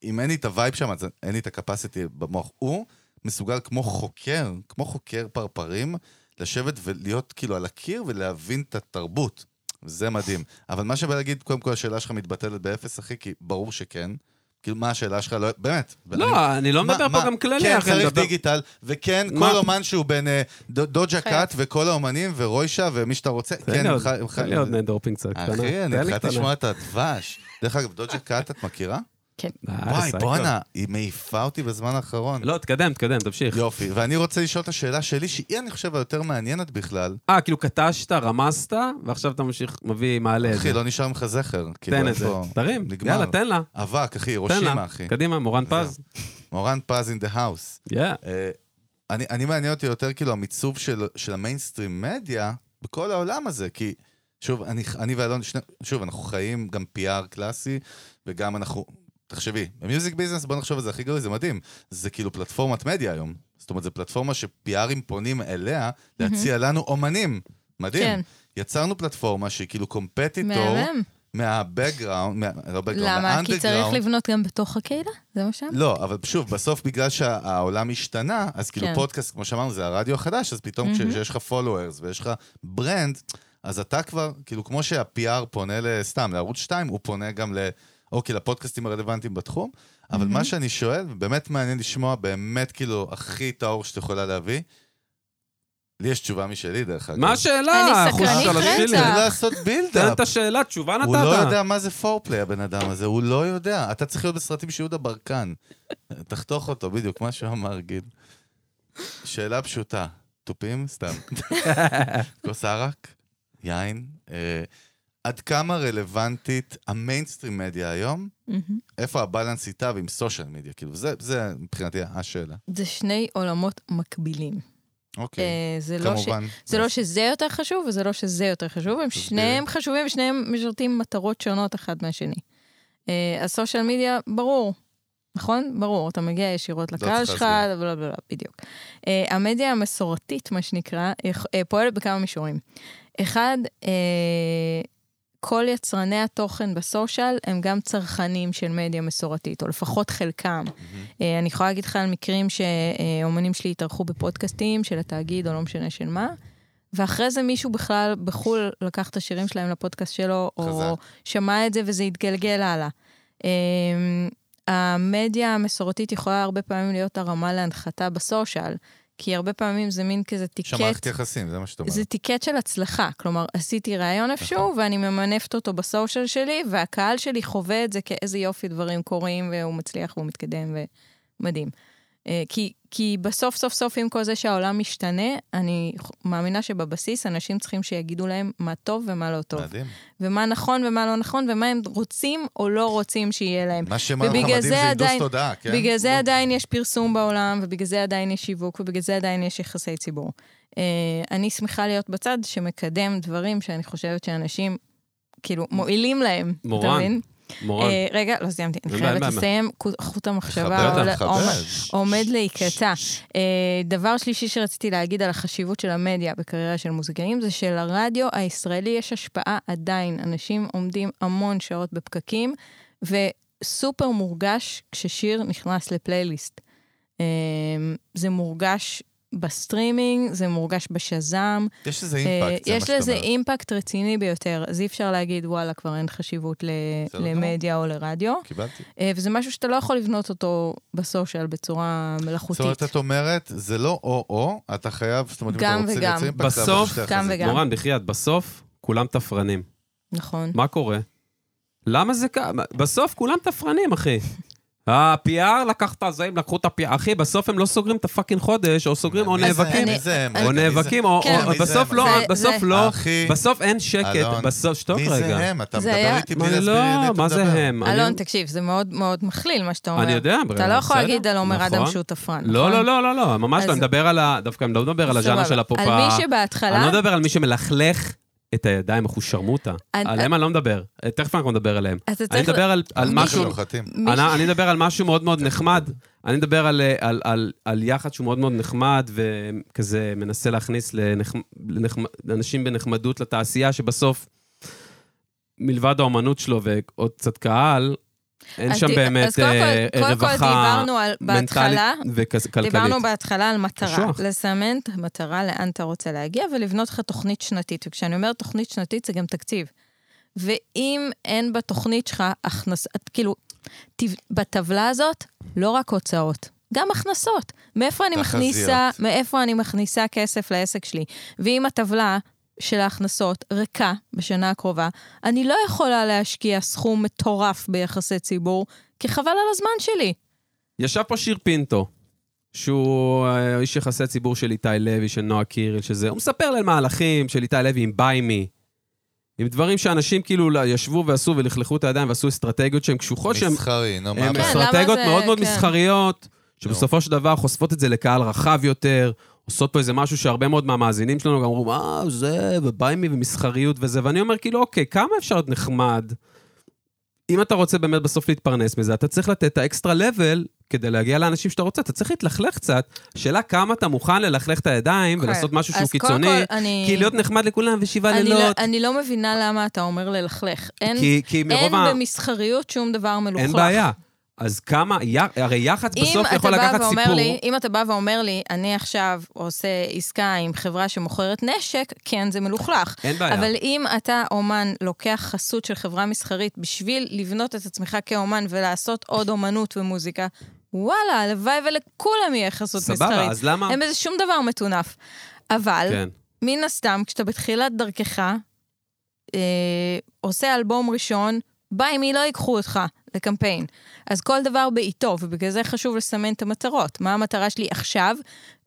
A: אם אין לי את הווייב שם, אז אין לי את הקפסיטי במוח. הוא מסוגל כמו חוקר, כמו חוקר פרפרים, לשבת ולהיות כאילו על הקיר ולהבין את התרבות. זה מדהים. אבל מה שבא להגיד, קודם כל השאלה שלך מתבטלת באפס, אחי, כי ברור שכן. כאילו, מה השאלה שלך? לא, באמת. ואני-
B: לא, אני לא
A: מה-
B: מדבר
A: מה-
B: פה גם כללי,
A: כן,
B: אחי, אני
A: צריך
B: מדבר...
A: דיגיטל, וכן,
B: מה?
A: כל אומן שהוא בין אה, ד- דוג'ה
C: חייב.
A: קאט וכל האומנים, ורוישה ומי שאתה רוצה,
B: תן
A: כן,
B: לי עוד-
A: הם חי- הם חי-
B: תן לי עוד דורפינג קצת קטנה.
A: אחי, אני
B: תן לי
A: התחלתי
B: קטנה.
A: לשמוע את הדבש. דרך אגב, דוג'ה קאט את מכירה?
B: די,
A: וואי,
B: אה, סייקו.
A: בואנה, היא מעיפה אותי בזמן האחרון.
B: לא, תקדם, תקדם, תמשיך.
A: יופי, ואני רוצה לשאול את השאלה שלי, שהיא, אני חושב, היותר מעניינת בכלל.
B: אה, כאילו קטשת, רמסת, ועכשיו אתה ממשיך, מביא, מעלה את
A: אחי,
B: זה.
A: לא נשאר ממך זכר. כאילו,
B: תן
A: אין
B: את זה.
A: פה-
B: תרים,
A: נגמר.
B: יאללה, תן לה.
A: אבק, אחי,
B: תן כן.
A: ראשימה,
B: לה.
A: אחי.
B: קדימה, מורן פז.
A: מורן פז אין דה האוס.
B: יא.
A: אה, אני, אני מעניין אותי יותר כאילו המיצוב של, של המיינסטרים מדיה בכל העולם הזה, כי שוב, אני, אני ואלון, שני, שוב, אנחנו חיים גם PR קלאסי, וגם אנחנו, תחשבי, במיוזיק ביזנס, בוא נחשוב על זה הכי גרוע, זה מדהים. זה כאילו פלטפורמת מדיה היום. זאת אומרת, זו פלטפורמה שפיארים פונים אליה להציע לנו אומנים. מדהים.
C: כן.
A: יצרנו פלטפורמה שהיא כאילו קומפטיטור
C: מהמם.
A: מהבקגראונד, מה, לא בקגראונד,
C: למה? כי צריך
A: מהאנדרגראונד.
C: לבנות גם בתוך הקהילה? זה מה שם?
A: לא, אבל שוב, בסוף בגלל שהעולם השתנה, אז כאילו
C: כן.
A: פודקאסט, כמו שאמרנו, זה הרדיו החדש, אז פתאום
C: מהמם.
A: כשיש לך followers ויש לך ברנד, אז אתה כבר, כאילו כמו שה-PR פונה לסתם, לערוץ 2, הוא פונה גם ל... אוקיי, לפודקאסטים הרלוונטיים בתחום, אבל מה שאני שואל, באמת מעניין לשמוע, באמת כאילו הכי טהור שאת יכולה להביא. לי יש תשובה משלי, דרך אגב. לא
B: מה השאלה?
C: כן, אני
B: אחוז
A: סקרנית
B: של השאלה.
A: צריך
C: רצח. אתה?
A: לעשות
B: תן
A: בילדאפ.
B: את השאלה, תשובה נתת.
A: הוא לא יודע מה זה פורפליי, הבן אדם הזה, הוא לא יודע. אתה צריך להיות בסרטים של יהודה ברקן. תחתוך אותו, בדיוק, מה שהוא אמר, גיל. שאלה פשוטה, תופים? סתם. כוס ערק? יין? אה, עד כמה רלוונטית המיינסטרים מדיה היום?
C: מהמם.
A: איפה הבלנס איתה ועם סושיאל מדיה? כאילו, זה, זה מבחינתי השאלה.
C: זה שני עולמות מקבילים.
A: אוקיי,
C: אה, זה לא ש-
A: כמובן.
C: זה לא שזה יותר חשוב, וזה לא שזה יותר חשוב, הם
A: תסבירי.
C: שניהם חשובים ושניהם משרתים מטרות שונות אחת מהשני. אה, הסושיאל מדיה, ברור, נכון? ברור, אתה מגיע ישירות לקהל
A: לא צריך
C: שלך,
A: להסביר.
C: בלה בלה בלה, בדיוק. אה, המדיה המסורתית, מה שנקרא, אה, אה, פועלת בכמה מישורים. אחד, אה, כל יצרני התוכן בסושיאל הם גם צרכנים של מדיה מסורתית, או לפחות חלקם.
A: מהמם.
C: אה, אני יכולה להגיד לך על מקרים שאומנים שלי התארחו בפודקאסטים של התאגיד, או לא משנה של מה, ואחרי זה מישהו בכלל בחו"ל לקח את השירים שלהם לפודקאסט שלו, או
A: חזק.
C: שמע את זה וזה התגלגל הלאה. אה, המדיה המסורתית יכולה הרבה פעמים להיות הרמה להנחתה בסושיאל, כי הרבה פעמים זה מין כזה טיקט
A: שמערכת יחסים, זה מה שאת אומרת.
C: זה טיקט של הצלחה. כלומר, עשיתי ראיון איפשהו, ואני ממנפת אותו בסושיאל שלי, והקהל שלי חווה את זה כאיזה יופי דברים קורים, והוא מצליח והוא מתקדם, ומדהים. אה, כי, כי בסוף, סוף, סוף, עם כל זה שהעולם משתנה, אני ח- מאמינה שבבסיס אנשים צריכים שיגידו להם מה טוב ומה לא טוב,
A: מדהים.
C: ומה נכון ומה לא נכון, ומה הם רוצים או לא רוצים שיהיה להם.
A: מה שמר לך
C: ובגלל
A: מדהים
C: זה
A: זה הנדוס
C: עדיין-
A: תודעה, כן?
C: בגלל
A: לא-
C: זה עדיין יש פרסום בעולם, ובגלל זה עדיין יש שיווק, ובגלל זה עדיין יש יחסי ציבור. אה, אני שמחה להיות בצד שמקדם דברים שאני חושבת שאנשים, כאילו, מועילים להם, אתה
B: מורן,
C: מבין?
B: מורן,
C: אה, רגע, לא סיימתי, אני
B: אין בעיה,
C: חייבת
B: אין בעיה.
C: לסיים, חוט המחשבה
A: תכבד אותה,
C: עולה-
A: תכבד.
C: עומד-
A: ש-
C: עומד להיקטע. אה, דבר שלישי שרציתי להגיד על החשיבות של המדיה בקריירה של מוזיקאים, זה שלרדיו הישראלי יש השפעה עדיין. אנשים עומדים המון שעות בפקקים, וסופר מורגש כששיר נכנס לפלייליסט. אה, זה מורגש בסטרימינג, זה מורגש בשזם,
A: יש לזה
C: אה,
A: אימפקט, זה מה
C: יש
A: שאת
C: לזה
A: אומרת.
C: אימפקט רציני ביותר, אז אי אפשר להגיד, וואלה, כבר אין חשיבות ל-
A: בסדר גמור.
C: למדיה או לרדיו.
A: קיבלתי.
C: אה, וזה משהו שאתה לא יכול לבנות אותו בסושיאל בצורה
A: זאת
C: מלאכותית.
A: אומרת, את אומרת, זה לא או-או, אתה חייב, זאת אומרת, אם אתה
C: גם
A: רוצה
C: וגם.
A: לייצר אימפקט, זה
B: בסוף,
A: עבודה שתי
C: גם
A: החזיתות.
C: וגם.
B: מורן, בחייאת, בסוף כולם תפרנים.
C: נכון.
B: מה קורה? למה זה ככה? בסוף כולם תפרנים, אחי. ה-PR לקח את הזה, הם לקחו את ה-PR. אחי, בסוף הם לא סוגרים את הפאקינג חודש, או סוגרים, או
A: מי זה הם?
B: נאבקים.
A: מי זה הם?
B: או
A: רגע, מי זה-
B: נאבקים, או
C: כן.
B: או-
A: מי זה
B: בסוף
A: הם?
B: לא,
C: זה-
B: בסוף
C: זה-
B: לא,
A: אחי,
B: בסוף אין שקט,
A: אלון,
B: בסוף, שתוק
A: מי זה
B: רגע.
A: הם? אתה
C: זה
A: מדבר
C: היה-
A: איתי בלי
B: מה
A: להסביר
B: לא,
A: לי אתה
B: מה זה
A: מדבר.
B: הם? אני-
C: אלון, תקשיב, זה מאוד מאוד מכליל מה שאתה אומר.
B: אני יודע,
C: אתה לא יכול
B: בסדר,
C: להגיד על עומר אדם
B: נכון.
C: שהוא תפרן,
B: לא,
C: נכון?
B: לא, לא, לא, לא, ממש
C: אז-
B: לא, אני מדבר על ה... דווקא אני לא מדבר על הז'אנר
C: סבבה.
B: של הפופ
C: על מי
B: ה- אני
C: שבהתחלה,
B: לא מדבר על מי שמלכלך את הידיים, אחושרמוטה.
C: אני-
B: עליהם אני לא מדבר. תכף אנחנו נדבר עליהם.
C: אתה
B: אני
C: צריך...
B: מדבר על- על
A: אנחנו
B: משהו...
A: נוחתים.
C: מי-
B: אני, אני מדבר על משהו מאוד מאוד נחמד. אני מדבר על, אה, על, על, על יחד שהוא מאוד מאוד נחמד, וכזה מנסה להכניס לנחמ, לנחמ, לאנשים בנחמדות לתעשייה, שבסוף, מלבד האומנות שלו ועוד קצת קהל, אין
C: אז
B: שם
C: ת-
B: באמת
C: אז קודם כל-
B: אה,
C: קודם כל
B: רווחה
C: דיברנו על-
B: מנטלית
C: בהתחלה,
B: וכלכלית.
C: דיברנו בהתחלה על מטרה.
B: קשוח.
C: לסמן את המטרה לאן אתה רוצה להגיע ולבנות לך תוכנית שנתית. וכשאני אומרת תוכנית שנתית זה גם תקציב. ואם אין בתוכנית שלך הכנסה, את כאילו, תב- בטבלה הזאת, לא רק הוצאות. גם הכנסות. מאיפה אני
A: תחזיות.
C: מכניסה, מאיפה אני מכניסה כסף לעסק שלי? ואם הטבלה של ההכנסות ריקה בשנה הקרובה, אני לא יכולה להשקיע סכום מטורף ביחסי ציבור, כי חבל על הזמן שלי.
B: ישב פה שיר פינטו, שהוא אה, איש יחסי ציבור של איתי לוי, של נועה קירל, שזה, הוא מספר לי על מהלכים של איתי לוי עם ביי מי. עם דברים שאנשים כאילו לא- ישבו ועשו ולכלכלו את הידיים ועשו אסטרטגיות שהן קשוחות, שהן
A: מסחרי, נו, מה
B: הן
C: כן,
A: הבעיה?
C: למה
B: אסטרטגיות
C: זה-
B: מאוד מאוד
C: כן.
B: מסחריות, שבסופו של דבר חושפות את זה לקהל רחב יותר, עושות פה איזה משהו שהרבה מאוד מהמאזינים שלנו גם אמרו, אה, זה, וביי מי ומסחריות וזה, ואני אומר כאילו, אוקיי, כמה אפשר להיות נחמד? אם אתה רוצה באמת בסוף להתפרנס מזה, אתה צריך לתת את האקסטרה לבל כדי להגיע לאנשים שאתה רוצה, אתה צריך להתלכלך קצת. השאלה כמה אתה מוכן ללכלך את הידיים ולעשות משהו שהוא
C: כן. אז קודם
B: קיצוני,
C: כל, אני-
B: כי להיות נחמד לכולם ושבעה
C: אני לא,
B: לילות.
C: אני לא מבינה למה אתה אומר ללכלך. אין,
B: כי- כי
C: אין
B: מרוב ה...
C: במסחריות שום דבר מלוכלך.
B: אין בעיה. אז כמה, י- הרי יח"צ
C: אם
B: בסוף
C: אתה
B: יכול
C: בא
B: לקחת
C: ואומר
B: סיפור.
C: לי, אם אתה בא ואומר לי, אני עכשיו עושה עסקה עם חברה שמוכרת נשק, כן, זה מלוכלך.
B: אין בעיה.
C: אבל אם אתה אומן לוקח חסות של חברה מסחרית בשביל לבנות את עצמך כאומן ולעשות עוד אומנות ומוזיקה, וואלה, הלוואי ולכולם יהיה חסות
B: סבבה,
C: מסחרית.
B: אז למה...
C: אין בזה שום דבר מטונף. אבל,
B: כן,
C: מן הסתם, כשאתה בתחילת דרכך, אה, עושה אלבום ראשון, ביי, מי לא ייקחו אותך לקמפיין. אז כל דבר בעיתו, ובגלל זה חשוב לסמן את המטרות. מה המטרה שלי עכשיו,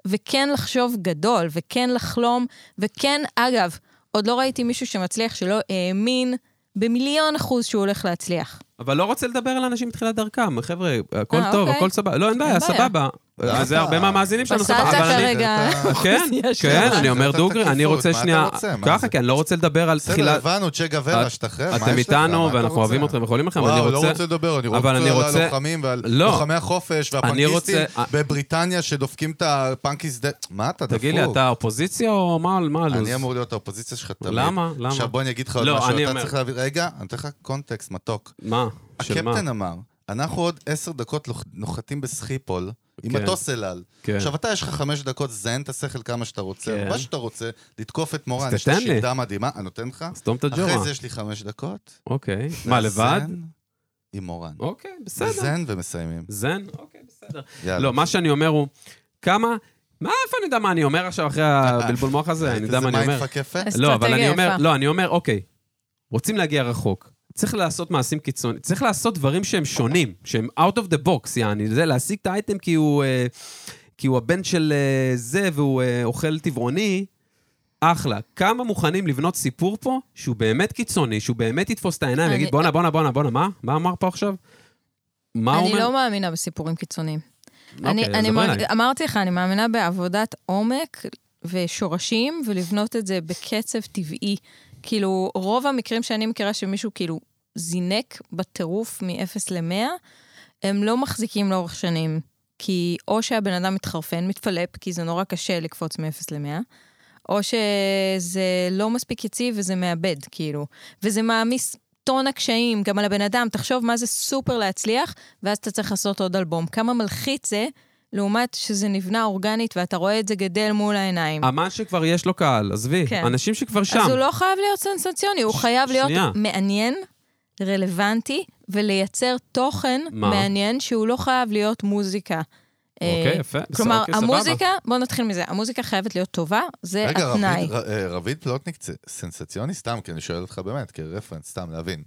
C: וכן לחשוב גדול, וכן לחלום, וכן, אגב, עוד לא ראיתי מישהו שמצליח שלא האמין במיליון אחוז שהוא הולך להצליח.
B: אבל לא רוצה לדבר על אנשים מתחילת דרכם. חבר'ה, הכל
C: אה,
B: טוב,
C: אוקיי.
B: הכל סבבה. לא, אין בעיה,
C: אין בעיה.
B: סבבה. וזה אה, הרבה מהמאזינים שלנו.
C: פסלת
B: אבל אני-
C: אה, כרגע.
B: כן,
C: האוכלוסייה שלנו.
B: כן, אני
A: זה
B: אומר
A: אותה
B: דוגרי, אני
A: תקיפות,
B: רוצה
A: מה אתה
B: שנייה...
A: רוצה? מה
B: ככה,
A: זה?
B: כי אני לא רוצה לדבר על
A: בסדר,
B: תחילת...
A: הבנו, צ'ה גוורה,
B: את-
A: שתחרר, מה יש לך?
B: אתם
A: מה
B: איתנו,
A: אתה
B: ואנחנו
A: רוצה?
B: אוהבים אתכם ויכולים לכם,
A: וואו,
B: אני
A: לא
B: רוצה...
A: רוצה לדבר, אני
B: אבל
A: רוצה
B: אני
A: לדבר על
B: רוצה-
A: הלוחמים ועל
B: לא.
A: לוחמי החופש והפנקיסטים
B: רוצה- אה-
A: בבריטניה שדופקים את הפנקיסט... מה אתה דפוק?
B: תגיד לי, אתה אופוזיציה או מה מה הלו"ז?
A: אני אמור להיות האופוזיציה שלך תמיד.
B: למה? למה?
A: עכשיו בוא אני אגיד לך עוד
B: לא,
A: משהו,
B: אני
A: אתה
B: אומר.
A: צריך להבין... רגע, אני אתן לך קונטקסט מתוק.
B: מה? של מה?
A: הקפטן אמר, אנחנו עוד עשר דקות לוח- נוחתים בסחיפול. עם
B: כן.
A: מטוס אל על.
B: כן.
A: עכשיו, אתה יש לך חמש דקות, זיין את השכל כמה שאתה רוצה,
B: כן.
A: מה שאתה רוצה, לתקוף את מורן,
B: אז
A: יש לה
B: תתן לי.
A: שיטה מדהימה, אני נותן לך.
B: סתום את הג'ורה.
A: אחרי זה יש לי חמש דקות.
B: אוקיי. מה, לבד?
A: זן עם מורן.
B: אוקיי, בסדר.
A: זן ומסיימים.
B: זן? אוקיי, בסדר.
A: יאללה.
B: לא, מה שאני אומר הוא, כמה... מה, איפה אני יודע מה אני אומר עכשיו אחרי הבלבול מוח הזה? אני יודע מה אני אומר.
A: איזה מיינדפאק יפה.
B: לא, אבל אני
C: אסטרטגיה
B: אומר,
C: יפה.
B: לא, אני אומר, אוקיי, רוצים להגיע רחוק. צריך לעשות מעשים קיצוניים, צריך לעשות דברים שהם שונים, שהם out of the box, יעני, זה להשיג את האייטם כי הוא, אה, כי הוא הבן של אה, זה והוא אה, אוכל טבעוני, אחלה. כמה מוכנים לבנות סיפור פה שהוא באמת קיצוני, שהוא באמת יתפוס את העיניים,
C: אני- לא-
B: יגיד בואנה, בואנה, בואנה, בואנה, מה? מה אמר פה עכשיו? מה הוא
C: אני
B: אומר?
C: לא מאמינה בסיפורים קיצוניים.
B: אוקיי,
C: אני,
B: אז
C: אני
B: דברי
C: מאמ-
B: אליי.
C: אמרתי לך, אני מאמינה בעבודת עומק ושורשים, ולבנות את זה בקצב טבעי. כאילו, רוב המקרים שאני מכירה שמישהו כאילו זינק בטירוף מ-0 ל-100, הם לא מחזיקים לאורך שנים. כי או שהבן אדם מתחרפן, מתפלפ, כי זה נורא קשה לקפוץ מ-0 ל-100, או שזה לא מספיק יציב וזה מאבד, כאילו. וזה מעמיס טון הקשיים גם על הבן אדם. תחשוב מה זה סופר להצליח, ואז אתה צריך לעשות עוד אלבום. כמה מלחיץ זה, לעומת שזה נבנה אורגנית ואתה רואה את זה גדל מול העיניים.
B: אמן שכבר יש לו קהל, עזבי,
C: כן.
B: אנשים שכבר שם.
C: אז הוא לא חייב להיות סנסציוני, הוא חייב
B: שנייה.
C: להיות מעניין, רלוונטי, ולייצר תוכן
B: מה?
C: מעניין שהוא לא חייב להיות מוזיקה.
B: אוקיי,
C: אה,
B: יפה.
C: כלומר,
B: אוקיי, סבבה.
C: המוזיקה, בואו נתחיל מזה, המוזיקה חייבת להיות טובה, זה
A: רגע,
C: התנאי.
A: רביד- ר- אה, רביד פלוטניק צ- סנסציוני? סתם, כי אני שואל אותך באמת, כרפרנס, סתם להבין.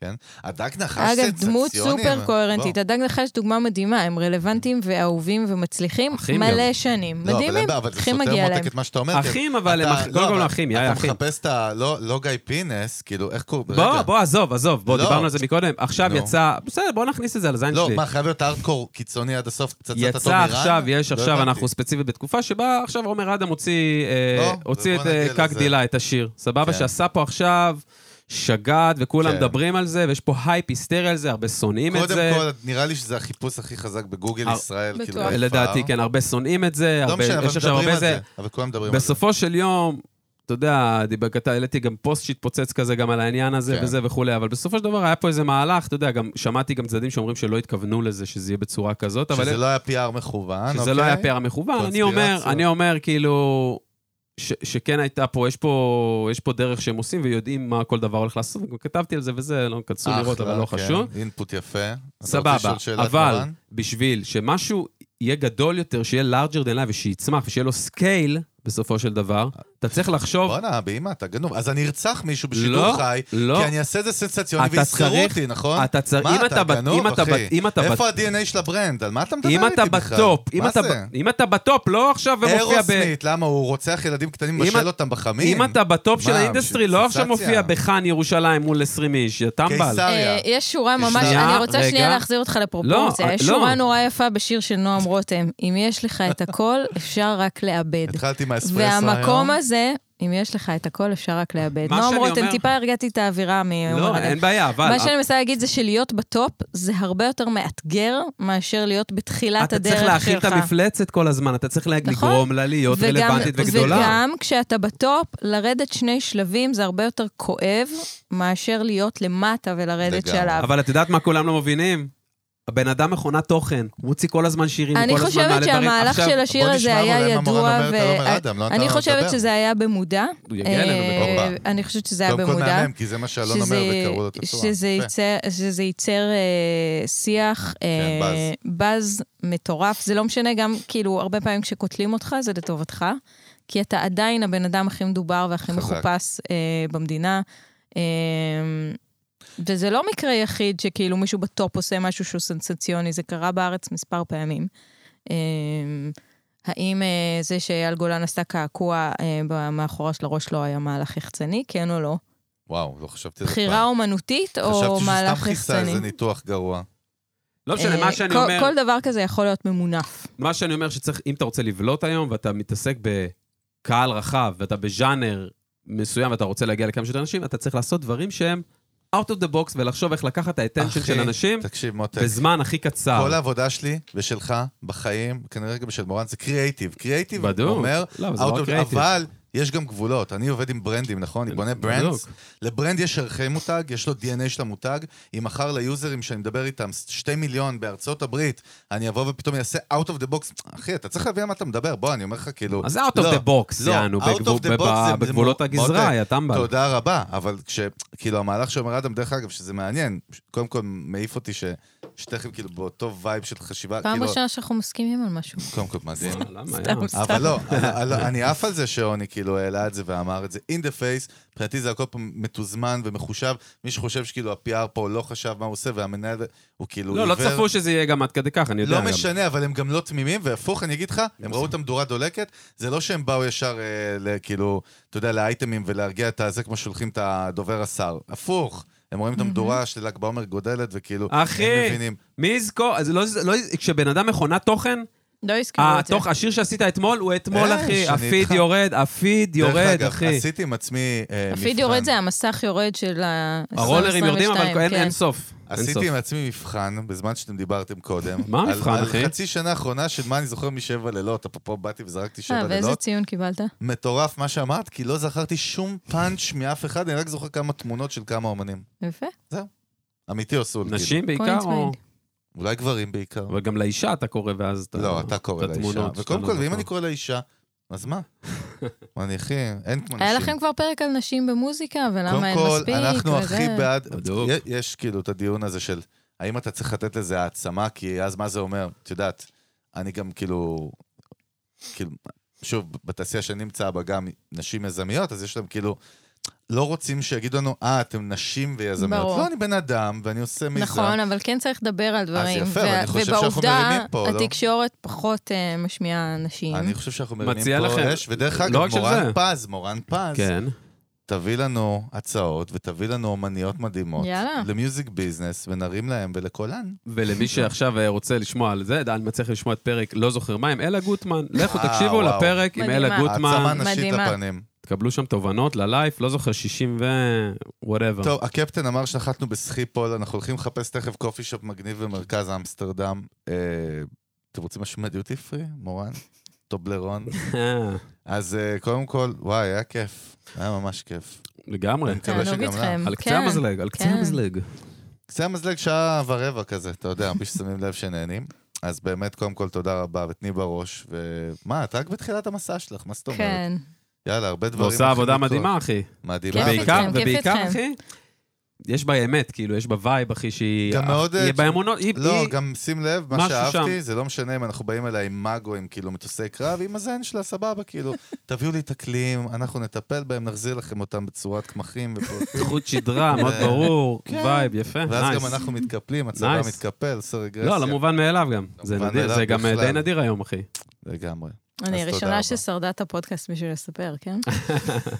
A: כן? הדג נחש סנסציוני. לא,
C: אגב, דמות סופר קוהרנטית.
A: אה, בוא.
C: הדג נחש דוגמה מדהימה, הם רלוונטיים ואהובים ומצליחים
B: אחים
C: מלא
B: גם.
C: שנים.
A: לא, אבל אין
C: מדהימים,
A: בעיה, אבל זה
C: צריכים
A: סותר
C: מגיע
A: מותק
C: להם.
A: את מה שאתה אומר. כי
B: אחים, אבל הם
A: אתה-
B: אחים,
A: לא,
B: קודם כל
A: אבל
B: הם אחים, יאי,
A: אתה
B: אחים.
A: מחפש את ה... לא לא גיא פינס, כאילו, איך קוראים?
B: בוא,
A: רגע.
B: בוא, עזוב, עזוב, בוא,
A: לא.
B: דיברנו על זה מקודם. עכשיו
A: נו.
B: יצא, בסדר, בוא נכניס את זה על הזין
A: לא,
B: שלי.
A: מה, חייב להיות ארדקור קיצוני עד הסוף, פצצת התום איראן?
B: יצא עכשיו, יש
A: לא
B: עכשיו,
A: הבנתי.
B: אנחנו ספציפית בתקופה שבה עכשיו עומר אדם הוציא
A: לא,
B: אה, הוציא
A: ובוא
B: את אה,
A: נגיע
B: קק
A: לזה.
B: דילה, את השיר. סבבה?
A: כן.
B: שעשה פה עכשיו שגעת, וכולם
A: כן.
B: מדברים על זה, ויש פה הייפ היסטרי על זה, הרבה שונאים את
A: קודם
B: זה.
A: כל, נראה לי שזה החיפוש הכי חזק בגוגל
B: הר-
A: ישראל, כאילו,
C: בטוח.
A: by far.
B: לדעתי, כן, הרבה שונאים את זה,
A: לא
B: הרבה-
A: משנה, אבל
B: יש עכשיו
A: מדברים
B: הרבה
A: על
B: זה.
A: זה. אבל כולם מדברים על זה.
B: בסופו של יום, אתה יודע, דיבר- אתה העליתי גם פוסט שהתפוצץ כזה גם על העניין הזה
A: כן.
B: וזה וכולי, אבל בסופו של דבר היה פה איזה מהלך, אתה יודע, גם שמעתי גם צדדים שאומרים שלא התכוונו לזה שזה יהיה בצורה כזאת, אבל...
A: שזה לא היה PR מכוון,
B: שזה
A: אוקיי?
B: לא היה פר מכוון. אני אומר,
A: קונספירציות.
B: אני אומר, כאילו... ש, שכן הייתה פה, יש פה, יש פה דרך שהם עושים ויודעים מה כל דבר הולך לעשות, וגם כתבתי על זה וזה, לא כנסו
A: אחלה,
B: לראות, אבל לא
A: כן.
B: חשוב.
A: אינפוט יפה. אתה רוצה
B: סבבה,
A: לשאול שאלת
B: אבל
A: מורן?
B: בשביל שמשהו יהיה גדול יותר, שיהיה larger than life ושיצמח ושיהיה לו סקייל בסופו של דבר, אתה צריך לחשוב,
A: בואנה, באמא, אתה גנוב. אז אני ארצח מישהו בשידור
B: לא,
A: חי,
B: לא.
A: כי אני אעשה את זה סנסציוני
B: אתה
A: ויסחרו
B: צריך-
A: אותי, נכון?
B: אתה צריך-
A: מה,
B: אם אתה בת-
A: גנוב,
B: אם אתה
A: אחי?
B: בת- אם אתה
A: איפה
B: בת-
A: ה-DNA של הברנד? על מה אתה מדבר
B: אם
A: איתי
B: אתה
A: בכלל?
B: בטופ, אם
A: מה
B: אתה
A: זה?
B: ב- אם אתה בטופ, לא עכשיו ומופיע ב...
A: אירוסמית, למה? הוא רוצח ילדים קטנים,
B: אם
A: מבשל
B: את-
A: אותם בחמים?
B: אם אתה בטופ של
A: מה,
B: האינדסטרי,
A: בשביל
B: לא עכשיו
A: סנסציה?
B: מופיע בחאן ירושלים מול 20 איש, יא טמבל. לא,
A: קיסריה.
C: אה, יש שורה ממש,
B: שנייה,
C: אני רוצה
B: רגע.
C: שנייה להחזיר אותך לפרופורציה.
B: לא,
C: יש
B: לא.
C: שורה נורא יפה בשיר של נועם רותם. אם יש לך את הכל, אפשר רק לאבד.
A: התחלתי עם האספרסו היום.
C: והמקום הזה, אם יש לך את הכל, אפשר רק לאבד.
B: מה
C: נועם
B: שאני
C: רותם,
B: אומר-
C: טיפה הרגעתי את האווירה מעומר
B: לא,
C: אדם.
B: אין בעיה, אבל...
C: מה שאני מנסה להגיד זה שלהיות בטופ זה הרבה יותר מאתגר מאשר להיות בתחילת
B: אתה
C: הדרך שלך.
B: צריך להכיל את המפלצת כל הזמן, אתה צריך לה-
C: נכון.
B: לגרום לה להיות
C: וגם-
B: רלוונטית וגדולה.
C: וגם כשאתה בטופ, לרדת שני שלבים זה הרבה יותר כואב מאשר להיות למטה ולרדת
A: לגמרי.
C: שלב.
B: אבל את יודעת מה כולם לא מבינים? הבן אדם מכונת תוכן, הוא מוציא כל הזמן שירים,
C: אני
B: הוא כל הזמן מעלה
C: חושבת
B: דברים.
C: שהמהלך
B: עכשיו,
C: של השיר
A: בוא
C: הזה
A: נשמע
C: היה
A: אולי מה מורן
C: ידוע,
A: אומרת על עומר אדם, לא נתנו
C: אני
A: לו
C: חושבת
A: לדבר.
C: שזה היה במודע.
B: הוא יגיע אלינו
C: אה,
B: בקרוב.
C: אני חושבת שזה היה
A: קודם כל
C: במודע.
A: מהמם, כי זה מה שאלון אומר
C: שזה-
A: וקראו לו את הצורה.
C: שזה
A: יפה.
C: ייצר- שזה ייצר אה, שיח,
A: כן,
C: אה, באז מטורף. זה לא משנה, גם כאילו, הרבה פעמים כשקוטלים אותך, זה לטובתך, כי אתה עדיין הבן אדם הכי מדובר והכי
A: חזק.
C: מחופש אה, במדינה. אה, וזה לא מקרה יחיד שכאילו מישהו בטופ עושה משהו שהוא סנסציוני, זה קרה בארץ מספר פעמים. אה, האם אה, זה שאייל גולן עשתה קעקוע אה, ב- מאחורה של הראש לא היה מהלך יחצני? כן או לא?
A: וואו, לא חשבתי על זה פעם.
C: בחירה אומנותית או
A: חשבתי שהוא סתם
C: מהלך
A: כיסה
C: יחצני?
A: איזה ניתוח גרוע.
B: לא משנה,
C: אה,
B: מה שאני
C: כל-
B: אומר...
C: כל דבר כזה יכול להיות
A: אה,
C: ממונף.
B: מה שאני אומר שצריך, אם אתה רוצה לבלוט היום, ואתה מתעסק בקהל רחב, ואתה בז'אנר מסוים, ואתה רוצה להגיע לכמה שיותר אנשים, אתה צריך לעשות דברים שהם out of the box, ולחשוב איך לקחת את האטנשן של אנשים
A: תקשיב, מותק.
B: בזמן הכי קצר.
A: כל העבודה שלי ושלך בחיים, כנראה גם של מורן, זה קריאייטיב. קריאייטיב
B: בדוק.
A: אומר,
B: לא, אבל זה
A: out
B: לא
A: of-
B: creative.
A: אבל יש גם גבולות. אני עובד עם ברנדים, נכון? אני בונה ברנדס.
B: בדיוק.
A: לברנד יש ערכי מותג, יש לו DNA של המותג. אם מחר ליוזרים שאני מדבר איתם, שתי מיליון בארצות הברית, אני אבוא ופתאום אעשה out of the box. אחי, אתה צריך להבין על מה אתה מדבר, בוא, אני אומר לך כאילו...
B: אז זה out of
A: לא,
B: the box,
A: לא,
B: יענו,
A: out of
B: בגבול-
A: the box
B: בב-
A: זה- זה
B: בגבולות
A: מ-
B: הגזרה,
A: מותק,
B: יא טמבל.
A: תודה רבה, אבל כש... כאילו, המהלך שאומר אדם, דרך אגב, שזה מעניין, קודם כל מעיף אותי ש... שתכף כאילו באותו וייב של חשיבה,
C: פעם
A: כאילו...
C: ראשונה שאנחנו מסכימים על משהו.
A: קודם כל מדהים.
B: אה, למה,
C: סתם,
B: יאללה.
C: סתם.
A: אבל לא, אני- אני עף על זה שעוני כאילו העלה את זה ואמר את זה in the face, מבחינתי זה הכל פה מתוזמן ומחושב, מי שחושב שכאילו ה-PR פה לא חשב מה הוא עושה והמנהל, הוא כאילו
B: לא, לא צפו שזה יהיה גם עד כדי כך, אני יודע
A: לא
B: גם.
A: משנה, אבל הם גם לא תמימים, והפוך, אני אגיד לך, הם ראו את המדורה דולקת, זה לא שהם באו ישר, אה, ל- כאילו, אתה יודע, לאייטמים ולהרגיע את הזה כמו שולחים את הדובר השר. הפוך, הם רואים את המדורה של ל"ג בעומר גודלת, וכאילו, הם
B: אחי,
A: מבינים.
B: מי יזכור, אז לא, לא, כשבן אדם מכונה תוכן,
C: לא הזכירו את זה.
B: התוך, השיר שעשית אתמול הוא אתמול,
A: אה,
B: אחי.
A: שאני
B: הפיד
A: איתך.
B: יורד, הפיד
A: דרך
B: יורד,
A: אגב,
B: אחי.
A: עשיתי עם עצמי אה, מבחן.
C: הפיד יורד זה המסך יורד של ה...
B: הרולרים יורדים, אבל
C: 2022,
B: אין- אין
C: כן.
B: סוף. אין סוף.
A: עשיתי עם עצמי מבחן, בזמן שאתם דיברתם קודם.
B: מה
A: על-
B: המבחן, אחי?
A: על חצי שנה האחרונה של מה אני זוכר משבע לילות. אפרופו, באתי וזרקתי
C: אה,
A: שבע
C: ואיזה
A: לילות.
C: ציון קיבלת?
A: מטורף מה שאמרת, כי לא זכרתי שום פאנץ' מאף אחד, אני רק זוכר כמה תמונות של כמה אומנים.
C: יפה.
A: אמיתי או סול, כאילו.
B: נשים בעיקר,
C: פוינט
B: או...
C: מייד.
A: אולי גברים בעיקר.
B: אבל גם לאישה אתה קורא ואז אתה...
A: לא, אתה קורא
B: את
A: לאישה.
B: התמונות
A: וקודם
B: שאתה
A: כל,
B: לא
A: ואם
B: זוכר.
A: אני קורא לאישה, אז מה? מה, אני אחי, אין כמו נשים.
C: היה לכם כבר פרק על נשים במוזיקה, ולמה אין מספיק,
A: קודם כל, אנחנו
C: וזה.
A: הכי בעד...
B: בדיוק.
A: י- יש כאילו את הדיון הזה של האם אתה צריך לתת לזה העצמה, כי אז מה זה אומר? את יודעת, אני גם כאילו... כאילו, שוב, בתעשייה שאני נמצא בה גם נשים יזמיות, אז יש להם כאילו... לא רוצים שיגידו לנו, אה, אתם נשים ויזמיות.
C: ברור.
A: לא, אני בן אדם, ואני עושה מיזם.
C: נכון, אבל כן צריך לדבר על דברים.
A: יפה, אבל
C: ו-
A: אני חושב שאנחנו
C: ובעובדה,
A: מרימים פה, לא?
C: התקשורת פחות אה, משמיעה נשים.
A: אני חושב שאנחנו
B: מציע
A: מרימים פה
B: לכם-
A: אש, ודרך
B: לא
A: אגב,
B: רק של
A: מורן
B: זה.
A: פז, מורן פז,
B: כן.
A: תביא לנו הצעות ותביא לנו אומניות מדהימות.
C: יאללה.
A: למיוזיק ביזנס, ונרים להם ולקולן.
B: ולמי שעכשיו אה, רוצה לשמוע על זה, אני מצליח לשמוע את פרק לא זוכר מה עם אלה גוטמן. לכו
A: וואו,
B: תקשיבו
A: אה, וואו.
B: לפרק עם אלה
C: מדהימה.
A: העצמה
B: גוטמן,
A: נשית
C: מדהימה.
A: לפנים.
B: תקבלו שם תובנות ללייף, לא זוכר 60 ו... וואטאבר.
A: טוב, הקפטן אמר שנחתנו בסחי פול, אנחנו הולכים לחפש תכף קופי שופ מגניב במרכז אמסטרדם. אה, אתם רוצים משהו מהדיוטי פרי, מורן? טובלרון? אז אה, קודם כל, וואי, היה כיף. היה ממש כיף.
B: לגמרי.
A: אני מקווה
C: תענוג
A: שגם לך.
C: איתכם.
B: על
C: כן.
B: קצה המזלג, על קצה
C: כן.
B: המזלג.
A: קצה המזלג שעה ורבע כזה, אתה יודע, בלי ששמים לב שנהנים. אז באמת, קודם כל, תודה רבה, ותני בראש. ומה, את רק בתחילת המסע שלך, מה זאת אומרת?
C: כן.
A: יאללה, הרבה דברים.
B: ועושה
A: הולכים
B: עבודה
A: לקרות.
B: מדהימה, אחי.
A: מדהימה.
C: כיף
B: בעיקר,
C: איתכם, כיף
B: ובעיקר,
C: איתכם.
B: אחי, יש בה אמת, כאילו, יש בה וייב, אחי, שהיא...
A: גם מאוד,
B: היא
A: אה,
B: באמונות, היא...
A: לא,
B: היא-
A: גם שים לב, מה
B: משהו
A: שאהבתי, זה לא משנה אם אנחנו באים אליי עם מאגו, עם כאילו מטוסי קרב, עם הזן שלה, סבבה, כאילו, תביאו לי את הקלים, אנחנו נטפל בהם, נחזיר לכם אותם בצורת קמחים ופרוטים.
B: חוט שדרה, מאוד ברור,
A: כן.
B: וייב, יפה,
A: ואז
B: נייס.
A: גם אנחנו מתקפלים, הצבא
B: Nice.
A: מתקפל, עושה רגרסיה.
B: לא, למובן מאליו גם. זה
A: למובן
B: נדיר,
A: מאליו
B: זה גם אה,
A: בכלל.
B: די נדיר היום, אחי.
A: לגמרי.
C: אני
A: אז תודה
C: הראשונה
A: רבה.
C: ששרדה את הפודקאסט בשביל לספר, כן?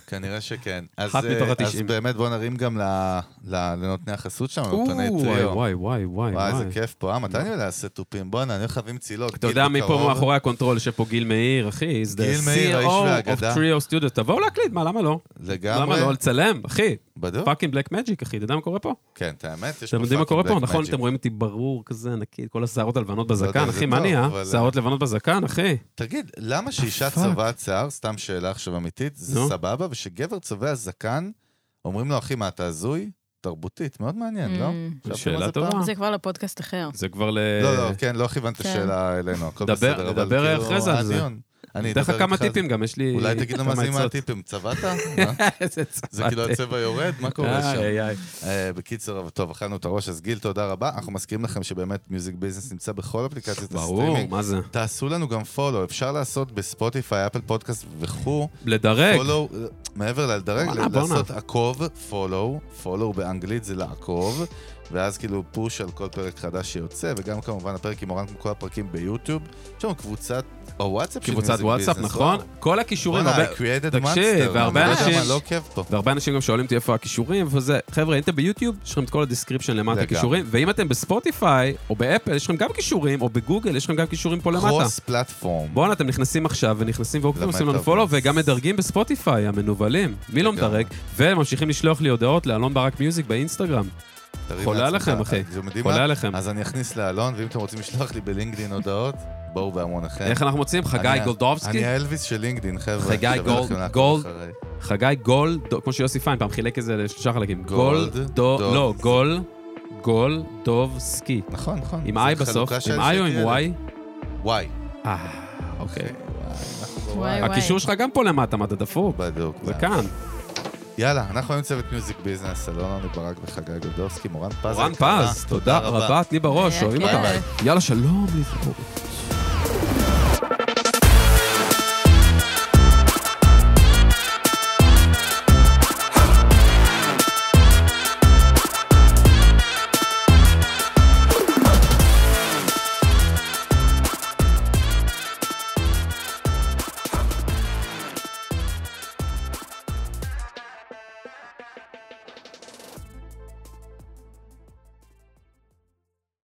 A: כנראה שכן. אז,
B: אחת
A: אה,
B: מתוך
A: אז
B: התשעים.
A: באמת בוא נרים גם ל- ל- לנותני החסות שלנו,
B: או,
A: לנותני
B: וואי,
A: טריו.
B: וואי, וואי, וואי.
A: וואי,
B: וואי.
A: איזה כיף פה. אה, מתי אני יודע לעשות תופים? בואנה, אני הולך להביא מצילות.
B: אתה
A: גיל
B: יודע מי
A: בקרוב.
B: פה מאחורי הקונטרול, יושב פה גיל מאיר, אחי, he's
A: גיל
B: the
A: מאיר, האיש
B: CEO
A: והאגדה.
B: of Trio Studio. תבואו להקליט, מה, למה לא? למה
A: לגמרי.
B: לא? לצלם, אחי.
A: בדוק.
B: פאקינג בלק מג'יק, אחי, אתה יודע מה קורה פה?
A: כן, את האמת, יש פה
B: אתם יודעים מה
A: פאקינג
B: קורה פה,
A: black
B: נכון?
A: magic. לא
B: אתם רואים אותי ברור כזה, נקי, כל השערות הלבנות בזקן,
A: יודע, זה
B: אחי, מה
A: טוב,
B: נהיה?
A: אבל- אה,
B: שערות לבנות בזקן, אחי.
A: תגיד, למה שאישה
B: פאק.
A: צובעת שיער, סתם שאלה עכשיו אמיתית, זה
B: נו.
A: סבבה, ושגבר צובע זקן, אומרים לו, אחי, מה, אתה הזוי? תרבותית, מאוד מעניין, לא?
C: Mm.
A: חשבתם על
B: שאלה
A: זה
B: טובה.
A: פעם?
C: זה כבר לפודקאסט אחר.
B: זה כבר ל...
A: לא, לא, כן, לא כיוונת
C: כן.
A: שאלה אלינו, הכל
B: אה, דבר-
A: בסדר, אבל
B: דבר
A: כאילו,
B: אחרי זה על זה.
A: הדיון. אני
B: אתן לך
A: אדבר
B: כמה
A: איתך על זה.
B: טיפים גם, יש לי...
A: אולי תגיד
B: כמה
A: למאזינים
B: עצות.
A: מהטיפים, צבעת? מה?
B: איזה
A: זה כאילו
B: צבעתי.
A: הצבע יורד? מה קורה שם?
B: איי, איי.
A: אה, בקיצור, אבל טוב, אכלנו את הראש, אז גיל, תודה רבה. אנחנו מזכירים לכם שבאמת מיוזיק ביזנס נמצא בכל אפליקציות
B: ברור,
A: הסטרימינג.
B: מה זה?
A: תעשו לנו גם פולו, אפשר לעשות בספוטיפיי, אפל פודקאסט וכו'.
B: לדרג.
A: פולו, מעבר לדרג,
B: וואלה, בואנה.
A: לעשות עקוב, פולו, פולו באנגלית זה לעקוב, ואז כאילו פוש על כל פרק חדש שיוצא, וגם כמובן הפרק עם אורן, כמו כל הפרקים ביוטיוב. יש לנו קבוצת, או וואטסאפ של
B: קבוצת
A: Music
B: וואטסאפ,
A: Business.
B: נכון?
A: וואו.
B: כל הכישורים,
A: בואנה,
B: הרבה...
A: I created a
B: תקשיב,
A: monster.
B: והרבה
A: אני לא יודע
B: אנשים-
A: מה לא כיף פה.
B: והרבה אנשים גם שואלים אותי איפה הכישורים, וזה, חבר'ה, אם אתם ביוטיוב, יש לכם את כל הדיסקריפשן למטה
A: לגמרי.
B: כישורים, ואם אתם בספוטיפיי, או באפל, יש לכם גם כישורים, או בגוגל, יש לכם גם כישורים פה למטה.
A: קרוס פלטפורם.
B: בואנה, אתם נכנסים עכשיו, ונכנסים ועוקבים, עושים לנו
A: למטאוורס.
B: פולו, וגם מדרגים בספוטיפיי, המנוולים. מי לא
A: לגמרי.
B: מדרג? וממשיכים לשלוח לי הודעות לאלון ברק מיוזיק באינסטגרם.
A: תרים
B: חולה
A: לעצמך.
B: עליכם, אחי.
A: אתם יודעים
B: עולה
A: מה?
B: עליכם.
A: אז אני אכניס לאלון, ואם אתם רוצים לשלוח לי בלינקדין הודעות, בואו בהמון אחר.
B: איך אנחנו מוצאים? חגי
A: אני-
B: גולדובסקי?
A: אני האלוויס של לינקדין, חבר'ה. כאילו,
B: חגי
A: שווה
B: גולד-
A: לכם לעקוב
B: גולד-
A: אחריי.
B: חגי גול, דו- כמו שיוסי פיין פעם חילק את זה לשלושה חלקים. גול,
A: גולד,
B: דו,
A: דוב.
B: לא, גול, גול, דוב, סקי.
A: נכון, נכון.
B: עם
A: זה
B: איי בסוף,
A: חלוקה של
B: עם איי או
A: שקל.
B: עם וואי?
A: וואי.
B: אה, אוקיי.
C: וואי וואי.
B: הקישור שלך גם פה למטה, מה אתה דפוק?
A: בדיוק.
B: זה
A: זה
B: כאן.
A: יאללה, אנחנו היום צוות מיוזיק ביזנס, אלון עוני ברק וחגי גולדובסקי, מורן פז.
B: רן
A: היקרה,
B: פז, תודה רבה, תני בראש,
C: היה
B: אוהבים
C: כיף.
B: אותך. יאללה, שלום, להתראות.